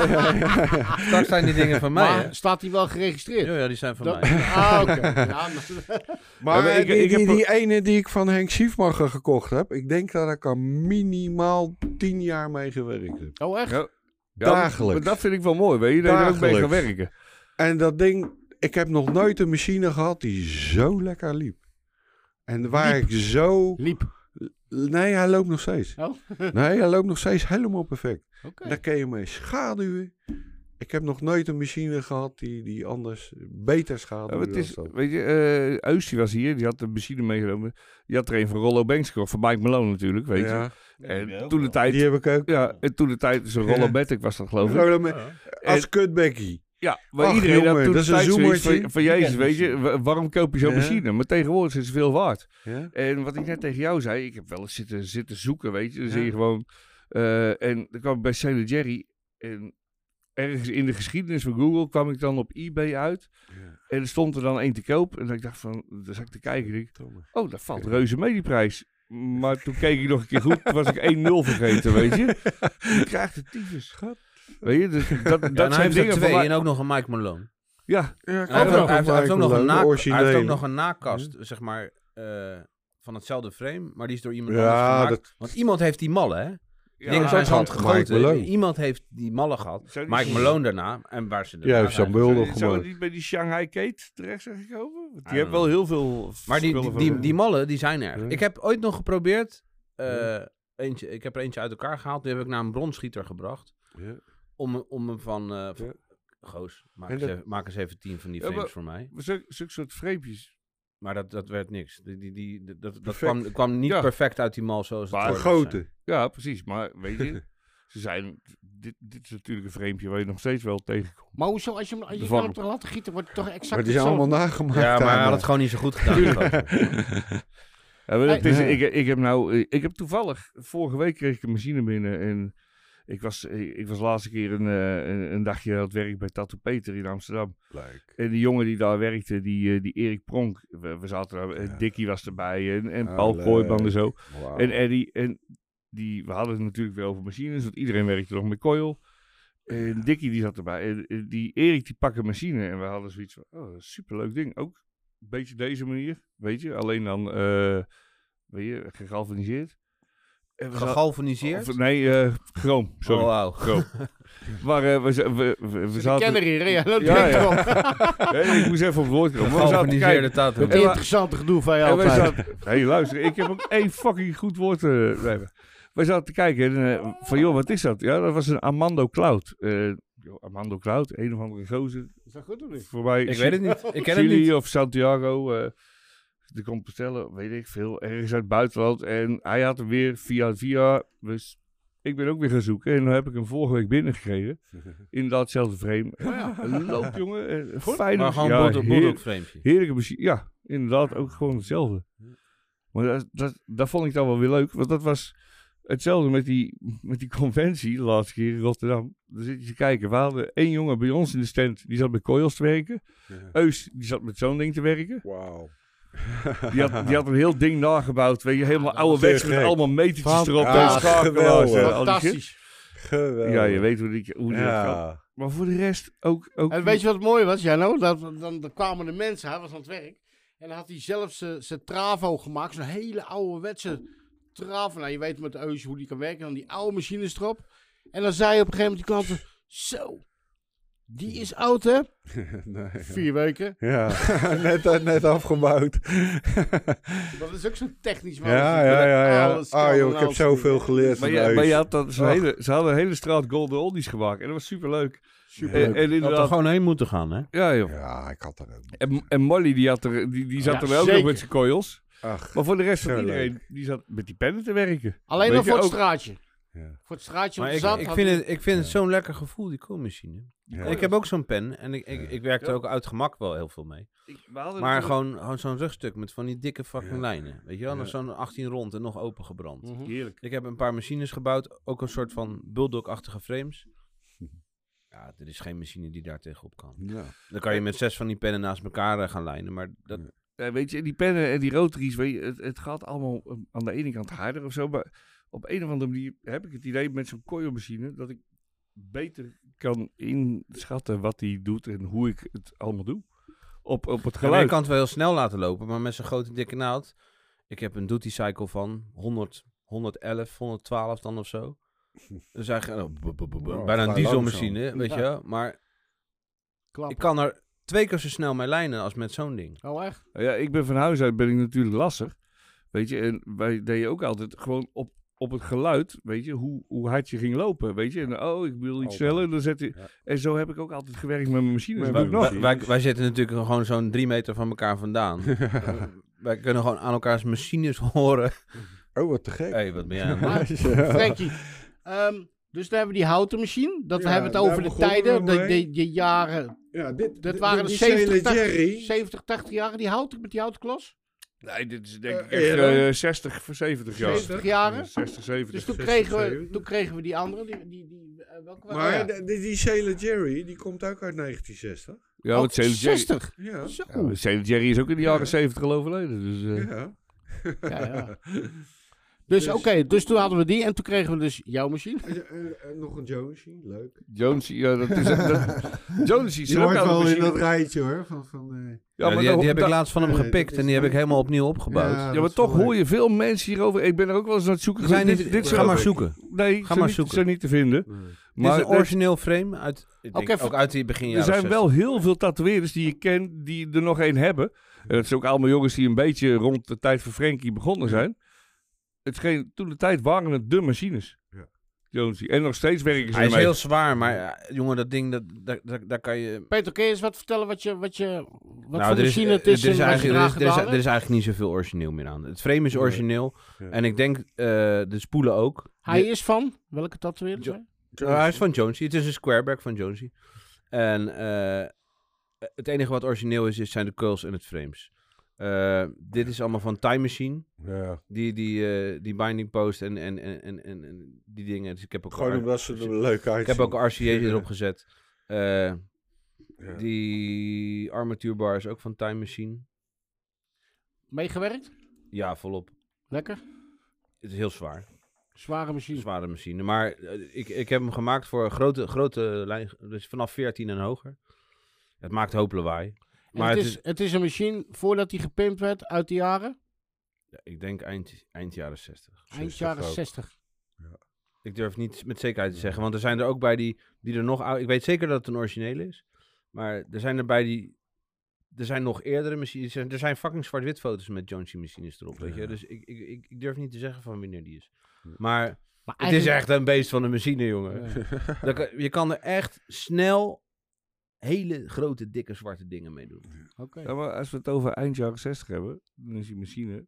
B: Straks zijn die dingen van mij. hè?
C: Maar staat hij wel geregistreerd?
B: Ja, ja, die zijn van
C: Dat-
B: mij.
C: Ah, oké. Ja, maar-
E: Maar
D: Ja, maar
E: eh,
D: ik-
E: die,
D: ik heb
E: die,
D: ook-
E: die ene die ik van Henk Schiefmacher gekocht heb, ik denk dat ik er minimaal tien jaar mee gewerkt heb.
C: Oh, echt?
D: Ja. Ja,
E: Dagelijks.
D: maar dat vind ik wel mooi, weet je, dat je er ook mee kan
E: Dagelijks.
D: werken.
E: En dat ding, ik heb nog nooit een machine gehad die zo lekker liep. En waar ik zo...
C: Liep.
E: Nee, hij loopt nog steeds.
C: Oh.
E: nee, hij loopt nog steeds helemaal perfect.
C: Oké.
E: Daar kun je mee schaduwen. Ik heb nog nooit een machine gehad die, die anders beter
D: Ja,
E: schaduwt
D: maar het is,
E: dan dat.
D: weet je, eh Eus die was hier, die had de machine meegenomen. Die had er een van Rollo Banks gekocht, van Mike Malone natuurlijk, weet je.
E: Ja,
D: En Eh, toen de tijd,
E: die heb ik ook.
D: ja, en toen de tijd, zo'n Rollo
E: Ja.
D: Matic was dat geloof ik.
E: Gewoon een- Als kutbekkie.
D: Ja, maar
E: Ach,
D: iedereen had
E: jongen,
D: toen
E: dat is
D: de
E: een
D: tijd zoiets van,
E: zoemertje.
D: van jezus, weet je, wa- waarom koop je zo'n
E: Ja.
D: machine? Maar tegenwoordig is het veel waard.
E: Ja?
D: En wat ik net tegen jou zei, ik heb wel eens zitten, zitten zoeken, weet je. Dan
E: Ja.
D: zie je gewoon, eh, en dan kwam ik bij Sailor Jerry en ergens in de geschiedenis van Google kwam ik dan op eBay uit. En er stond er dan één te koop. En ik dacht van, dan zat ik te kijken. en ik, oh, dat valt reuze mee die prijs. Maar toen keek ik nog een keer goed. Toen was ik 1-0 vergeten, weet je. Je krijgt het tyfus, schat. Weet je, dus dat,
B: Ja, en
D: dat
B: hij
D: zijn
B: heeft er
D: dingen
B: twee
D: van...
B: en ook nog een Mike Malone.
D: Ja,
E: Ja,
B: Hij heeft, ook, hij heeft- hij heeft ook nog een naak- hij heeft ook nog
E: een...
B: een nakast, zeg maar, eh, van hetzelfde frame, maar die is door iemand
E: Ja,
B: anders gemaakt.
E: dat-
B: Want iemand heeft die mallen, hè? Die
D: ja,
B: dingen zijn
E: dat
B: zijn hand
E: had Mike Malone.
B: gegoten. Iemand heeft die mallen gehad.
D: Zijn die-
B: Mike Malone daarna, en waar ze
E: Ja, hij
B: daarna
E: heeft Sam
B: zijn.
E: Beul nog
D: Zou
E: gemaakt.
D: die bij die Shanghai Kate terecht zijn gekomen? Want die
B: I
D: hebben
B: don't
D: wel heel veel
B: Maar die, die,
D: spullen
B: die,
D: van-
B: die mallen, die zijn er.
E: Ja.
B: Ik heb ooit nog geprobeerd... eh, eentje, ik heb er eentje uit elkaar gehaald. Die heb ik naar een bronschieter gebracht.
E: Ja.
B: Om, om hem van... eh, van-
E: Ja.
B: Goos, maak,
E: En
B: eens
E: dat-
B: even, maak eens even tien van die
D: Ja,
B: frames
D: maar-
B: voor mij.
D: Zulke, zulke soort vreempjes.
B: Maar dat, dat werd niks. Die, die, die, dat- dat dat
E: Perfect.
B: kwam, kwam niet
D: Ja.
B: perfect uit die mal zoals het
D: Maar
B: hoorde te zijn.
E: Grote.
D: Ja, precies. Maar weet je, ze zijn... Dit, dit is natuurlijk een vreempje waar je nog steeds wel tegenkomt.
C: Maar hoezo, als je hem, als je
D: Ervan.
C: kan hem toch laten gieten, wordt het toch exact
E: Maar die zijn allemaal
C: hetzelfde?
B: Ja,
E: nagemaakt.
B: maar hij had
E: allemaal.
B: het gewoon niet zo goed gedaan. die gozer.
D: Ja, maar het
C: Hey.
D: is,
E: Ja.
D: ik, ik heb nou, eh, ik heb toevallig vorige week kreeg ik een machine binnen en Ik was, ik was laatste keer een, eh, een, een dagje aan het werk bij Tattoo Peter in Amsterdam.
E: Leuk.
D: En die jongen die daar werkte, die, eh, die Erik Pronk. We, we zaten daar, eh,
E: Ja.
D: Dikkie was erbij en, en
B: Oh,
E: Ah,
D: Paul
E: leuk.
D: Kooijman en zo.
E: Wauw.
D: En Eddie, en die, we hadden het natuurlijk wel over machines, want iedereen werkte nog met coil. En Dikkie die zat erbij. En eh, die Erik die pakte een machine en we hadden zoiets van, oh, dat is een superleuk ding. Ook een beetje deze manier, weet je. Alleen dan, eh weet je, gegalvaniseerd. En we zaten-
B: Gegalvaniseerd?
D: Of, nee, eh, chroom, sorry.
B: Oh, wauw.
D: Chroom. maar eh, we, za- we, we, we
C: Ik ken
D: zaten...
C: er hier, ja, dat
D: Ja,
C: denk ik
D: ja.
C: wel.
D: Nee, ik moest even op het woord komen. Maar we zaten te
F: Georganiseerde
D: kijken.
F: tattoo.
C: Het
D: En we-
C: interessante gedoe van je
D: En wij
C: altijd.
D: zaten, nee, luister, ik heb ook één fucking goed woord. eh bij me. wij zaten te kijken en eh, van, joh, wat is dat? Ja, dat was een Amando Cloud. Eh, joh, Amando Cloud, een of andere gozer.
C: Is dat goed of niet?
D: Voor mij,
F: Ik weet het niet. Ik ken het
D: Chili
F: niet.
D: of Santiago. eh de komt bestellen, weet ik veel, ergens uit het buitenland. En hij had hem weer via via. Dus ik ben ook weer gaan zoeken. En dan heb ik hem vorige week binnengekregen. In datzelfde frame. Een loop, jongen. eh, een Fijne
B: Maar gewoon
D: Oh ja,
B: ja,
D: heer-
B: bulldog framepje.
D: Heerlijke machine. Ja, inderdaad, ook gewoon hetzelfde. Maar dat, dat, dat vond ik dan wel weer leuk. Want dat was hetzelfde met die, met die conventie de laatste keer in Rotterdam. Dan zit je te kijken. We hadden één jongen bij ons in de stand. Die zat met coils te werken.
E: Ja.
D: Eus, die zat met zo'n ding te werken.
E: Wauw.
D: Die had, die had een heel ding nagebouwd. Weet je, helemaal ouderwets
E: heel
D: met
E: gek.
D: allemaal metertjes erop.
E: Fantastisch.
D: en schakelaars en al die shit.
C: Fantastisch.
E: Geweldig.
D: Ja, je weet hoe die, hoe die dat kan.
E: Ja.
D: Maar voor de rest ook... ook
C: En weet je wat mooi was, Janno? Dat, dan, dan kwamen de mensen, hij was aan het werk. En dan had hij zelf zijn travo gemaakt. Zo'n hele ouderwetse travo. Nou, je weet met Eus hoe die kan werken. Dan die oude machines erop. En dan zei op een gegeven moment die klanten... Zo, die is oud hè?
E: nee.
C: Vier weken.
E: Ja, net, eh, net afgebouwd.
C: Dat is ook zo'n technisch man.
E: ja, ja, ja, ja.
C: Alles kan
E: Ah, joh,
C: en
E: ik heb
C: alles
E: zoveel
C: niet.
E: geleerd
D: Maar,
E: van
D: ja,
E: Eus.
D: maar je had dat, zo'n
E: Ach.
D: hele, ze hadden een hele straat Golden Oldies gemaakt. En dat was superleuk.
B: Dat had
D: En, en
B: er
D: inderdaad...
B: gewoon heen moeten gaan, hè?
D: Ja, joh.
E: Ja, ik had er ook.
D: En, en Molly die, had er, die, die zat
C: Ja,
D: er ook nog
C: zeker.
D: met zijn coils.
E: Ach,
D: Maar voor de rest van
E: Zo
D: iedereen, die zat met die pennen te werken.
C: Alleen
D: Weet
C: nog
D: je,
C: voor het
D: ook-
C: straatje.
E: Ja.
C: Voor het straatje op
B: Maar
C: de
B: ik,
C: zand.
B: ik
C: had
B: vind
C: hij-
B: het, ik vind het zo'n lekker gevoel, die koommachine.
E: ja.
B: Ik heb ook zo'n pen en ik, ik, ik werk er
D: Ja.
B: ook uit gemak wel heel veel mee. Maar gewoon, gewoon zo'n rugstuk met van die dikke fucking
E: Ja.
B: lijnen. Weet je wel,
E: Ja.
B: nog zo'n 18 rond en nog opengebrand.
C: Mhm.
D: Heerlijk.
B: Ik heb een paar machines gebouwd, ook een soort van bulldog-achtige frames.
E: Hm.
B: Ja, er is geen machine die daar tegenop kan.
E: Ja.
B: Dan kan je met zes van die pennen naast elkaar eh, gaan lijnen, maar dat...
E: Ja.
D: Ja, weet je, en die pennen en die rotaries, weet je, het, het gaat allemaal eh, aan de ene kant harder of zo. Maar op een of andere manier heb ik het idee met zo'n coilmachine dat ik beter kan inschatten wat hij doet en hoe ik het allemaal doe. Op, op het
B: Ja, maar je
D: geluid.
B: kan het wel heel snel laten lopen, maar met zo'n grote dikke naald... Ik heb een duty cycle van 100, 111, 112 dan of zo. Dus eigenlijk oh, bu- bu- bu- bu-
E: Wow,
B: bijna een
E: vrij
B: dieselmachine, weet je
C: Ja.
B: wel. Maar
C: Klap.
B: ik kan er twee keer zo snel mee lijnen als met zo'n ding.
C: Oh, echt?
D: Nou Ja, ik ben van huis uit ben ik natuurlijk lasser. Weet je, en wij deden ook altijd gewoon op, op het geluid, weet je, hoe, hoe hard je ging lopen, weet je. En oh, ik wil iets
E: Altijd.
D: sneller, dan zet je...
E: Ja.
D: En zo heb ik ook altijd gewerkt met mijn machines.
E: Met
D: Maar
E: mijn
D: nog.
B: Wij, wij, wij zitten natuurlijk gewoon zo'n drie meter van elkaar vandaan. Eh, wij kunnen gewoon aan elkaars machines horen.
E: Oh, wat te gek.
B: hey, wat ben jij aan het
E: Ja.
B: doen?
C: Frankie. ehm, dus dan hebben we die houten machine. Dat
E: Ja,
C: we hebben we het
E: daar
C: over de
E: begonnen
C: tijden,
E: we
C: de,
E: mee.
C: de, de jaren.
E: Ja, dit,
C: Dat
E: dit-
C: waren de
E: die
C: 70,
E: Sailor
C: 80,
E: Jerry.
C: 70, 80 jaren. Die houten met die houten klos.
D: Nee, dit is denk ik
E: Eh,
D: echt
E: eerder.
D: eh, 60 voor 70 jaar.
C: 70 jaren.
D: 60, 70.
C: Dus toen
E: 60,
C: kregen, we,
E: 70.
C: toen kregen we die andere. Die, die, die, eh, welke waren
E: Maar
C: dat?
E: de- die, die Sailor Jerry, die komt ook uit 1960.
D: ja, want Sailor Jerry,
C: 60.
E: Ja.
C: Zo.
D: ja, maar Sailor Jerry is ook in de jaren 70 al overleden. Dus, eh,
E: Ja.
C: Ja, ja. Dus oké, dus toen hadden we die en toen kregen we dus jouw machine.
E: En, en- en eh, nog een Jonesy, leuk.
D: Jones, ja, dat is... dat, Jones is
E: Die
D: er ook
E: hoort
D: aan de
E: wel in
D: machine.
E: dat rijtje hoor. Van, van, eh,
D: Ja,
B: Ja,
D: maar
B: die,
D: dat-
B: die heb ik
D: dat-
B: laatst van hem
E: Nee,
B: gepikt
E: dat
B: en
E: is
B: die heb ik
E: niet-
B: helemaal opnieuw opgebouwd.
E: dat
D: Ja, maar
E: is
D: toch
E: wel
D: hoor je veel mensen hierover. Ik ben er ook wel eens aan het zoeken.
B: Ze zijn
D: geweest.
B: niet,
D: dit, dit
B: ga
D: zijn-
B: maar zoeken.
D: Nee,
B: Ga
D: zijn
B: maar
D: niet,
B: zoeken.
D: zijn niet te vinden.
B: Maar
D: Maar
B: dit is een
D: er,
B: origineel frame uit, ik denk,
C: Oké,
B: ook
C: ver-
B: uit die begin
D: er
B: jaren
D: zijn
B: 60.
D: wel heel veel tatoeëerders die ik ken die er nog één hebben. En dat zijn ook allemaal jongens die een beetje rond de tijd van Frankie
B: Mm.
D: begonnen zijn. Het scheen, toen de tijd waren het de machines.
E: Ja.
D: Jonesy. En nog steeds werken ze
B: Hij is
D: ermee.
B: heel zwaar, maar ja, jongen, dat ding, dat, daar, daar, daar kan je...
C: Peter, kun je eens wat vertellen wat je, wat je wat voor
B: er is,
C: machine het
B: eh,
C: is
B: er,
C: en
B: is
C: wat je
B: eigenlijk, er,
C: eraan
B: is, er, is,
C: gedaan
B: er
C: hebt?
B: is eigenlijk niet zoveel origineel meer aan. Het frame is
E: Nee.
B: origineel.
E: Ja.
B: En ik denk eh, de spoelen ook.
C: Hij
B: De-
C: is van, welke tatoeëerder?
B: Jo-
C: zei je?
B: Nou, hij is van Jonesy. Het is een squareback van Jonesy. En eh, het enige wat origineel is, is zijn de curls en het frames. Eh, dit is allemaal van Time Machine.
E: Ja.
B: Die, die, eh, die binding post en, en, en, en, en- en die dingen. Dus ik heb ook
E: Gewoon
B: Ar-
E: omdat ze er leuk
B: ik
E: uitzien.
B: heb ook RCA erop gezet. Eh,
E: Ja.
B: Die armatuurbar is ook van Time Machine.
C: Meegewerkt?
B: Ja, volop.
C: Lekker.
B: Het is heel zwaar.
C: Zware machine.
B: Zware machine. Maar eh, ik, ik heb hem gemaakt voor grote, grote lijn. Dus vanaf 14 en hoger. Het maakt hoop lawaai.
C: En
B: Maar
C: het, is, het is een machine voordat die gepimpt werd uit de jaren?
B: Ja, Ik denk eind, eind jaren 60.
C: Eind jaren
E: ook.
C: 60.
B: Ik durf niet met zekerheid te zeggen. Want er zijn er ook bij die, die er nog oud... Ik weet zeker dat het een origineel is. Maar er zijn er bij die... Er zijn nog eerdere machines. Er zijn- Er zijn fucking zwart-wit foto's met Johnson machines erop. Weet je? Dus ik, ik, ik, ik durf niet te zeggen van wanneer die is. Maar
C: Maar
B: het is
C: eigenlijk-
B: echt een beest van een machine, jongen. Dan kan- je kan er echt snel hele grote, dikke, zwarte dingen mee doen.
C: Oké.
D: Ja, maar als we het over eind jaren 60 hebben, dan is die machine,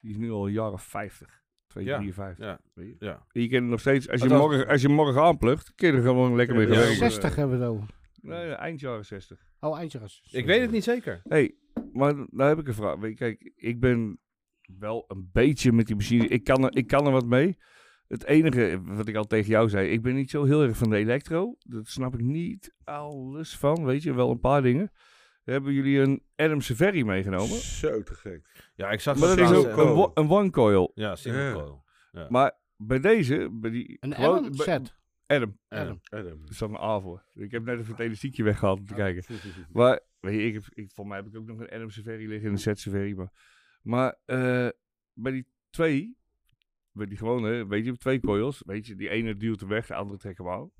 D: die is nu al jaren 50. 2,
B: Ja,
D: 3, 50.
B: Ja, ja.
D: En Je kan hem nog steeds, als je,
B: Dat was-
D: morgen, als je hem morgen aanplucht, kun je er gewoon lekker mee
B: Ja,
D: gewerkt. worden.
C: 60 hebben we het over.
D: Nee, eind jaren 60.
C: Oh, eind jaren 60.
B: Ik weet het niet zeker.
D: Hé, hey, maar nou heb ik een vraag. Weet je, Kijk, ik ben wel een beetje met die machine, ik kan er, ik kan er wat mee. Het enige wat ik al tegen jou zei, ik ben niet zo heel erg van de elektro. Dat snap ik niet alles van, weet je, wel een paar dingen. Hebben jullie een Adam Severi meegenomen?
E: Zo te gek.
B: Ja, ik zag
D: Maar dat is
B: laatst,
D: ook
B: eh,
E: wel-
D: een, wo- een one coil.
B: Ja, single
E: Ja.
B: coil.
D: Maar bij deze, bij die...
C: Een
D: gewoon-
C: Adam
D: bij-
C: set.
D: Adam.
B: Adam.
E: Adam.
D: Er staat een A voor. Ik heb net even het elastiekje weggehaald om te kijken. Maar, weet je, ik heb, ik, voor mij heb ik ook nog een Adam Severi liggen en een Set Severi. Maar, maar eh, bij die twee, bij die gewone, weet je, twee coils. Weet je, die ene duwt hem weg, de andere trekt hem aan.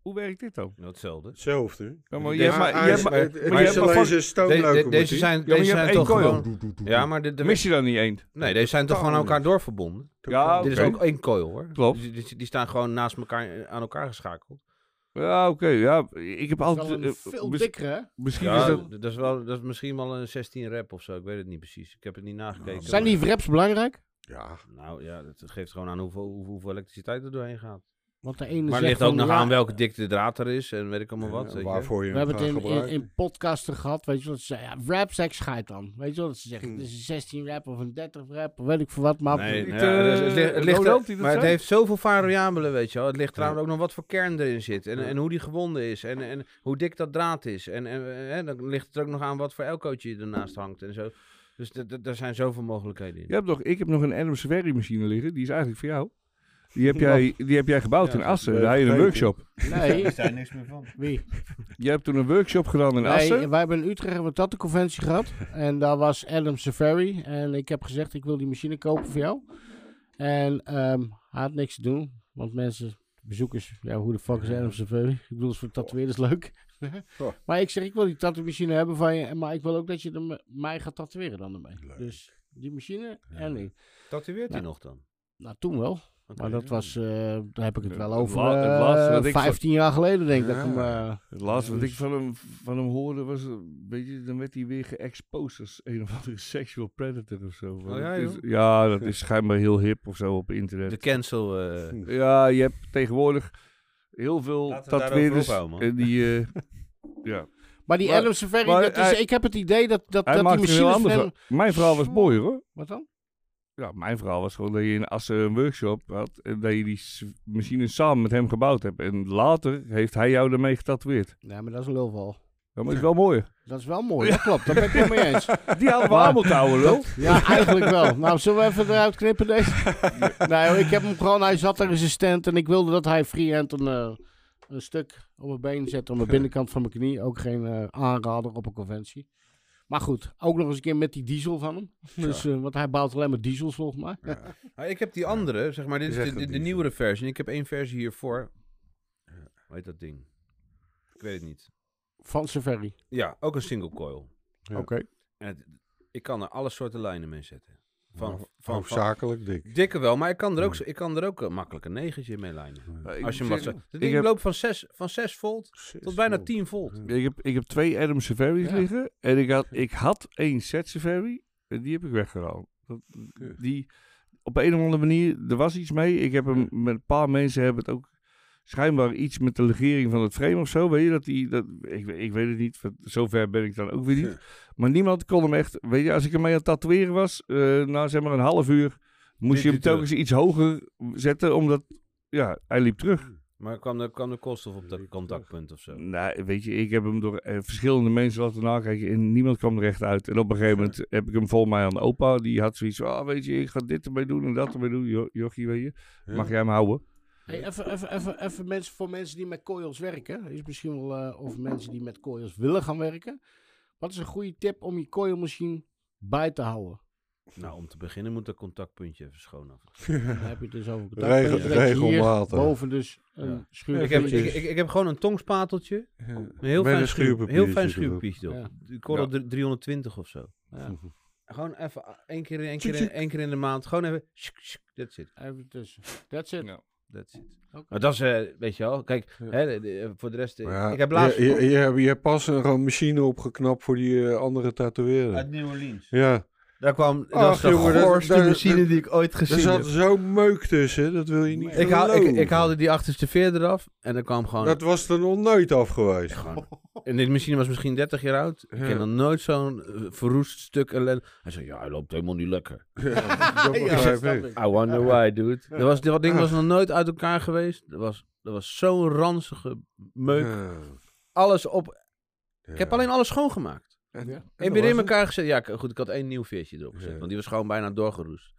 D: Hoe werkt dit dan?
B: Nou, Hetzelfde.
E: Hetzelfde.
D: Ja, maar je
B: Deze-
D: hebt maar- je hebt maar-
E: het, het
D: maar je
E: is
D: hebt maar
E: alleen
D: vast-
E: zijn
B: De- de-
E: stoomlocomotief.
B: deze zijn,
D: maar
B: deze
D: je
B: zijn
D: hebt één
B: toch
E: Oh,
D: coil.
B: gewoon... Ja, maar de, de-
D: Mis je dan niet één?
B: nee, deze zijn toch gewoon aan elkaar doorverbonden.
D: Ja,
B: Dit is
D: oké.
B: ook één coil, hoor.
D: Klopt.
B: Die, die, die staan gewoon naast elkaar eh, aan elkaar geschakeld.
D: Ja, oké. ja, ik heb
C: Wel
D: altijd...
C: een
D: eh,
C: veel
D: mis-
C: dikkere, hè?
D: misschien
B: Ja,
D: is dat...
B: dat, is wel, dat is misschien wel een 16 rep of zo. Ik weet het niet precies. Ik heb het niet nagekeken.
C: Zijn die wraps belangrijk?
E: Ja,
B: Nou ja, dat geeft gewoon aan hoeveel, hoeveel, hoeveel elektriciteit er doorheen gaat.
C: Want de ene
B: Maar
C: Dus zegt
B: het ligt ook
C: van,
B: nog
C: ja,
B: aan welke dikte draad er is en weet ik allemaal wat.
E: en
B: weet je.
E: waarvoor je
C: We
E: hem
C: hebben het
E: gaat
C: in, in,
E: gebruiken.
C: in podcasten gehad, weet je wat ze zeggen? Ja, wrap seks schijt dan. Weet je wat ze zeggen? Het is een 16 rap of een 30 rap of weet ik veel wat. Maar
B: Nee,
D: Niet,
B: nou ja,
D: eh,
B: het, het ligt, het ligt
D: Ronald
B: er-
D: die dat
B: maar het
D: zei?
B: heeft zoveel variabelen, weet je wel. Het ligt trouwens ook nog wat voor kern erin zit. En, en hoe die gewonden is. En, en hoe dik dat draad is. En, en eh, hè, dan ligt het er ook nog aan wat voor elkootje je ernaast hangt en zo. Dus d- d- daar zijn zoveel mogelijkheden in.
D: Je hebt nog, ik heb nog een Adam Severi machine liggen. Die is eigenlijk voor jou. Die heb jij, die heb jij gebouwd in Assen.
E: leuk
D: Daar had je een
E: idee.
D: workshop.
C: nee,
F: Daar niks meer van.
C: wie?
D: Je hebt toen een workshop gedaan in Assen.
C: Nee, wij hebben in Utrecht hebben we dat de conventie gehad. En daar was Adam Safari. En ik heb gezegd, ik wil die machine kopen voor jou. En ehm, hij had niks te doen. Want mensen, bezoekers, ja, hoe de fuck is Adam Safari? Ik bedoel, het is voor tatoeëerders leuk.
E: Oh.
C: maar ik zeg, ik wil die tattoo-machine hebben van je. Maar ik wil ook dat je er me- mij gaat tatoeëren dan ermee. Dus die machine en die.
B: Tatoeëert hij
C: Ja.
B: nog dan?
C: Nou, toen wel.
B: Oké.
C: Maar dat was, eh, daar heb ik het
D: Ja,
C: wel
D: het
C: over
D: la- het laatste
C: eh,
D: wat ik van-
C: 15 jaar geleden, denk ik. Dat ik hem,
E: Ja.
C: eh,
D: Het laatste wat ik van hem, van hem hoorde was... eh, Weet je, dan werd hij weer geëxposed als een of andere sexual predator of zo. Want
B: ja,
D: het is-
B: joh.
D: Oh ja, dat is schijnbaar heel hip of zo op internet.
B: De cancel... eh,
D: Ja, je hebt tegenwoordig heel veel
B: Laten we daarover
D: tatoeëerders.
B: ophouden, man.
D: en die... eh, ja.
C: Maar die
D: Maar-
C: Adam Saveri,
D: maar
C: dat is,
D: hij-
C: ik heb het idee dat, dat, dat
D: Hij
C: die
D: maakt een
C: machine
D: heel
C: van
D: ander
C: hem-
D: verhaal. Mijn verhaal was mooi hoor.
C: Wat dan?
D: Ja, mijn verhaal was gewoon dat je in Assen een workshop had. En dat je die s- machine samen met hem gebouwd hebt. En later heeft hij jou ermee getatoeëerd.
C: Nee, maar dat is een lulval.
D: Ja, maar het is wel mooi.
C: Dat is wel mooi, dat klopt. Dat ben ik het mee eens.
D: Die hadden we
C: Maar-
D: allemaal te houden, lul.
C: Ja, eigenlijk wel. Nou, zullen we even eruit knippen deze? Nee, hoor, ik heb hem gewoon... Hij zat daar in zijn stand en ik wilde dat hij freehand een, eh, een stuk op mijn been zette. Op mijn binnenkant van mijn knie. Ook geen eh, aanrader op een conventie. Maar goed, ook nog eens een keer met die diesel van hem. Dus, eh, want hij bouwt alleen maar diesels volgens mij.
B: Ah, ik heb die andere, zeg maar, dit is
E: Is echt
B: de, de,
E: een
B: de
E: diesel.
B: nieuwere versie. En ik heb één versie hiervoor. Hoe heet dat ding? Ik weet het niet.
C: Van Saveri.
B: Ja, ook een single coil.
E: Ja.
C: Oké.
B: En het, ik kan er alle soorten lijnen mee zetten.
C: eh,
B: Van, van, van,
E: Hoofdzakelijk dik.
B: dikke wel, maar ik kan er ook, zo- ik kan er ook eh, makkelijk een negentje mee
E: Eh,
B: lijnen. Als je hem wat zo-
D: ik
B: Dat ding
D: heb-
B: loopt van 6 van zes volt tot bijna 10 volt.
D: Ik heb, ik heb twee Adam Severi's
C: Ja.
D: liggen. En ik had, ik had één Set Severi. En die heb ik weggehaald. Dat- Die, op een of andere manier, er was iets mee. Ik heb hem met een paar mensen hebben het ook schijnbaar iets met de legering van het frame of zo. Weet je dat die. Dat, ik, ik weet het niet. want Zover ben ik dan ook weer niet. Maar niemand kon hem echt. Weet je, als ik hem mee aan het tatoeëren was. eh na zeg maar een half uur. Moest
B: Liep
D: je hem
B: hij terug.
D: telkens iets hoger zetten. Omdat. Ja, hij liep terug.
B: Maar kwam er, kwam er koolstof op dat contactpunt of zo?
D: Nou, weet je, ik heb hem door eh, verschillende mensen laten nakijken en niemand kwam er echt uit. En op een gegeven moment heb ik hem volgens mij aan opa. Die had zoiets van, ah, weet je, ik ga dit ermee doen en dat ermee doen. Jo- jochie, weet je, mag jij hem houden?
C: Hey, even, even, even, even mensen, voor mensen die met coils werken, is misschien wel, eh, of mensen die met coils willen gaan werken. Wat is een goede tip om je coil machine bij te houden?
B: Nou, om te beginnen moet dat contactpuntje even schoon af.
C: Dan heb je het dus over
E: Regel-
C: contactpunten, dat je hier
E: regelmatig.
C: Boven dus een
B: Ja.
C: schuur.
B: Ik heb, ik, ik, ik heb gewoon een tongspateltje. Een heel
E: Met
B: fijn
E: een
B: schuur,
E: schuurpapiertje
B: heel fijn
E: erop.
B: schuurpiertje erop.
C: Ja.
B: Die Korrel dr- 320 of zo. Ja. gewoon even a- één keer, in- één, keer in, één keer in de maand. Gewoon even. shk, shk, That's it.
C: Even tussen. That's it.
D: Ja.
B: That's it.
C: Oké.
B: Maar dat is, eh, weet je wel. Kijk,
E: Ja.
B: hè, de- de- voor de rest. eh,
E: Maar ja,
B: ik heb laatst.
E: Je, je, je, hebt- je hebt pas een gewoon machine opgeknapt voor die eh, andere tatoeëren.
B: Uit New Orleans.
E: Ja,
B: Daar kwam. Dat
E: Ach,
B: was de
E: jongen, dat-
B: goorste
E: daar-
B: machine
E: daar-
B: die ik ooit
E: er
B: gezien
E: zat
B: heb.
E: zo'n meuk tussen, dat wil je niet
B: Ik, haal, ik,
E: geloven.
B: ik haalde die achterste veer eraf. En dan kwam gewoon.
E: Dat was er nog nooit af geweest.
B: Gewoon. En dit machine was misschien 30 jaar oud. Ik
E: Ja.
B: ken nog nooit zo'n eh, verroest stuk ellende. Hij zei, ja, hij loopt helemaal niet lekker.
E: Dat begrijp ik.
B: I wonder why, dude. Dat, was, dat ding was nog nooit uit elkaar geweest. Dat was, dat was zo'n ranzige meuk.
E: Ja.
B: Alles op.
E: Ja.
B: Ik heb alleen alles schoongemaakt.
E: En-
C: Ja.
E: en
B: En
E: dat
B: weer in
E: was het.
B: elkaar gezet. Ja, ik- goed, ik had één nieuw veertje erop gezet.
E: Ja.
B: Want die was gewoon bijna doorgeroest.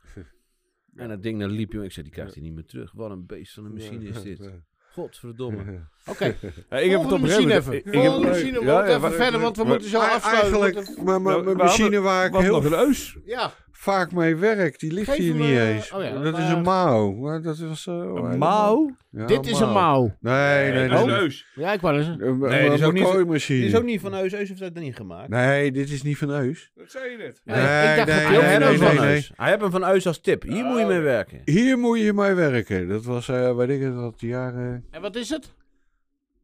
B: En dat ding, dan liep je. Ik zei, die krijgt hij niet meer terug. Wat een beest van een machine is dit. Godverdomme.
C: Oké,
D: ik heb
C: volgende machine even. Volgende machine, we moeten
D: Ja, ja,
C: even
D: maar-
C: verder, want we
D: maar-
C: moeten zo
E: Maar
C: afsluiten.
E: Eigenlijk, maar
D: Nou,
E: mijn
D: we
E: machine waar ik
D: Wat
E: heel
D: nog een eus?
C: Ja,
E: vaak mee werk, die ligt
C: Geef
E: hier
C: hem,
E: niet
C: eh,
E: eens.
C: oh ja,
E: dat is
C: maar-
E: een mouw. Maar dat was, eh,
D: Een mouw?
E: Ja,
C: dit
E: een
C: is een mouw.
E: Nee, nee, nee.
C: Oh.
E: nee.
C: Ja, ik wou eens.
E: Een-
B: Nee,
E: een-
B: dit is ook
E: een
B: niet-
E: kooimachine.
B: Dit is ook niet van Heus. Heus heeft dat niet gemaakt.
E: Nee, dit is niet van Heus.
D: Dat zei je net.
C: Nee,
E: Nee,
C: ik dacht
E: nee,
C: dat
B: Hij
C: heel
B: heeft
C: veel
E: nee,
B: hem
C: van-
B: van
E: nee.
B: Heus. Hij heeft hem van Heus als tip. Hier moet je mee werken.
E: Hier moet je mee werken. Dat was, eh weet ik het, wat de jaren
C: En wat is het?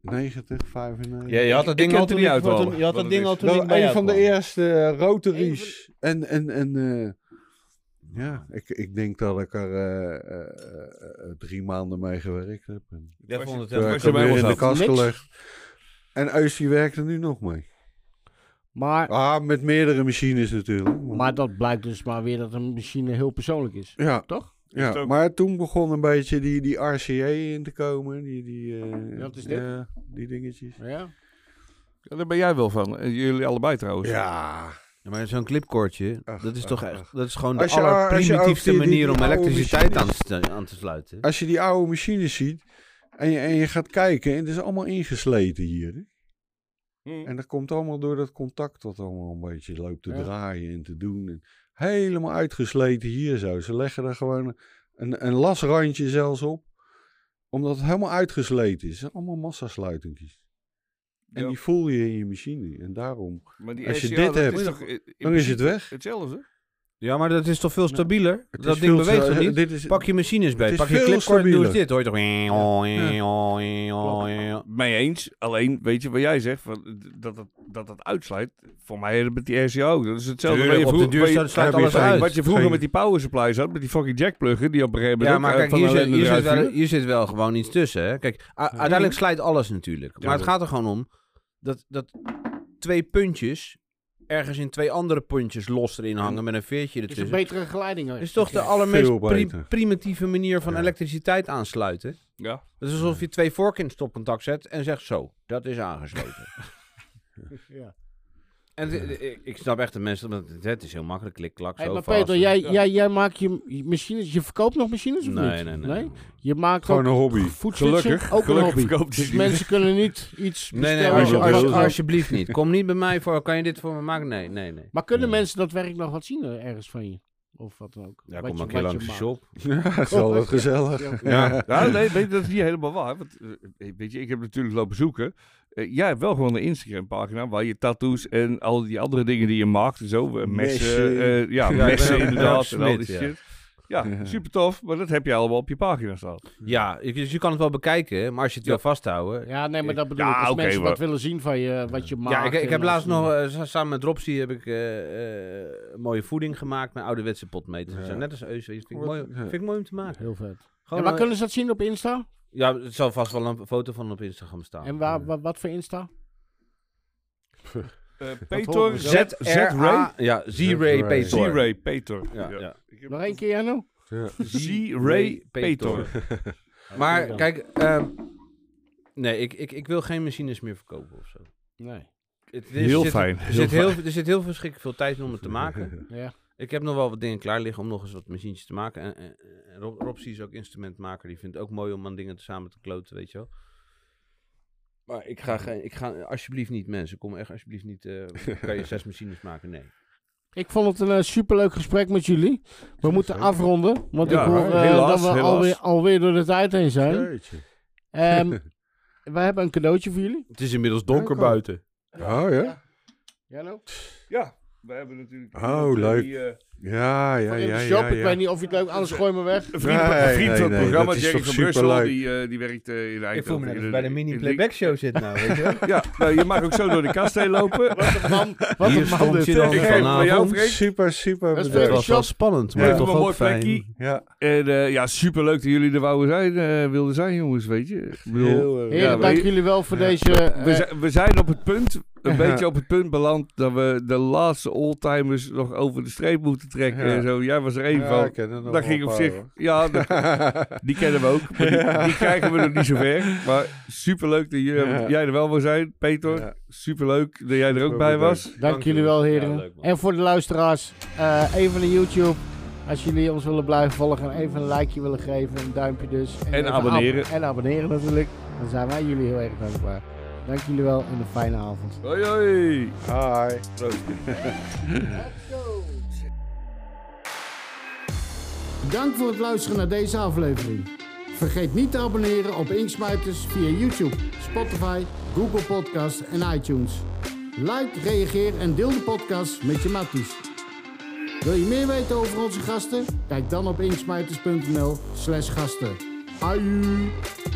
E: 90, 95.
B: Ja, je had dat
D: Ik
B: ding
D: ken
B: al
D: het
B: toen
D: er niet
B: ik-
D: uit,
B: wat
D: wel,
B: toen- je had dat
D: wat het
B: ding
D: is.
B: al toen
E: Dat
B: ik bij
E: een
B: jou
E: van de
B: kwam.
E: eerste eh, rotaries. En, en, en eh, ja, ik, ik denk dat ik er eh, eh, eh, eh, drie maanden mee gewerkt heb. En
B: Jij vond het
E: toen
B: helemaal
E: heb ik
D: je
B: kapot.
E: hem
D: bij
E: weer in
D: ons
E: de
D: af.
E: kast
C: Niks.
E: gelegd. En Eus die werkt er nu nog mee.
C: Maar,
E: Ah, met meerdere machines natuurlijk. maar-
C: maar dat blijkt dus maar weer dat een machine heel persoonlijk is.
E: ja,
C: Toch?
E: Ja,
D: het ook-
E: maar toen begon een beetje die, die RCA in te komen. Die, die, eh,
C: Wat is dit?
E: ja, die dingetjes.
C: Ja.
D: Ja, daar ben jij wel van. Eh, Jullie allebei trouwens.
E: Ja.
B: Ja, Maar zo'n clipkoordje,
E: Ach,
B: dat is
E: ach,
B: toch
E: ach.
B: echt, dat is gewoon de
E: Als je- als je ook
B: allerprimitiefste
E: die- die-
B: manier
E: die
B: om
E: oude
B: elektriciteit aan te,
E: machines-
B: stu- aan te sluiten.
E: Als je die oude machines ziet en je, en je gaat kijken, en het is allemaal ingesleten hier. hè.
D: Hm.
E: En dat komt allemaal door dat contact wat allemaal een beetje loopt te
C: Ja.
E: draaien en te doen. En helemaal uitgesleten hier zo. Ze leggen er gewoon een, een lasrandje zelfs op. Omdat het helemaal uitgesleten is. Het zijn allemaal massasluitingjes. En
D: Ja.
E: die voel je in je machine. En daarom,
D: Maar die
E: als je
D: SCA,
E: dit
D: dat
E: hebt,
D: is toch, eh, in
E: dan is het
D: principe
E: weg.
D: Hetzelfde.
B: Ja, maar dat is toch veel stabieler?
E: Het
B: dat
E: is
B: ding
E: veel te-
B: beweegt toch niet?
E: Dit is,
B: Pak je machines bij,
E: is
B: pak je
E: veel
B: clipkoord en doe eens
E: stabieler.
B: dit. Hoor je toch? Ja.
D: Mee eens. Alleen, weet je wat jij zegt? Van, d- dat, het, dat het uitsluit. Voor mij heb met die RCA ook. Dat is hetzelfde.
B: Tuurlijk,
D: wat je
B: op de
D: vroeger-
B: duur
D: wat je-
B: staat- sluit
D: wat je-
B: alles uit.
D: Wat je vroeger
E: Geen-
D: met die power supplies had. Met die fucking jackpluggen. Die op een gegeven moment
B: Ja,
E: eh,
D: ook
B: maar kijk,
D: uit van
B: hier
D: ellende
B: zit, hier, zit
D: eruit
B: wel,
D: vielen.
B: hier zit wel gewoon iets tussen. Hè? Kijk, u- uiteindelijk slijt alles natuurlijk. Maar het gaat er gewoon om dat, dat twee puntjes ergens in twee andere puntjes los erin hangen met een veertje
C: Het is een
B: ertussen.
C: betere geleiding. hoor.
B: Het is toch de
E: Veel
B: allermeest pri-
E: beter.
B: primitieve manier van
E: Ja.
B: elektriciteit aansluiten.
D: Ja.
B: Het is alsof je twee vorken in het stopcontact zet en zegt zo, dat is aangesloten.
C: Ja.
B: En het- het- ik- ik snap echt de mensen, want het- het is heel makkelijk, klik, klak,
C: Hey,
B: zo
C: maar
B: vast.
C: Peter, jij, jij, jij maakt je je machines. Je verkoopt nog machines of niet?
B: Nee, nee, nee.
C: Je maakt
E: Gewoon
C: ook
E: een hobby.
C: voetfietsen.
D: Gelukkig.
C: Ook
D: gelukkig
C: een hobby.
D: verkoopt hij
C: Dus
D: die.
C: mensen kunnen niet iets
B: Nee,
C: bestellen.
B: nee, alsje-
E: als je
B: alsje-
E: wil.
B: alsjeblieft niet. Kom niet bij mij voor, kan je dit voor me maken? Nee, nee, nee.
C: Maar kunnen
B: Nee.
C: mensen dat werk nog wat zien eh, ergens van je? Of wat dan ook?
B: Ja,
C: Wat
B: kom
C: je-
B: maar een keer
C: wat je
B: langs de
C: maakt.
B: shop.
E: Ja, dat is altijd gezellig.
D: Ja, nee, weet je, dat is niet helemaal waar. Want, eh, weet je, ik heb natuurlijk lopen zoeken. Eh, jij hebt wel gewoon een Instagram-pagina waar je tattoos en al die andere dingen die je maakt en zo. eh, Messen.
E: Messen.
D: eh, ja,
B: ben
D: messen
B: ook-
D: inderdaad.
B: ben
D: en
B: ook
D: al die
B: smid, ja.
D: shit. Ja, super tof. Maar dat heb je allemaal op je pagina staan.
B: Ja, je- dus je kan het wel bekijken, maar als je het wil vasthouden... Ja,
C: Ja, nee, maar dat bedoel
D: Ja,
C: ik. Als
D: oké,
C: mensen
D: maar-
C: wat willen zien van je, wat je maakt.
B: ik, ik
C: en
B: heb
C: als-
B: laatst nog, eh, sa- samen met Dropsy heb ik eh, eh, mooie voeding gemaakt met ouderwetse potmeters. en Net als Eus, weet je, vind ik, mooi, vind ik mooi om te maken.
C: Heel vet.
B: Gewoon,
C: En waar
B: eh,
C: kunnen ze dat zien op Insta?
B: Ja, er zal vast wel een foto van op Instagram staan.
C: En waar,
B: Eh,
C: wa- wat voor Insta?
D: Peter
B: Z
D: Z- Z-Ray?
B: Z-Ray? Ja, Z-Ray
E: Z-Ray.
B: Petor.
D: Z-Ray Peter.
B: Ja, ja.
C: Nog één keer, Janno?
D: Z-Ray Peter.
B: Maar kijk, ehm, nee, ik, ik, ik wil geen machines meer verkopen of zo.
C: Nee.
B: Het is-
D: Heel
B: zit-
D: fijn.
B: Er zit heel, er zit heel verschrikkelijk veel tijd in om het te maken.
C: Ja.
B: Ik heb nog wel wat dingen klaar liggen om nog eens wat machientjes te maken. En, en, en Rob, Rob Zie is ook instrumentmaker. Die vindt het ook mooi om aan dingen te- samen te kloten, weet je wel. Maar ik ga, geen, ik ga alsjeblieft niet, mensen. Kom echt alsjeblieft niet. eh, kan je zes machines maken? Nee.
C: Ik vond het een eh, superleuk gesprek met jullie. We moeten afronden, want
D: Ja,
C: ik hoor eh,
D: helaas,
C: dat we
D: helaas.
C: alweer, alweer door de tijd heen zijn.
E: Jeetje.
C: Ehm, we hebben een cadeautje voor jullie.
B: Het is inmiddels donker buiten.
E: Oh ja?
B: nou.
C: Janno?
D: Ja, we hebben natuurlijk...
E: Oh,
D: iemand, eh,
E: leuk.
D: die, eh,
E: Ja, ja,
C: Van in
E: ja.
C: de
E: ja,
C: shop,
E: ja.
C: ik weet niet of je het leuk... Anders gooi me weg.
D: Een vriend,
E: Nee,
D: een
E: nee,
D: vriend van het
E: nee,
D: programma,
E: dat is
D: Jerry
E: toch
D: van Brussel,
E: superleuk.
D: die, eh, die werkt eh, in Eindhoven.
F: Ik voel me net
D: in
F: als
D: de-
F: ik bij de
D: in
F: mini
D: de-
F: playback show zit nou, weet je wel.
D: Ja, nou, je mag ook zo door de kast heen lopen.
C: Wat een man, wat een man
B: stond
C: dit,
B: je
C: hè?
B: dan
D: Ik geef het aan jou,
B: vanavond.
D: Freek.
E: Super, super
C: Dat is
B: Het
E: bedankt.
B: was wel spannend, maar
D: Even
B: toch
D: een mooi
B: ook fijn.
D: plekje.
E: Ja,
D: En eh, ja, superleuk dat jullie er wouden zijn, eh, wilden zijn, jongens, weet je. Ik bedoel,
E: heel eh, erg.
C: Heren,
D: Ja,
C: dank
D: we-
C: jullie wel voor deze... eh,
D: we, zijn, we zijn op het punt,
E: Ja.
D: een beetje op het punt beland dat we de laatste oldtimers nog over de streep moeten trekken.
E: Ja.
D: En zo. Jij was er één
E: Ja,
D: van.
E: ik ken er nog
D: Dat
E: wel
D: ging
E: een
D: op
E: paar,
D: zich.
E: hoor.
D: Ja, dat- die kennen we ook. maar die, die krijgen we nog niet zo ver. Maar superleuk dat je-
E: Ja.
D: jij er wel wil zijn, Peter.
E: Ja.
D: Superleuk dat jij er ook bij
E: Superbedankt.
D: was.
C: Dank jullie wel, heren.
B: Ja, leuk, man.
C: en voor de luisteraars, eh, even naar YouTube. Als jullie ons willen blijven volgen, even een likeje willen geven, een duimpje dus.
D: En
C: even
D: abonneren.
C: ab- en abonneren natuurlijk. Dan zijn wij jullie heel erg dankbaar. Dank jullie wel en een fijne avond.
D: Hoi hoi!
E: Hi.
A: Dank voor het luisteren naar deze aflevering. Vergeet niet te abonneren op Inksmijters via YouTube, Spotify, Google Podcast en iTunes. Like, reageer en deel de podcast met je matties. Wil je meer weten over onze gasten? Kijk dan op inksmijters.nl slash gasten. Aju!